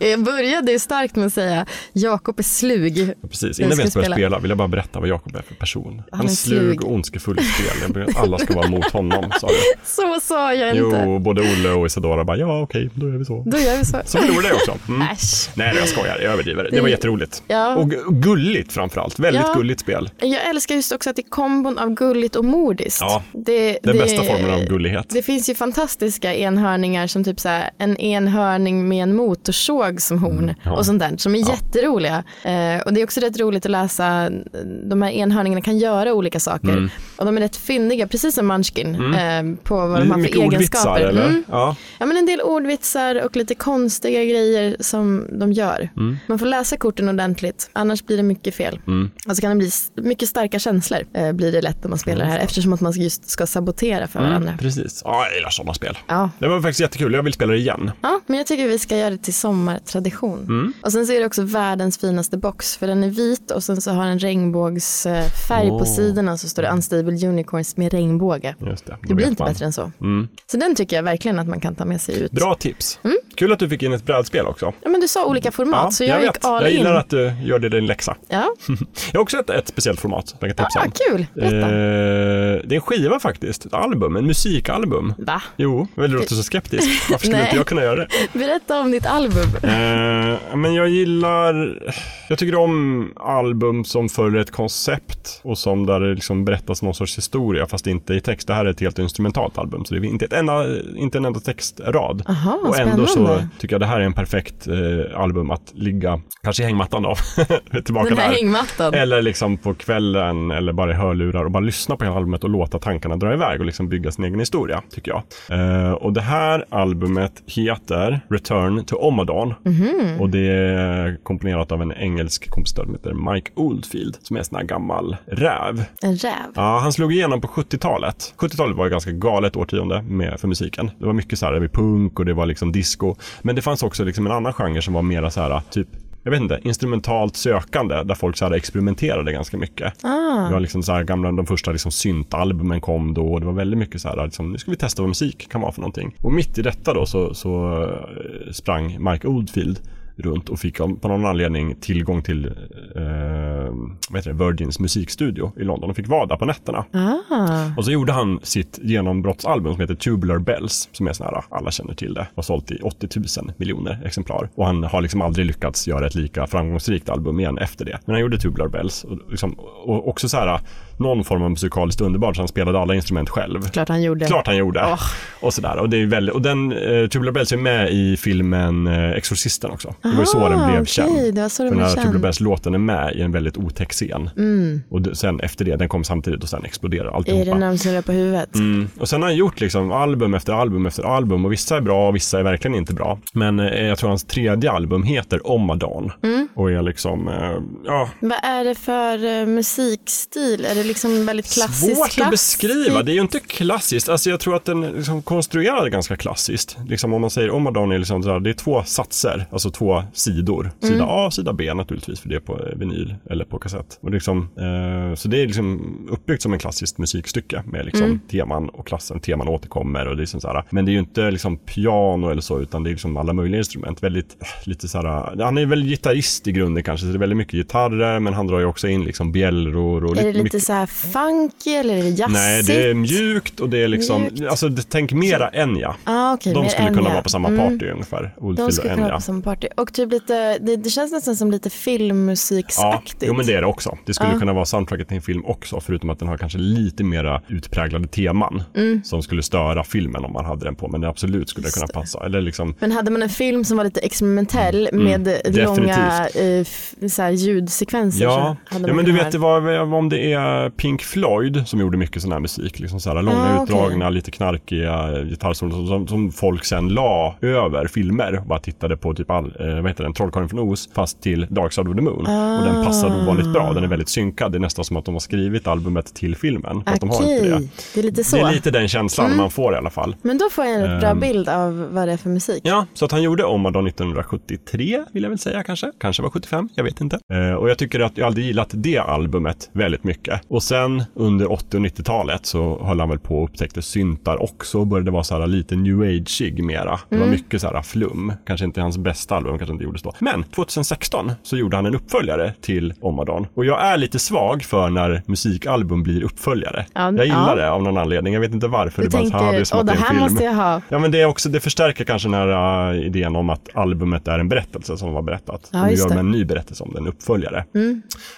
Jag började ju starkt med att säga Jakob är slug. Precis, Jag innan vi ska ens börjar spela. spela vill jag bara berätta vad Jakob är för person. Han är är slug slug. och ondskefull i spel. Jag ber- Alla ska vara mot honom, sa jag. Så sa jag inte. Jo, både Olle och Isadora bara, ja okej, då gör vi så. Då gör vi så. Så förlorade jag också. Mm. Äsch. Nej, jag skojar. Jag överdriver. Det var jätteroligt. Ja. Och gu- och gulligt framför allt. Väldigt Ja. gulligt spel. Jag älskar just också att det är kombon av gulligt och mordiskt. Ja, det, Den det- bästa formen av gullighet. Det finns ju fantastiska enhörningar som typ så här, en enhörning med en motorsåg som horn Mm, ja. och sånt där som är jätteroliga. Eh, och det är också rätt roligt att läsa, eh, de här enhörningarna kan göra olika saker. Mm. Och de är rätt fyndiga, precis som Munchkin, eh, på vad de har Mycket för ordvitsar, egenskaper. eller? Mm. Ja. Ja, men en del ordvitsar och lite konstiga grejer som de gör. Mm. Man får läsa korten ordentligt, annars blir det mycket fel. Och så kan det bli s- mycket starka känslor, eh, blir det lätt när man Mm. spelar det här, eftersom att man just ska sabotera för varandra. Precis. Ja, jag gillar sådana spel. Ja. Det var faktiskt jättekul. Jag vill spela det igen. Ja, men jag tycker vi ska göra det till sommartradition. Mm. Och sen så är det också världens finaste box, för den är vit och sen så har den regnbågsfärg på Åh. sidorna så står det Unstable Unicorns med regnbåge. Just det. Då Det blir vet inte man. Mm. bättre än så. Så den tycker jag verkligen att man kan ta med sig ut. Bra tips. Kul att du fick in ett brädspel också. Mm. Ja, men du sa olika format, så jag, gick vet. all Jag in. gillar att du gör det din läxa. Ja, Jag har också ett, ett speciellt format som jag kan tipsa ah, om. kul. Berätta. Eh, det är en skiva faktiskt. Ett album. En musikalbum. Va? Jo, men det låter så skeptisk. Varför skulle Nej. inte jag kunna göra det? Berätta om ditt album. Eh, men jag gillar, jag tycker om album som följer ett koncept och som där det liksom berättas någon sorts historia fast inte i text. Det här är ett helt instrumentalt album så det är inte, ett enda, inte en enda textrad. Aha, och ändå så spännande. tycker jag det här är en perfekt eh, album att ligga, kanske i hängmattan då, tillbaka Den här där. hängmattan. Eller liksom på kvällen eller bara i hörlurar och bara lyssna på hela albumet och låta tankarna dra iväg och liksom bygga sin egen historia, tycker jag. Eh, och det här albumet heter Return to Omadon och det är komponerat av en engelsk kompositör som heter Mike Oldfield, som är en sån här gammal räv. En räv. Ja, han slog igenom på 70-talet. 70-talet var ett ganska galet årtionde med, för musiken. Det var mycket så här, det var punk och det var liksom disco. Men det fanns också liksom en annan genre som var mera så här, typ jag vet inte, instrumentalt sökande där folk så här experimenterade ganska mycket. Ah. Det var liksom så här gamla, de första liksom syntalbumen kom då och det var väldigt mycket så här, liksom, nu ska vi testa vad musik kan vara för någonting. Och mitt i detta då så, så eh, sprang Mike Oldfield runt och fick av- på någon anledning tillgång till eh, vad heter det, Virgins musikstudio i London och fick vara där på nätterna. Ah. Och så gjorde han sitt genombrottsalbum som heter Tubular Bells, som är sån här, alla känner till det, och sålt i 80 000 miljoner exemplar. Och han har liksom aldrig lyckats göra ett lika framgångsrikt album igen efter det. Men han gjorde Tubular Bells, och, liksom, och också så här, någon form av musikaliskt underbart, så han spelade alla instrument själv. Klart han gjorde. Klart han gjorde. Åh. Och sådär. Och, det är väldigt, och den eh, Tubular Bells är med i filmen eh, Exorcisten också. Det var ju så Ah, den blev okej, känd. det var så den För blev här känd. Mm. Tubular Bells-låten är med i en väldigt otäck scen. Och det, sen efter det, den kom samtidigt och sen exploderar alltihopa. Är det när de snurrar på huvudet? Mm. Och sen har han gjort liksom album efter album efter album och vissa är bra och vissa är verkligen inte bra. Men eh, jag tror hans tredje album heter Omadan Mm. och är liksom, eh, ja, Vad är det för eh, musikstil? Är det liksom väldigt klassiskt? svårt att beskriva. klassiskt? Det är ju inte klassiskt. Alltså jag tror att den liksom konstruerade ganska klassiskt. Liksom om man säger Omadan är liksom så här, det är två satser, alltså två sidor. Sida Mm. A och sida B naturligtvis, för det är på eh, vinyl eller på kassett. Och liksom, eh, så det är liksom uppbyggt som en klassiskt musikstycke med liksom Mm. teman och klassen, teman återkommer och det är liksom så här. Men det är ju inte liksom piano eller så, utan det är liksom alla möjliga instrument. Väldigt, eh, lite så här, han är väl gitarrist i grunden kanske, så det är väldigt mycket gitarrer, men han drar ju också in liksom bjällror och Är det lite mycket- så här funky eller är det jazzigt? Nej, det är mjukt och det är liksom, Mjukt. alltså det- tänk mera Enya. Ah, okej, De mer skulle kunna Enya. vara på samma Mm. party ungefär, De Oldfield och skulle kunna vara Enya. på samma party. Och typ lite, det, det känns nästan som lite Ja, filmmusiksaktigt. jo men det är det också. Det skulle kunna vara soundtracket till en film också, förutom att den har kanske lite mera utpräglade teman Mm. som skulle störa filmen om man hade den på, men det absolut skulle det kunna passa. Eller liksom, Men hade man en film som var lite experimentell Mm. med långa eh, f- så här ljudsekvenser Ja, så hade ja man men du kunnat vet det var, om det är Pink Floyd som gjorde mycket sån här musik, liksom så här långa Ah, okej. utdragna, lite knarkiga gitarrsolon som, som, som folk sen la över filmer och bara tittade på typ all, eh, vad heter den, Trollkarlen från Oz fast till Dark Side of the Moon och den passar ovanligt bra, den är väldigt synkad, det är nästan som att de har skrivit albumet till filmen, fast de har Okej, inte det. det är lite så. Mm. Det är lite den känslan man får i alla fall. Men då får jag en rätt bra bild av vad det är för musik. Ja, så att han gjorde Omadon 1973 vill jag väl säga kanske. Kanske var 75, jag vet inte. Eh, och jag tycker att jag aldrig gillat det albumet väldigt mycket. Och sen under 80 och 90-talet så höll han väl på och upptäckte syntar också och började vara så här lite new ageig mera. Det var Mm. mycket så här flum. Kanske inte hans bästa album, kanske inte gjordes då. Men 2016 så gjorde han en uppföljare till Omadon. Och jag är lite svag för när musikalbum blir uppföljare. Ja, jag gillar ja. det av någon anledning. Jag vet inte varför. Du Det är bara så här, tänker, det är som åh att det det är en här film. måste jag ha. Ja, men det, är också, det förstärker kanske den här äh, idén om att albumet är en berättelse som var berättat. Ja, och nu just gör det. Mm. man en ny berättelse om den, en uppföljare.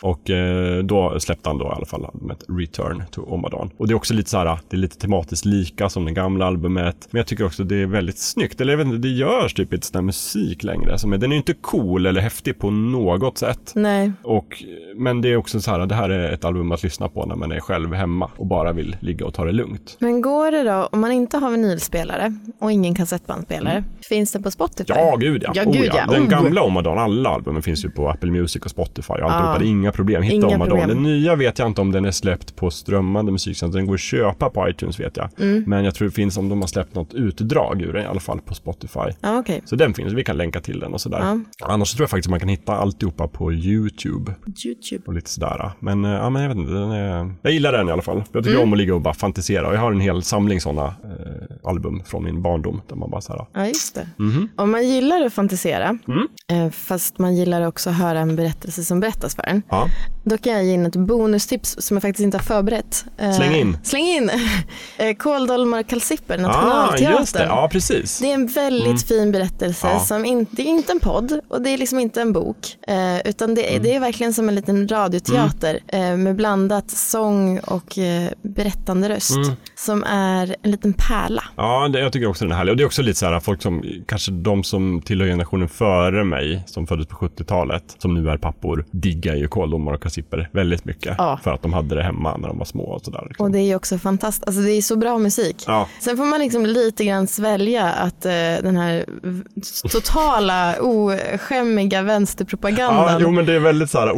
Och eh, då släppte han då i alla fall albumet Return to Omadan. Och det är också lite så här, äh, det är lite tematiskt lika som det gamla albumet. Men jag tycker också det är väldigt snyggt. Eller jag vet inte, det görs typ inte sån här musik längre. Som är, den är ju inte cool eller häftig på något sätt. Nej, Och, men det är också så här, det här är ett album att lyssna på när man är själv hemma och bara vill ligga och ta det lugnt. men går det då, om man inte har vinylspelare och ingen kassettbandspelare, Mm. finns det på Spotify? Ja, gud ja. Ja, Oh, gud, ja. ja. Den Oh. gamla Omadon, alla albumen finns ju på Apple Music och Spotify. Jag Ah. ah. inga problem. Hitta Inga Omadon. problem. Den nya vet jag inte om den är släppt på strömmande musiktjänster. Den går att köpa på iTunes vet jag. Mm. Men jag tror det finns om de har släppt något utdrag ur den i alla fall på Spotify. Ja, okej. Så den finns, vi kan länka till den och sådär. Annars så tror jag faktiskt man kan hitta alltihopa på YouTube YouTube. och lite sådär. Men, eh, ja, men jag vet inte, den är... jag gillar den i alla fall. Jag Mm. tycker om att ligga och bara fantisera. Och Jag har en hel samling sådana eh, album från min barndom där man bara såhär, Ja, just det. Mhm. Om man gillar att fantisera, Mm. eh, fast man gillar också att höra en berättelse som berättas för en, ja. Då kan jag ge in ett bonustips som jag faktiskt inte har förberett. Eh, Släng in. Släng in. Eh, Kåldolmar och kalsipper, Ah, Nationalteatern. just det. Ja, precis. Det är en väldigt fin berättelse. Mm. Ja. Som inte, det är inte en podd och det är liksom inte en bok. Eh, utan det, är- Mm. det är verkligen som en liten radioteater eh, med Mm. blandat sång och eh, berättande röst. Som är en liten pärla. Ja, det, jag tycker också den är härlig. Och det är också lite så här, folk som, kanske de som tillhör generationen före mig, som föddes på 70-talet, som nu är pappor, diggar ju kåldomar och kassipper väldigt mycket. Ja. För att de hade det hemma när de var små och sådär. Liksom. Och det är ju också fantastiskt, alltså det är så bra musik. Ja. Sen får man liksom lite grann svälja att eh, den här v- totala oskämmiga Ja, vänsterpropagandan. jo, men det är väldigt så här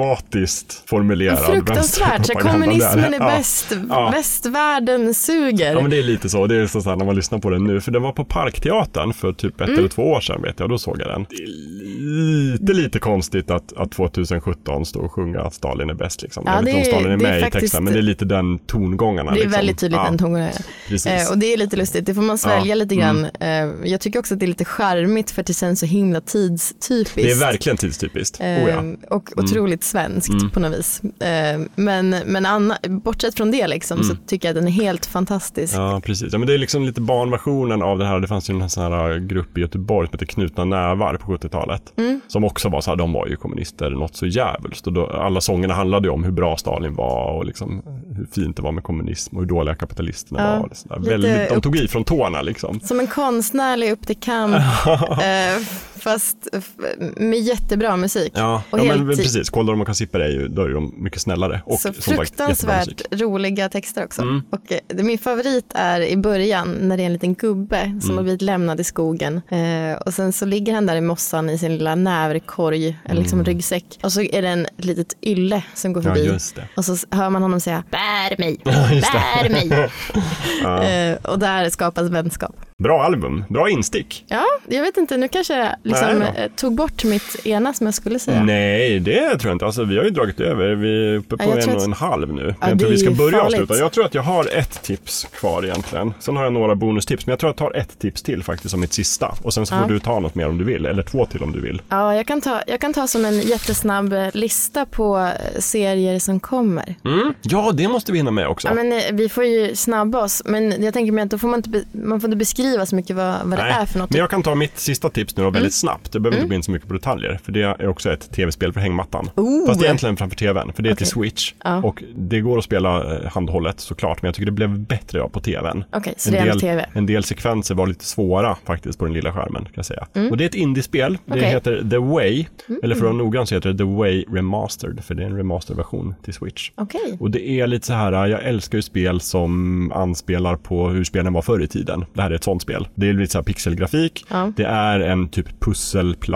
oproblematiskt formulerad. Fruktansvärt, så här, vänsterpropaganda kommunismen där. är bäst, Ja. västvärlden suger. Ja men det är lite så, det är så här när man lyssnar på den nu, för den var på Parkteatern för typ ett Mm. eller två år sedan vet jag, då såg jag den. Det är lite, lite konstigt att, att 2017 stå och sjunga att Stalin är bäst liksom. Ja, jag vet det inte är- om Stalin är det är med i faktiskt- texten, men det är lite den tongångarna. Det är liksom. väldigt tydligt ja, den tongången. Precis. Eh, och det är lite lustigt, det får man svälja Ja, Mm. lite grann. Eh, jag tycker också att det är lite charmigt för att det känns så himla tidstypiskt. det är verkligen tidstypiskt. oh, ja. Mm. Eh, Och otroligt svenskt på något vis. Eh, Men, men anna, bortsett från det liksom, Mm. så tycker jag att den är helt fantastisk. Ja, precis. Ja, men det är liksom lite barnversionen av det här. Det fanns ju en sån här eh, grupp i Göteborg som hette Knutna nävar på 70-talet. Mm. Som också var så här, de var ju kommunister något så jävligt. Och då, alla sångerna handlade ju om hur bra Stalin var och liksom hur fint det var med kommunism och hur dåliga kapitalisterna Ja, var. Och så där. lite Väldigt, de upp- tog i från tårna liksom. Som en konstnärlig upp till kamp, eh, fast f- med jättebra musik. Ja, och ja helt men ti- precis. Kåldolmar och kassipper är ju, då är de mycket snällare. Och så som sagt, jättebra musik. Mm. fruktansvärt roliga texter också. Och eh, det- min favorit är i början när det är en liten gubbe Mm. som har blivit lämnad i skogen. Eh, och sen så ligger han där i mossan i sin lilla näverkorg, eller liksom ryggsäck. Och så är det en litet ylle som går Mm. Ja, förbi. just det. Och så s- hör man honom säga bär mig, just det. bär mig. eh, och där skapas vänskap. Bra album, bra instick. Ja, jag vet inte, nu kanske jag liksom, Nej då. eh, tog bort mitt ena som jag skulle säga. Nej, det tror jag inte. Alltså, vi har ju dragit över. Vi är uppe på Ja, jag en tror och att- en halv nu. Ja, jag det tror vi är ska ju börja och farligt. avsluta. Jag tror att jag har ett tips kvar egentligen. Sen har jag några bonustips, men jag tror jag tar ett tips till faktiskt som mitt sista. Och sen så får du ta något mer om du vill, eller två till om du vill. Ja, jag kan, ta, jag kan ta som en jättesnabb eh, lista på eh, serier som kommer. Ja, det måste vi hinna med också. Ja, men, eh, vi får ju snabba oss, men jag tänker mig att då får man inte, be, man får inte beskriva så mycket vad, vad det är för något. Mm. men jag kan ta mitt sista tips nu då, väldigt snabbt. Det behöver inte gå in så mycket på detaljer, för det är också ett tv-spel för hängmattan. Oh! Fast egentligen framför tvn, för det är till Okej. Switch. Och det går att spela eh, handhållet såklart, men jag tycker det blev bättre ja, på tvn. Okej, så en det är del, en TV. en del sekvenser var lite svåra faktiskt på den lilla skärmen. Kan jag säga. Och det är ett indiespel. Det Mm. Okej. Mm. heter The Way, eller för att vara noggrann så heter det The Way Remastered, för det är en remasterversion till Switch. Okej, Och det är lite så här, äh, jag älskar ju spel som anspelar på hur spelen var förr i tiden. Det här är ett sånt spel. Det är lite så här pixelgrafik. Ja. Det är en typ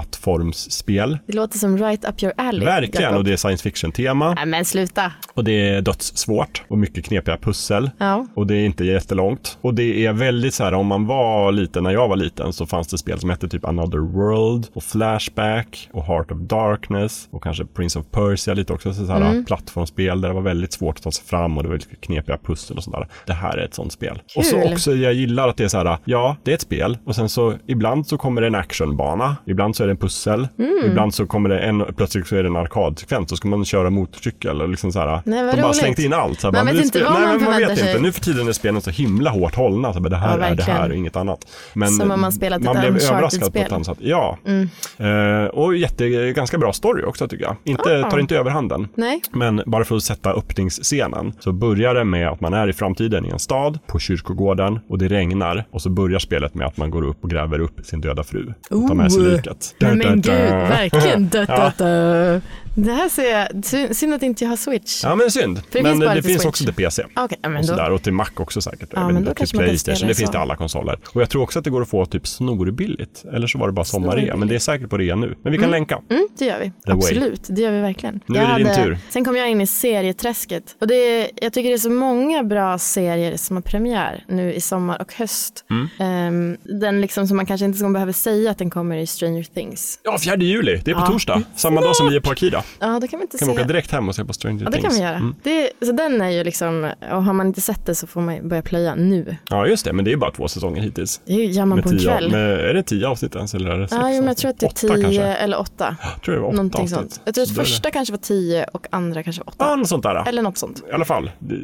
pusselplattformsspel. det låter som right up your alley. Verkligen, Jakob. och det är science fiction-tema. Nej, men sluta. Och det är dödssvårt och mycket knepiga pussel. Ja. Och det är inte jättelångt. Och det är väldigt så här, om man var liten, när jag var liten, så fanns det spel som hette typ Another World och Flashback och Heart of Darkness och kanske Prince of Persia lite också. Så så här Mm. plattformsspel där det var väldigt svårt att ta sig fram och det var lite knepiga pussel och sådär. Det här är ett sånt spel. Och så Kul. också, jag gillar att det är så här, ja, det är ett spel och sen så ibland så kommer det en actionbana, ibland så är det en pussel, Mm. ibland så kommer det en, plötsligt så är det en arkadsekvens, då ska man köra motorcykel och liksom så här. Nej, vad de har bara roligt. slängt in allt. Så Man här, bara, vet nu inte spe- vad Nej, man men man förväntar vet inte. sig. Nu för tiden är spelen så himla hårt hållna. Så bara, det här Ja, är det här verkligen. och inget annat. Men Som om man spelat man ett blev överraskad på Uncharted-spel. Mm. ett annat sätt. Ja. Eh, och jätte, ganska bra story också tycker jag. Inte, Tar inte överhanden. Nej. Men bara för att sätta öppningsscenen så börjar det med att man är i framtiden i en stad på kyrkogården och det regnar och så börjar spelet med att man går upp och gräver upp sin döda fru och tar med sig Oh. liket. Nej, Da, da, men gud, da. verkligen. Da, da, da. Det här ser jag, sy- synd att inte jag har switch. Ja men synd. det men finns bara det till finns Switch. också till PC. Okej, ja, men och då- sådär. Och till Mac också säkert. Jag vet men inte, då till kanske man kan Playstation. spela Det så. finns till alla konsoler. Och jag tror också att det går att få typ snorbilligt. Eller så var det bara sommarrea. Snorbilligt. Men det är säkert på rea nu. Men vi kan länka. Mm, det gör vi. way. Absolut, det gör vi verkligen. Nu Jag är det din tur. Sen kom jag in i serieträsket. Och det är, jag tycker det är så många bra serier som har premiär nu i sommar och höst. Mm. Ehm, den liksom som man kanske inte ens behöver säga att den kommer i Stranger Things. Ja, 4 juli. Det är på Mm. torsdag. Samma dag som vi är på Akira. Ja, då kan vi inte Kan vi åka säga. direkt hem och se på Stranger Ja, det Things. Mm. kan vi göra. Det, så den är ju liksom, och har man inte sett det så får man ju börja plöja nu. Ja, just det. Men det är bara två säsonger hittills. Det gör man Med på en tio, kväll. med, är det tio avsnitt ens? Eller är det sex Ja, jo, men jag tror att det är avsnitt? tio Åtta kanske? eller åtta. Jag tror det var åtta Någonting avsnitt. sånt. Jag tror Så att då är det- Ah! första kanske var tio och andra kanske var åtta. Ja, något sånt där. Eller något sånt. I alla fall, det-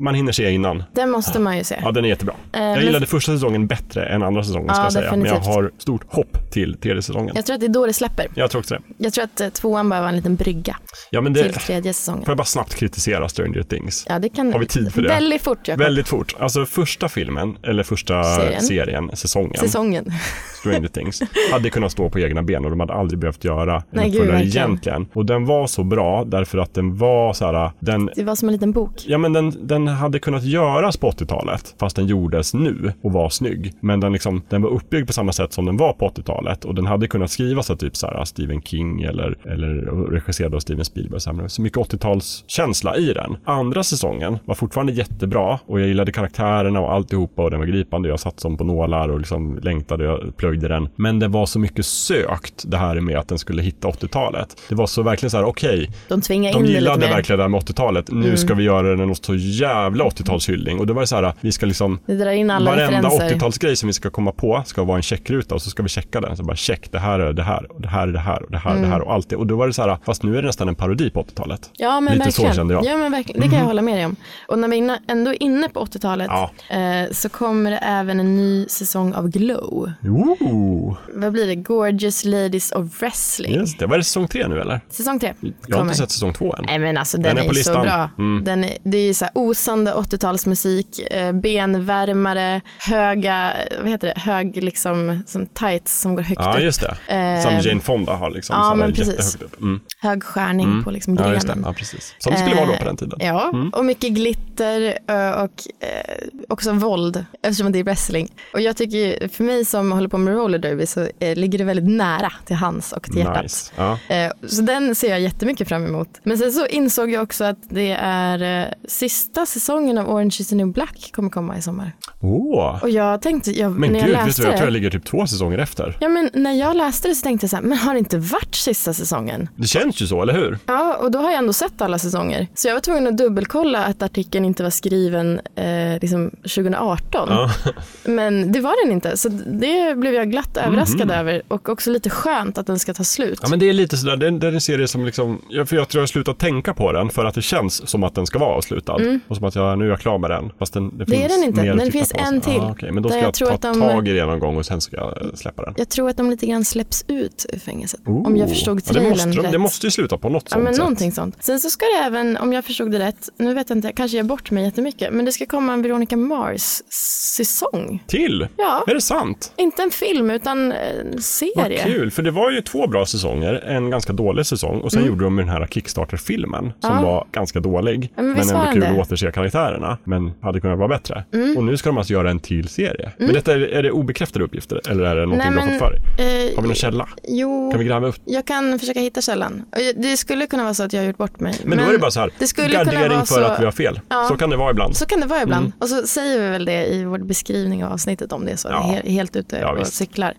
man hinner se innan. Den måste man ju se. Ah! Ja, den är jättebra. jag Eh, men- gillade första säsongen bättre än andra säsongen ska Ja, jag säga. Men jag definitivt. har stort hopp till tredje säsongen. Jag tror att det är då det släpper. Jag tror också det. Jag tror att eh, tvåan bara behöva en liten brygga Ja, men till det, tredje säsongen. får jag bara snabbt kritisera Stranger Things? Ja, det kan Har vi tid för det? Väldigt fort, Jakob. Väldigt fort. Alltså första filmen, eller första Serien. serien, säsongen, Säsongen. Stranger Things, hade kunnat stå på egna ben och de hade aldrig behövt göra en Nej, gud, uppföljare verkligen. egentligen. Och den var så bra därför att den var så här, den Det var som en liten bok. Ja men den, den hade kunnat göras på 80-talet fast den gjordes nu och var snygg. Men den, liksom, den var uppbyggd på samma sätt som den var på 80-talet och den hade kunnat skrivas av typ så här Stephen King eller, eller regisserad av Steven Spielberg. Så här, men Så mycket 80-talskänsla i den. Andra säsongen var fortfarande jättebra och jag gillade karaktärerna och alltihopa och den var gripande. Jag satt som på nålar och liksom längtade och jag plöjde den. Men det var så mycket sökt det här med att den skulle hitta 80-talet. Det var så verkligen så här okej, De tvingade in de det lite gillade mer. verkligen det här med 80-talet. Nu Mm. ska vi göra den en så jävla 80-talshyllning. Och då var det så här, vi ska liksom Det drar in alla Varenda referenser. 80-talsgrej som vi ska komma på ska vara en checkruta och så ska vi checka den. Så bara check, det här är det här, och det här är det här, och det här är det Mm. här och allt det. Och då var det så här, fast nu är det nästan en parodi på 80-talet. Ja, men Lite så verkligen. kände jag. Mhm. Ja, men verkligen. Det kan jag hålla med dig om. Och när vi är inne- ändå är inne på 80-talet Ja. eh, så kommer det även en ny säsong av Glow. Ooh, Vad blir det? Gorgeous Ladies of Wrestling. yes, det. Var det säsong tre nu eller? Säsong tre kommer. Jag har inte sett säsong två än. Nej men alltså den, är är, på ju så listan. Mm. bra. Den är, det är ju så här osande 80-talsmusik, eh, benvärmare, höga, vad heter det, hög liksom, som tights som går högt Ja, upp. just det. Eh, Som Jane Fonda har liksom. ja, så här men precis. jättehögt upp. Mm. Hög skärning på liksom Ja, grenen. just det. Ja, precis. Som det skulle vara då på den tiden. Mm. Eh, Ja, och mycket glitter eh, och eh, också våld eftersom det är wrestling. Och jag tycker ju, för mig som håller på med roller derby så eh, ligger det väldigt nära till hans och till hjärtat. Nice. Ja. Eh, Så den ser jag jättemycket fram emot. Men sen så insåg jag också att det är eh, sista säsongen av Orange is the new black kommer komma i sommar. Åh. Och jag tänkte, jag, Men när gud, jag vet läste du, jag tror jag det, ligger typ två säsonger efter. ja, men när jag läste det så tänkte jag så här, men har det inte varit sista säsongen? Det känns ju så, eller hur? Ja, och då har jag ändå sett alla säsonger. Så jag var tvungen att dubbelkolla att artikeln inte var skriven eh, liksom 2018. Ja. Men det var den inte, så det blev jag glatt överraskad över. Och också lite skönt att den ska ta slut. Mhm. Ja, men det är lite sådär, det är, det är en serie som liksom, jag, för jag tror jag har slutat tänka på den för att det känns som att den ska vara avslutad. Och som att jag, nu är jag klar med den. Fast den, det, finns Mm. är den inte. mer att Den titta finns på. en till. Ah, okej, Men då Där ska jag jag, tror ta att de- tag i det någon gång och sen ska jag eh, släppa den. Jag tror att de lite grann släpps ut ur fängelset. Om jag Ooh. förstod ja, det, måste trailern de, rätt. det måste ju sluta på något Ja, sånt men sätt. någonting sånt. Sen så ska det även, om jag förstod det rätt, nu vet jag inte, jag kanske ger bort mig jättemycket, men det ska komma en Veronica Mars-säsong. Till? Ja. Är det sant? Inte en film, utan en Vad serie. kul, för det var ju två bra säsonger, en ganska dålig säsong och sen gjorde de den här Kickstarter-filmen som Mm. Ja. var ganska dålig men visst men var ändå den kul det? Mm. att återse karaktärerna men hade kunnat vara bättre. Och nu ska de alltså göra en till serie. Men detta, är, är det obekräftade uppgifter eller är det någonting du har fått för dig? eh, Har vi någon källa? Jo, Kan vi gräva upp? jag kan försöka hitta källan. Och jag- Det skulle kunna vara så att jag har gjort bort mig. Men, då är det bara så här, det skulle kunna gardering vara för så- att vi har fel. Mm. Ja. Så kan det vara ibland. Så kan det vara ibland. Och så säger vi väl det i vår beskrivning av avsnittet om det är så. Ja. att vi är he- Helt ute Ja, och visst. Mm. cyklar.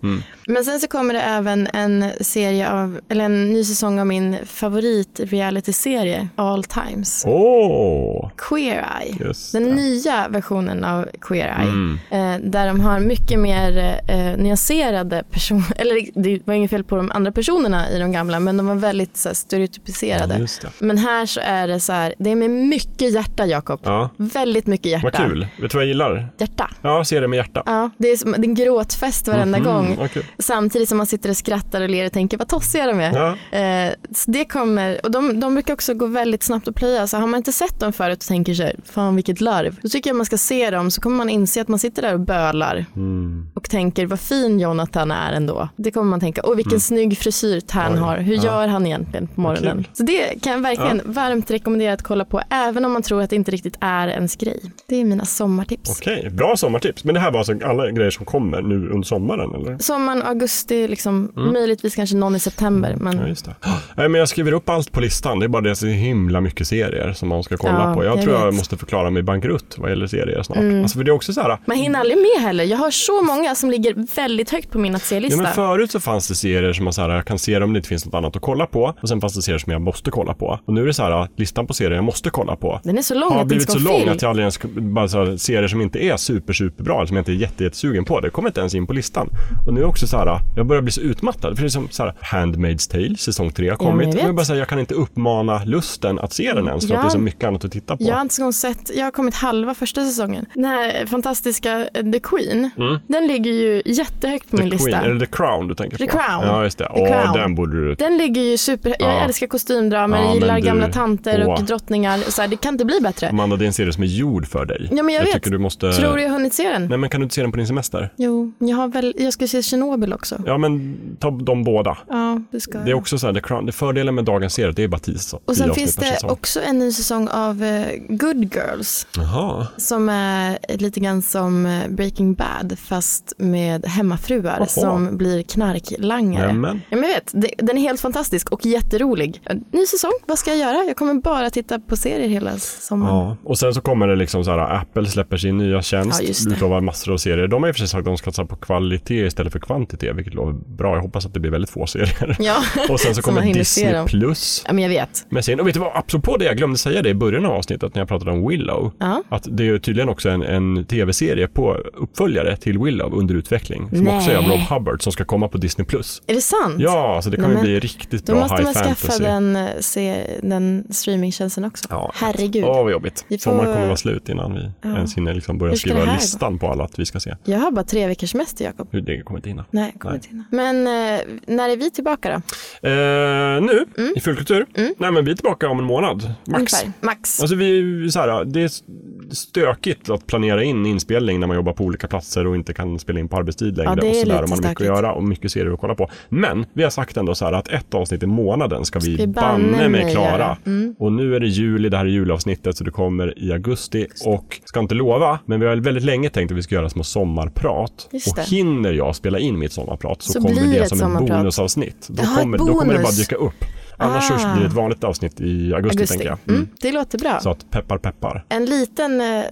Men sen så kommer det även en serie av, eller en ny säsong av min favorit realityserie All Times. Åh! Queer Eye. Just Den det. Mm. nya versionen av Queer Eye. Eh, där de har mycket mer eh, nyanserade personer. Eller det var inget fel på de andra personerna i de gamla. Men de var väldigt så här, stereotypiserade. Ja, just det. Men här så är det så här. Det är med mycket hjärta Jakob. Ja. Väldigt mycket hjärta. Vad kul. Vet du vad jag gillar? Hjärta. Ja, serier med hjärta. Mm-hmm. Ja, det är, som, det är en gråtfest varenda Mhm. gång. vad kul. Samtidigt som man sitter och skrattar och ler och tänker vad tossiga de är. Ja. Eh, så det kommer, och de, de brukar också gå väldigt snabbt att plöja. Så har man inte sett dem förut och tänker sig, fan vilket larv. Då tycker jag man ska se dem så kommer man inse att man sitter där och bölar. Mm. Och tänker vad fin Jonathan är ändå. Det kommer man tänka, och vilken snygg frisyr Tern Mm. Oj, har. Hur gör han egentligen på morgonen? kul. Så det kan jag verkligen varmt rekommendera att kolla på. Även om man tror att det inte riktigt är ens grej. Det är mina sommartips. Okej, bra sommartips. Men det här var alltså alla grejer som kommer nu under sommaren, eller? Sommaren, augusti, liksom, Mm. möjligtvis kanske någon i september. Men Ja, just det. Nej, men jag skriver upp allt på listan. Det är bara det att det är så himla mycket serier som man ska kolla Ja, på. Jag, jag tror jag vet. måste förklara mig bankrutt vad gäller serier snart. Alltså, för det är också så här, man hinner aldrig med heller. Jag har så många som ligger väldigt högt på min att Ja, se-lista. men förut så fanns det serier som man så här, jag kan se dem om det inte finns något annat att kolla på. Och sen fanns det serier som jag måste kolla på. Och nu är det så här, listan på serier jag måste kolla på. Den är så lång har att det inte blivit ska så vara lång fel. att jag aldrig ens, bara så här, serier som inte är super, super bra, som jag inte är jätte, jättesugen på, det kommer inte ens in på listan. Och nu är också så här, jag börjar bli så utmattad. För det är som så här, Handmaid's Tale, säsong 3 men har jag kommit. vet. jag, bara så här, jag kan inte uppmana lusten att se den ens, för Ja. att det är så mycket annat att titta på. Jag har inte ens sett, jag har kommit halva första säsongen. Den här fantastiska eh, The Queen, den ligger ligger ju jättehögt på The min lista. Queen, är det The Crown du tänker The på? Crown. Ja, just det. The Åh, Crown. den borde du... Den ligger ju super... Ja. Jag älskar kostymdramer, Ja, jag gillar men du- gamla tanter och Åh. drottningar. Så här, det kan inte bli bättre. Amanda, det är en serie som är gjord för dig. Ja, men jag vet. tycker du måste... Tror du jag har hunnit se den? eh, Nej, men kan du inte se den på din semester? Jo, jag, har väl... jag ska se Tjernobyl också. Ja, men ta de båda. Ja, det ska jag. Det är också så här, The Crown, det fördelen med dagens serie, det är bara tio säsong- och tio sen avsnitt finns per det säsong. också en ny säsong av eh, Good Girls Jaha. som är lite grann som eh, Breaking Bad fast med hemmafruar Jaha. som blir knarklangare. Nämen. Ja, men jag vet, det, den är helt fantastisk och jätterolig. Ny säsong, vad ska jag göra? Jag kommer bara titta på serier hela sommaren. Ja. Och sen så kommer det liksom så här, Apple släpper sin nya Ja, tjänst, just det. utlovar massor av serier. De har i och för sig sagt att de ska satsa på kvalitet istället för kvantitet, vilket låter bra. Jag hoppas att det blir väldigt få serier. Ja. Och sen så Så man kommer hinner se Disney dem. Plus ja, men jag vet. med sin, och vet du vad, apropå det, jag glömde säga det i början av avsnittet när jag pratade om Willow. Ja. Att det är ju tydligen också en, en tv-serie på uppföljare till Willow under utveckling. Som Nej. också är av Rob Hubbard som ska komma på Disney+. Plus. Är det sant? Ja, så det kommer Nej, men- bli riktigt Då bra måste high man skaffa fantasy. den, eh, se, den streamingtjänsten också. Ja. Herregud. Åh, vad jobbigt. Vi får- Sommaren kommer vara slut innan vi ens hinner liksom börja Hur ska skriva det här gå? listan på alla att vi ska se. Jag har bara tre veckors semester, Jakob. Hur det kommer inte hinna. Nej, jag kommer Nej. inte hinna. Men eh, när är vi tillbaka då? Eh, nu, i fullkultur. Nej, men vi är tillbaka om en månad, max. Mm. Ungefär. Max. Alltså vi, är ju så här, det är stökigt att planera in inspelning när man jobbar på olika platser och inte kan spela in på arbetstid längre. Ja, det och är sådär, lite och man har mycket stökigt. att göra och mycket serier att kolla på. Men vi har sagt ändå så här att ett avsnitt i månaden ska vi vi banne banne mig mig klara. göra. Mm. Och nu är det juli, det här är julavsnittet så det kommer i augusti. Och ska inte lova, men vi har väldigt länge tänkt att vi ska göra små sommarprat. Just Och det. hinner jag spela in mitt sommarprat så, Så kommer blir det det ett som ett sommarprat. bonusavsnitt. Då, Jaha, ett kommer, då kommer det bara bonus. dyka upp. Annars så Ah. blir det ett vanligt avsnitt i augusti, tänker Augusti. jag. Mm. Det låter bra. Så att peppar peppar. En liten eh,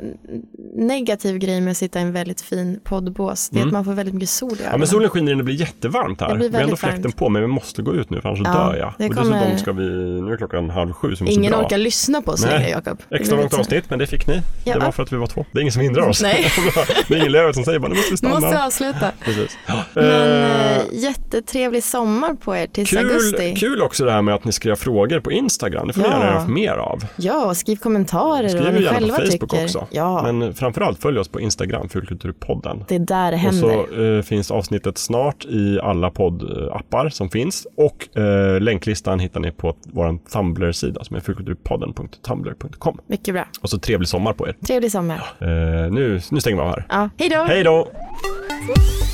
negativ grej med att sitta i en väldigt fin poddbås, det är att man får väldigt mycket sol i Mm. Ja, men ögonen. solen skiner och det blir jättevarmt här. Det blir vi har ändå väldigt fläkten varmt. på men vi måste gå ut nu för annars Ja, dör jag. det Och kommer- dessutom ska vi, nu är klockan halv sju så vi måste Ingen dra. orkar lyssna på oss Nej. längre, Jakob. Det Extra blir långt lite- avsnitt men det fick ni. Ja. Det var för att vi var två. Det är ingen som hindrar oss. Nej. det är ingen löv som säger bara nu måste vi Nu stanna. måste jag avsluta. Precis. Men Eh, eh, jättetrevlig sommar på er tills Kul, augusti. kul också det här med att ni skrev frågor på Instagram. Det får ni Ja. gärna göra mer av. Ja, och skriv kommentarer och vad Skriv ni gärna på själva Facebook tycker. också. Ja, Men framförallt följ oss på Instagram, Fulkulturpodden. det är där det Och händer. så eh, finns avsnittet snart i alla poddappar som finns. Och eh, länklistan hittar ni på vår Tumblr-sida som är fulkulturpodden.tumblr.com. Mycket bra. Och så trevlig sommar på er. Trevlig sommar. Eh, nu, nu stänger vi av här. Ja, hej då! Hej då! Thank you.